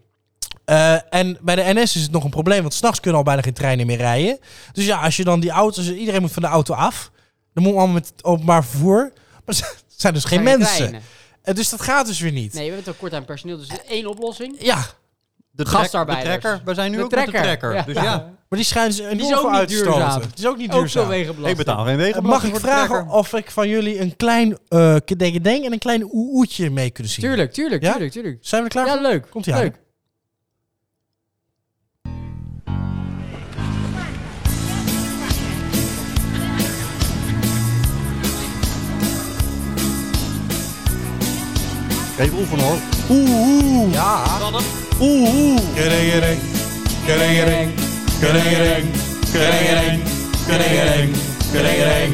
Eh, en bij de NS is het nog een probleem, want s'nachts kunnen al bijna geen treinen meer rijden. Dus ja, als je dan die auto's, dus iedereen moet van de auto af. Dan moet allemaal met het openbaar vervoer. Maar er zijn dus geen
Zijn er
mensen.
treinen?
Eh, dus dat gaat dus weer niet.
Nee, we hebben het kort aan personeel. Dus één oplossing.
Ja.
De trek-
Gastarbeiders.
de trekker. We zijn nu
De
ook met de
trekker.
trekker, dus ja.
Maar die schijnen ze een
Die is ook
voor
niet
uit te stoten.
duurzaam.
Het is ook niet
Ook
duurzaam. Eh,
veel wegenbelasting.
Ik betaal geen
Mag
wegenbelasting
ik
voor de
vragen
trekker.
of ik van jullie een klein eh kedengedeng en een klein oe-oetje mee kunnen zien?
Tuurlijk, tuurlijk,
Ja?
tuurlijk, tuurlijk.
Zijn we er klaar
Ja,
voor?
leuk.
Komt ie aan.
leuk.
Even oefenen hoor.
Ja.
Kedengedeng, kedengedeng, kedengedeng, kedengedeng, kedengedeng, kedengedeng.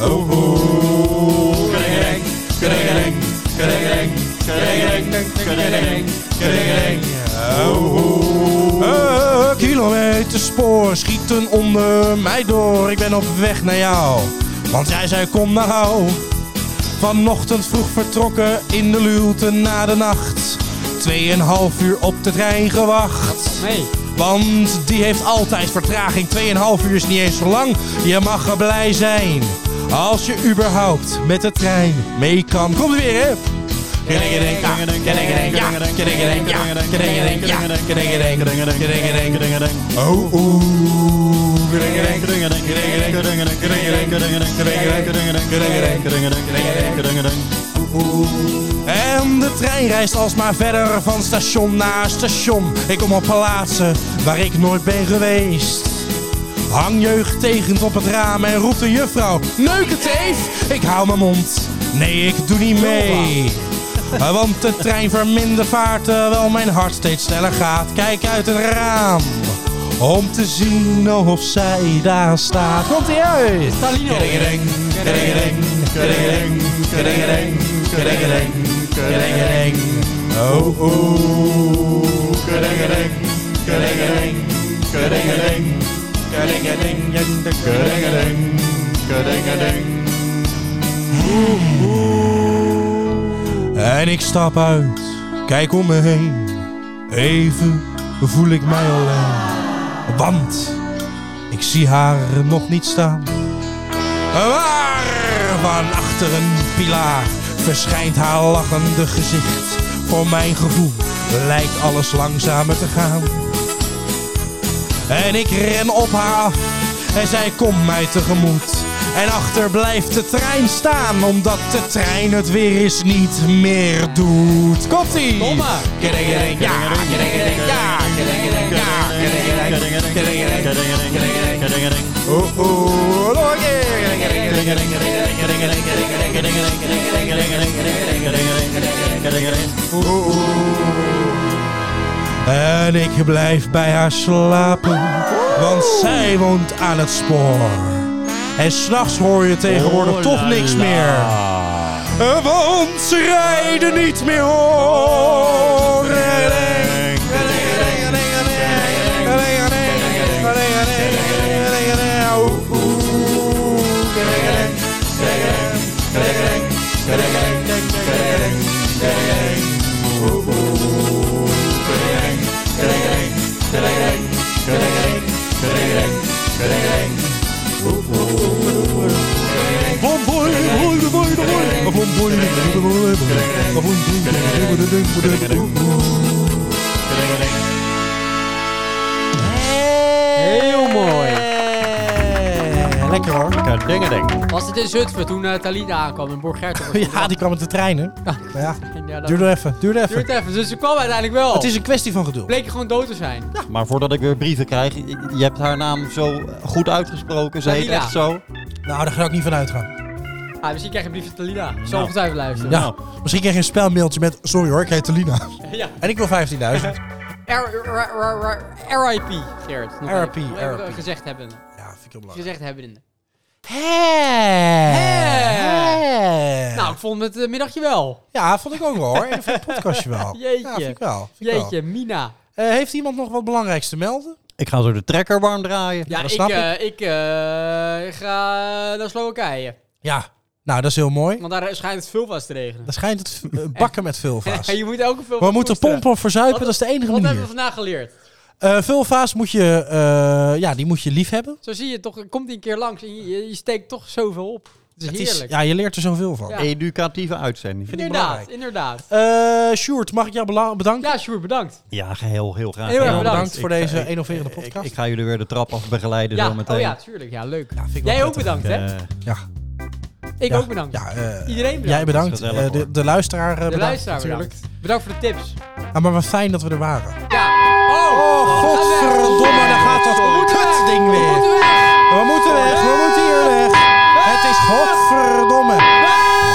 Oeh, oeh, kedengedeng, kedengedeng, kedengedeng, kedengedeng, kedengedeng, kedengedeng. Oeh, oeh.
Eh, kilometer spoor schieten onder mij door. Ik ben op weg naar jou. Want jij zei kom nou. Vanochtend vroeg vertrokken in de luwte na de nacht. Tweeënhalf uur op de trein gewacht.
Nee.
Want die heeft altijd vertraging. 2,5 uur is niet eens zo lang. Je mag er blij zijn. Als je überhaupt met de trein mee kan. Komt er weer, hè? Kedengedeng, ja. Kedengedeng, ja. Kedengedeng, ja. Kedengedeng, ja. Kedengedeng, kedengedeng, kedengedeng.
Oeh,
Oh,
oeh. Kedengedeng, kedengedeng, kedengedeng, kedengedeng, kedengedeng, kedengedeng, kedengedeng, kedengedeng, kedengedeng, kedengedeng.
En de trein reist alsmaar verder van station naar station. Ik kom op plaatsen waar ik nooit ben geweest. Hang jeugdtegend op het raam en roept de juffrouw: Neuk het even! Ik hou mijn mond. Nee, ik doe niet mee. Eh, Want de trein vermindert vaart terwijl mijn hart steeds sneller gaat. Kijk uit het raam om te zien of zij daar staat. Komt ie uit!
Talino.
Kedengedeng, kedengedeng, kedengedeng, kedengedeng, kedengedeng, kedengedeng. Oh, oh. Kedengedeng, kedengedeng, kedengedeng, kedengedeng, kedengedeng, kedengedeng.
En ik stap uit, kijk om me heen. Even voel ik mij alleen. Want ik zie haar nog niet staan. Waar van achter een pilaar verschijnt haar lachende gezicht. Voor mijn gevoel lijkt alles langzamer te gaan. En ik ren op haar af en zij komt mij tegemoet. En achter blijft de trein staan, omdat de trein het weer eens niet meer doet. Komt-ie!
Bomma.
Kedengedeng, ja, kedengedeng, ja, kedengedeng, ja, kedengedeng, kedengedeng, kedengedeng, kedengedeng. Oh, oh, nog een keer. En ik blijf bij haar slapen, want zij woont aan het spoor. En s'nachts hoor je tegenwoordig toch niks meer. Eh, Want ze rijden niet meer hoor.
Heel mooi.
Lekker hoor.
Lekker eh, dingen ding.
Was het in Zutphen toen eh, Talita aankwam en Borg Gerten was
Ja, die kwam met de treinen. Maar ja,
verdwenen? Ja, dat-
duurde even. Duurde even.
Duurt even, dus ze kwam uiteindelijk wel.
Het is een kwestie van geduld.
Bleek gewoon dood te zijn.
Maar voordat ik weer brieven krijg, ik- je hebt haar naam zo goed uitgesproken. Ze heet
Dalila.
echt zo.
Nou, daar ga ik niet van uitgaan.
Ah, misschien krijg je een brief van Talida.
Nou.
Zo ongetwijfeld luisteren.
Ja, misschien krijg je een spelmailtje met... Sorry hoor, ik heet Telina.
Ja.
En ik wil 15.000.
R- R- R- R- RIP, Gerrit. Nog
RIP,
even. Nog even
RIP.
Gezegd hebben.
Ja, vind ik heel belangrijk.
Gezegd hebben.
Hey.
Nou, ik vond het eh, middagje wel.
Ja, vond ik ook wel hoor. Ik vind het podcastje wel.
Jeetje.
Ja, vind ik wel. Vind ik wel.
Jeetje, Mina.
Eh, heeft iemand nog wat belangrijks te melden?
Ik ga zo de trekker warm draaien.
Ja,
dat
ik,
snap
eh, ik eh, ga naar Slowakije.
Ja. Nou, dat is heel mooi.
Want daar schijnt het veel vast te regenen.
Dan schijnt het eh, bakken met vulva's.
je moet elke veel
We moeten pompen voor zuipen, dat is de enige
Wat hebben we
manier.
vandaag geleerd?
Eh vulva's moet je, eh, ja, die moet je lief hebben.
Zo zie je toch, komt die een keer langs en je, je steekt toch zoveel op. Het is
Het is,
heerlijk.
ja, je leert er zoveel van.
Ja.
Educatieve uitzending.
inderdaad,
belangrijk.
inderdaad.
Eh Sjoerd, mag ik jou bela- bedanken?
Ja, Sjoerd, bedankt.
Ja, geheel, heel graag.
Heel erg
Ja,
bedankt.
voor
Ik-
deze
ik-
innoverende
ik-
podcast.
Ik, ga jullie weer de trap af begeleiden
Ja,
zo meteen.
oh ja, tuurlijk. Ja, leuk.
vind ik wel
Jij ook
prettig.
bedankt, hè?
Eh,
ja.
Ik
Ja.
ook bedankt.
Ja, eh,
Iedereen bedankt.
Jij bedankt.
Dat is gezellig,
Eh, de,
hoor.
de luisteraar eh,
De
bedankt
luisteraar
natuurlijk.
bedankt. Bedankt voor de tips.
Ah, maar wat fijn dat we er waren.
Ja. Oh,
Godverdomme, daar gaat dat kutding weer. We moeten weg, we moeten hier weg. Het is godverdomme.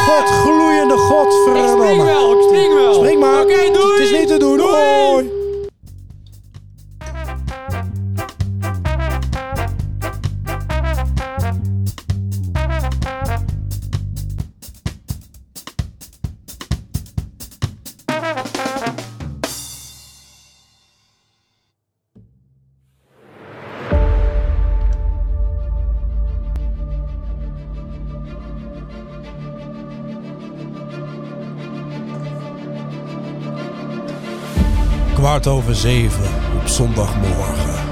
Godgloeiende
Ik spring
godverdomme.
wel, ik spring wel.
Spring maar.
Oké, doei.
Het is niet te doen. Doei. Kwart over zeven op zondagmorgen.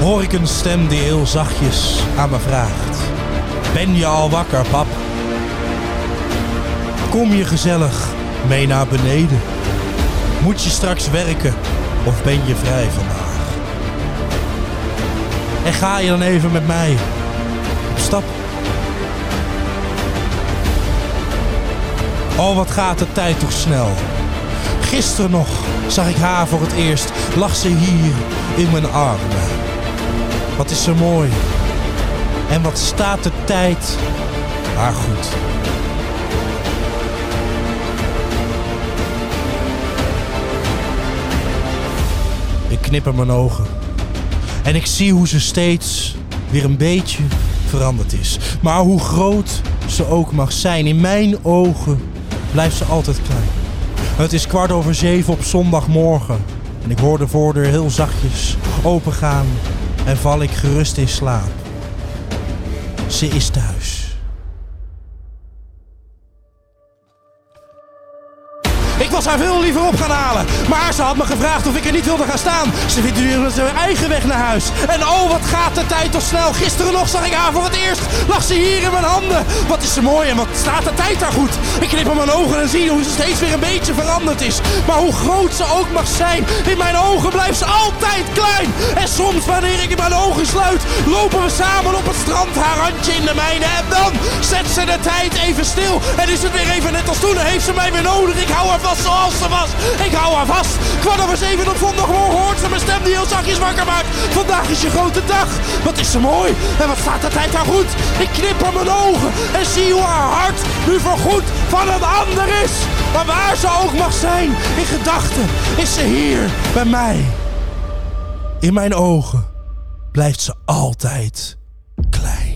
Hoor ik een stem die heel zachtjes aan me vraagt: Ben je al wakker, pap? Kom je gezellig mee naar beneden? Moet je straks werken of ben je vrij vandaag? En ga je dan even met mij op stap? Oh, wat gaat de tijd toch snel. Gisteren nog zag ik haar voor het eerst. Lag ze hier in mijn armen. Wat is ze mooi. En wat staat de tijd haar goed. Ik knipper mijn ogen. En ik zie hoe ze steeds weer een beetje veranderd is. Maar hoe groot ze ook mag zijn, in mijn ogen blijft ze altijd klein. Het is kwart over zeven op zondagmorgen. En ik hoor de voordeur heel zachtjes opengaan en val ik gerust in slaap. Ze is thuis. Ik was haar veel liever op gaan halen. Maar ze had me gevraagd of ik er niet wilde gaan staan. Ze vindt nu weer haar eigen weg naar huis. En oh, wat gaat de tijd toch snel. Gisteren nog zag ik haar voor het eerst. Lag ze hier in mijn handen. Wat is ze mooi en wat staat de tijd daar goed. Ik knip in mijn ogen en zie hoe ze steeds weer een beetje veranderd is. Maar hoe groot ze ook mag zijn. In mijn ogen blijft ze altijd klein. En soms wanneer ik mijn ogen sluit. Lopen we samen op het strand. Haar handje in de mijne. En dan zet ze de tijd even stil. En is het weer even net als toen. Dan heeft ze mij weer nodig. Ik hou haar vast zoals ze was. Ik hou haar vast. Kwart over zeven op zondagmorgen hoort ze mijn stem die heel zachtjes wakker maakt. Vandaag is je grote dag. Wat is ze mooi. En wat staat de tijd haar goed. Ik knip aan mijn ogen. En zie hoe haar hart nu voorgoed van een ander is. Maar waar ze ook mag zijn. In gedachten is ze hier bij mij. In mijn ogen blijft ze altijd klein.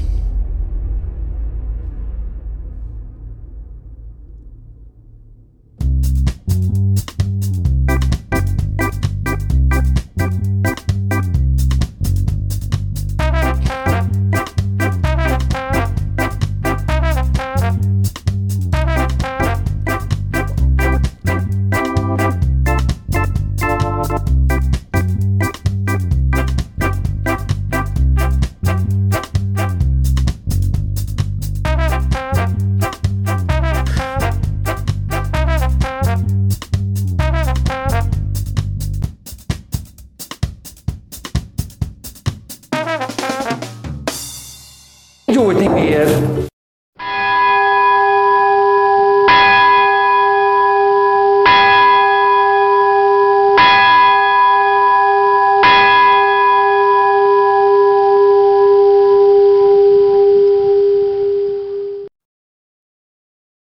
Ik doe het niet meer.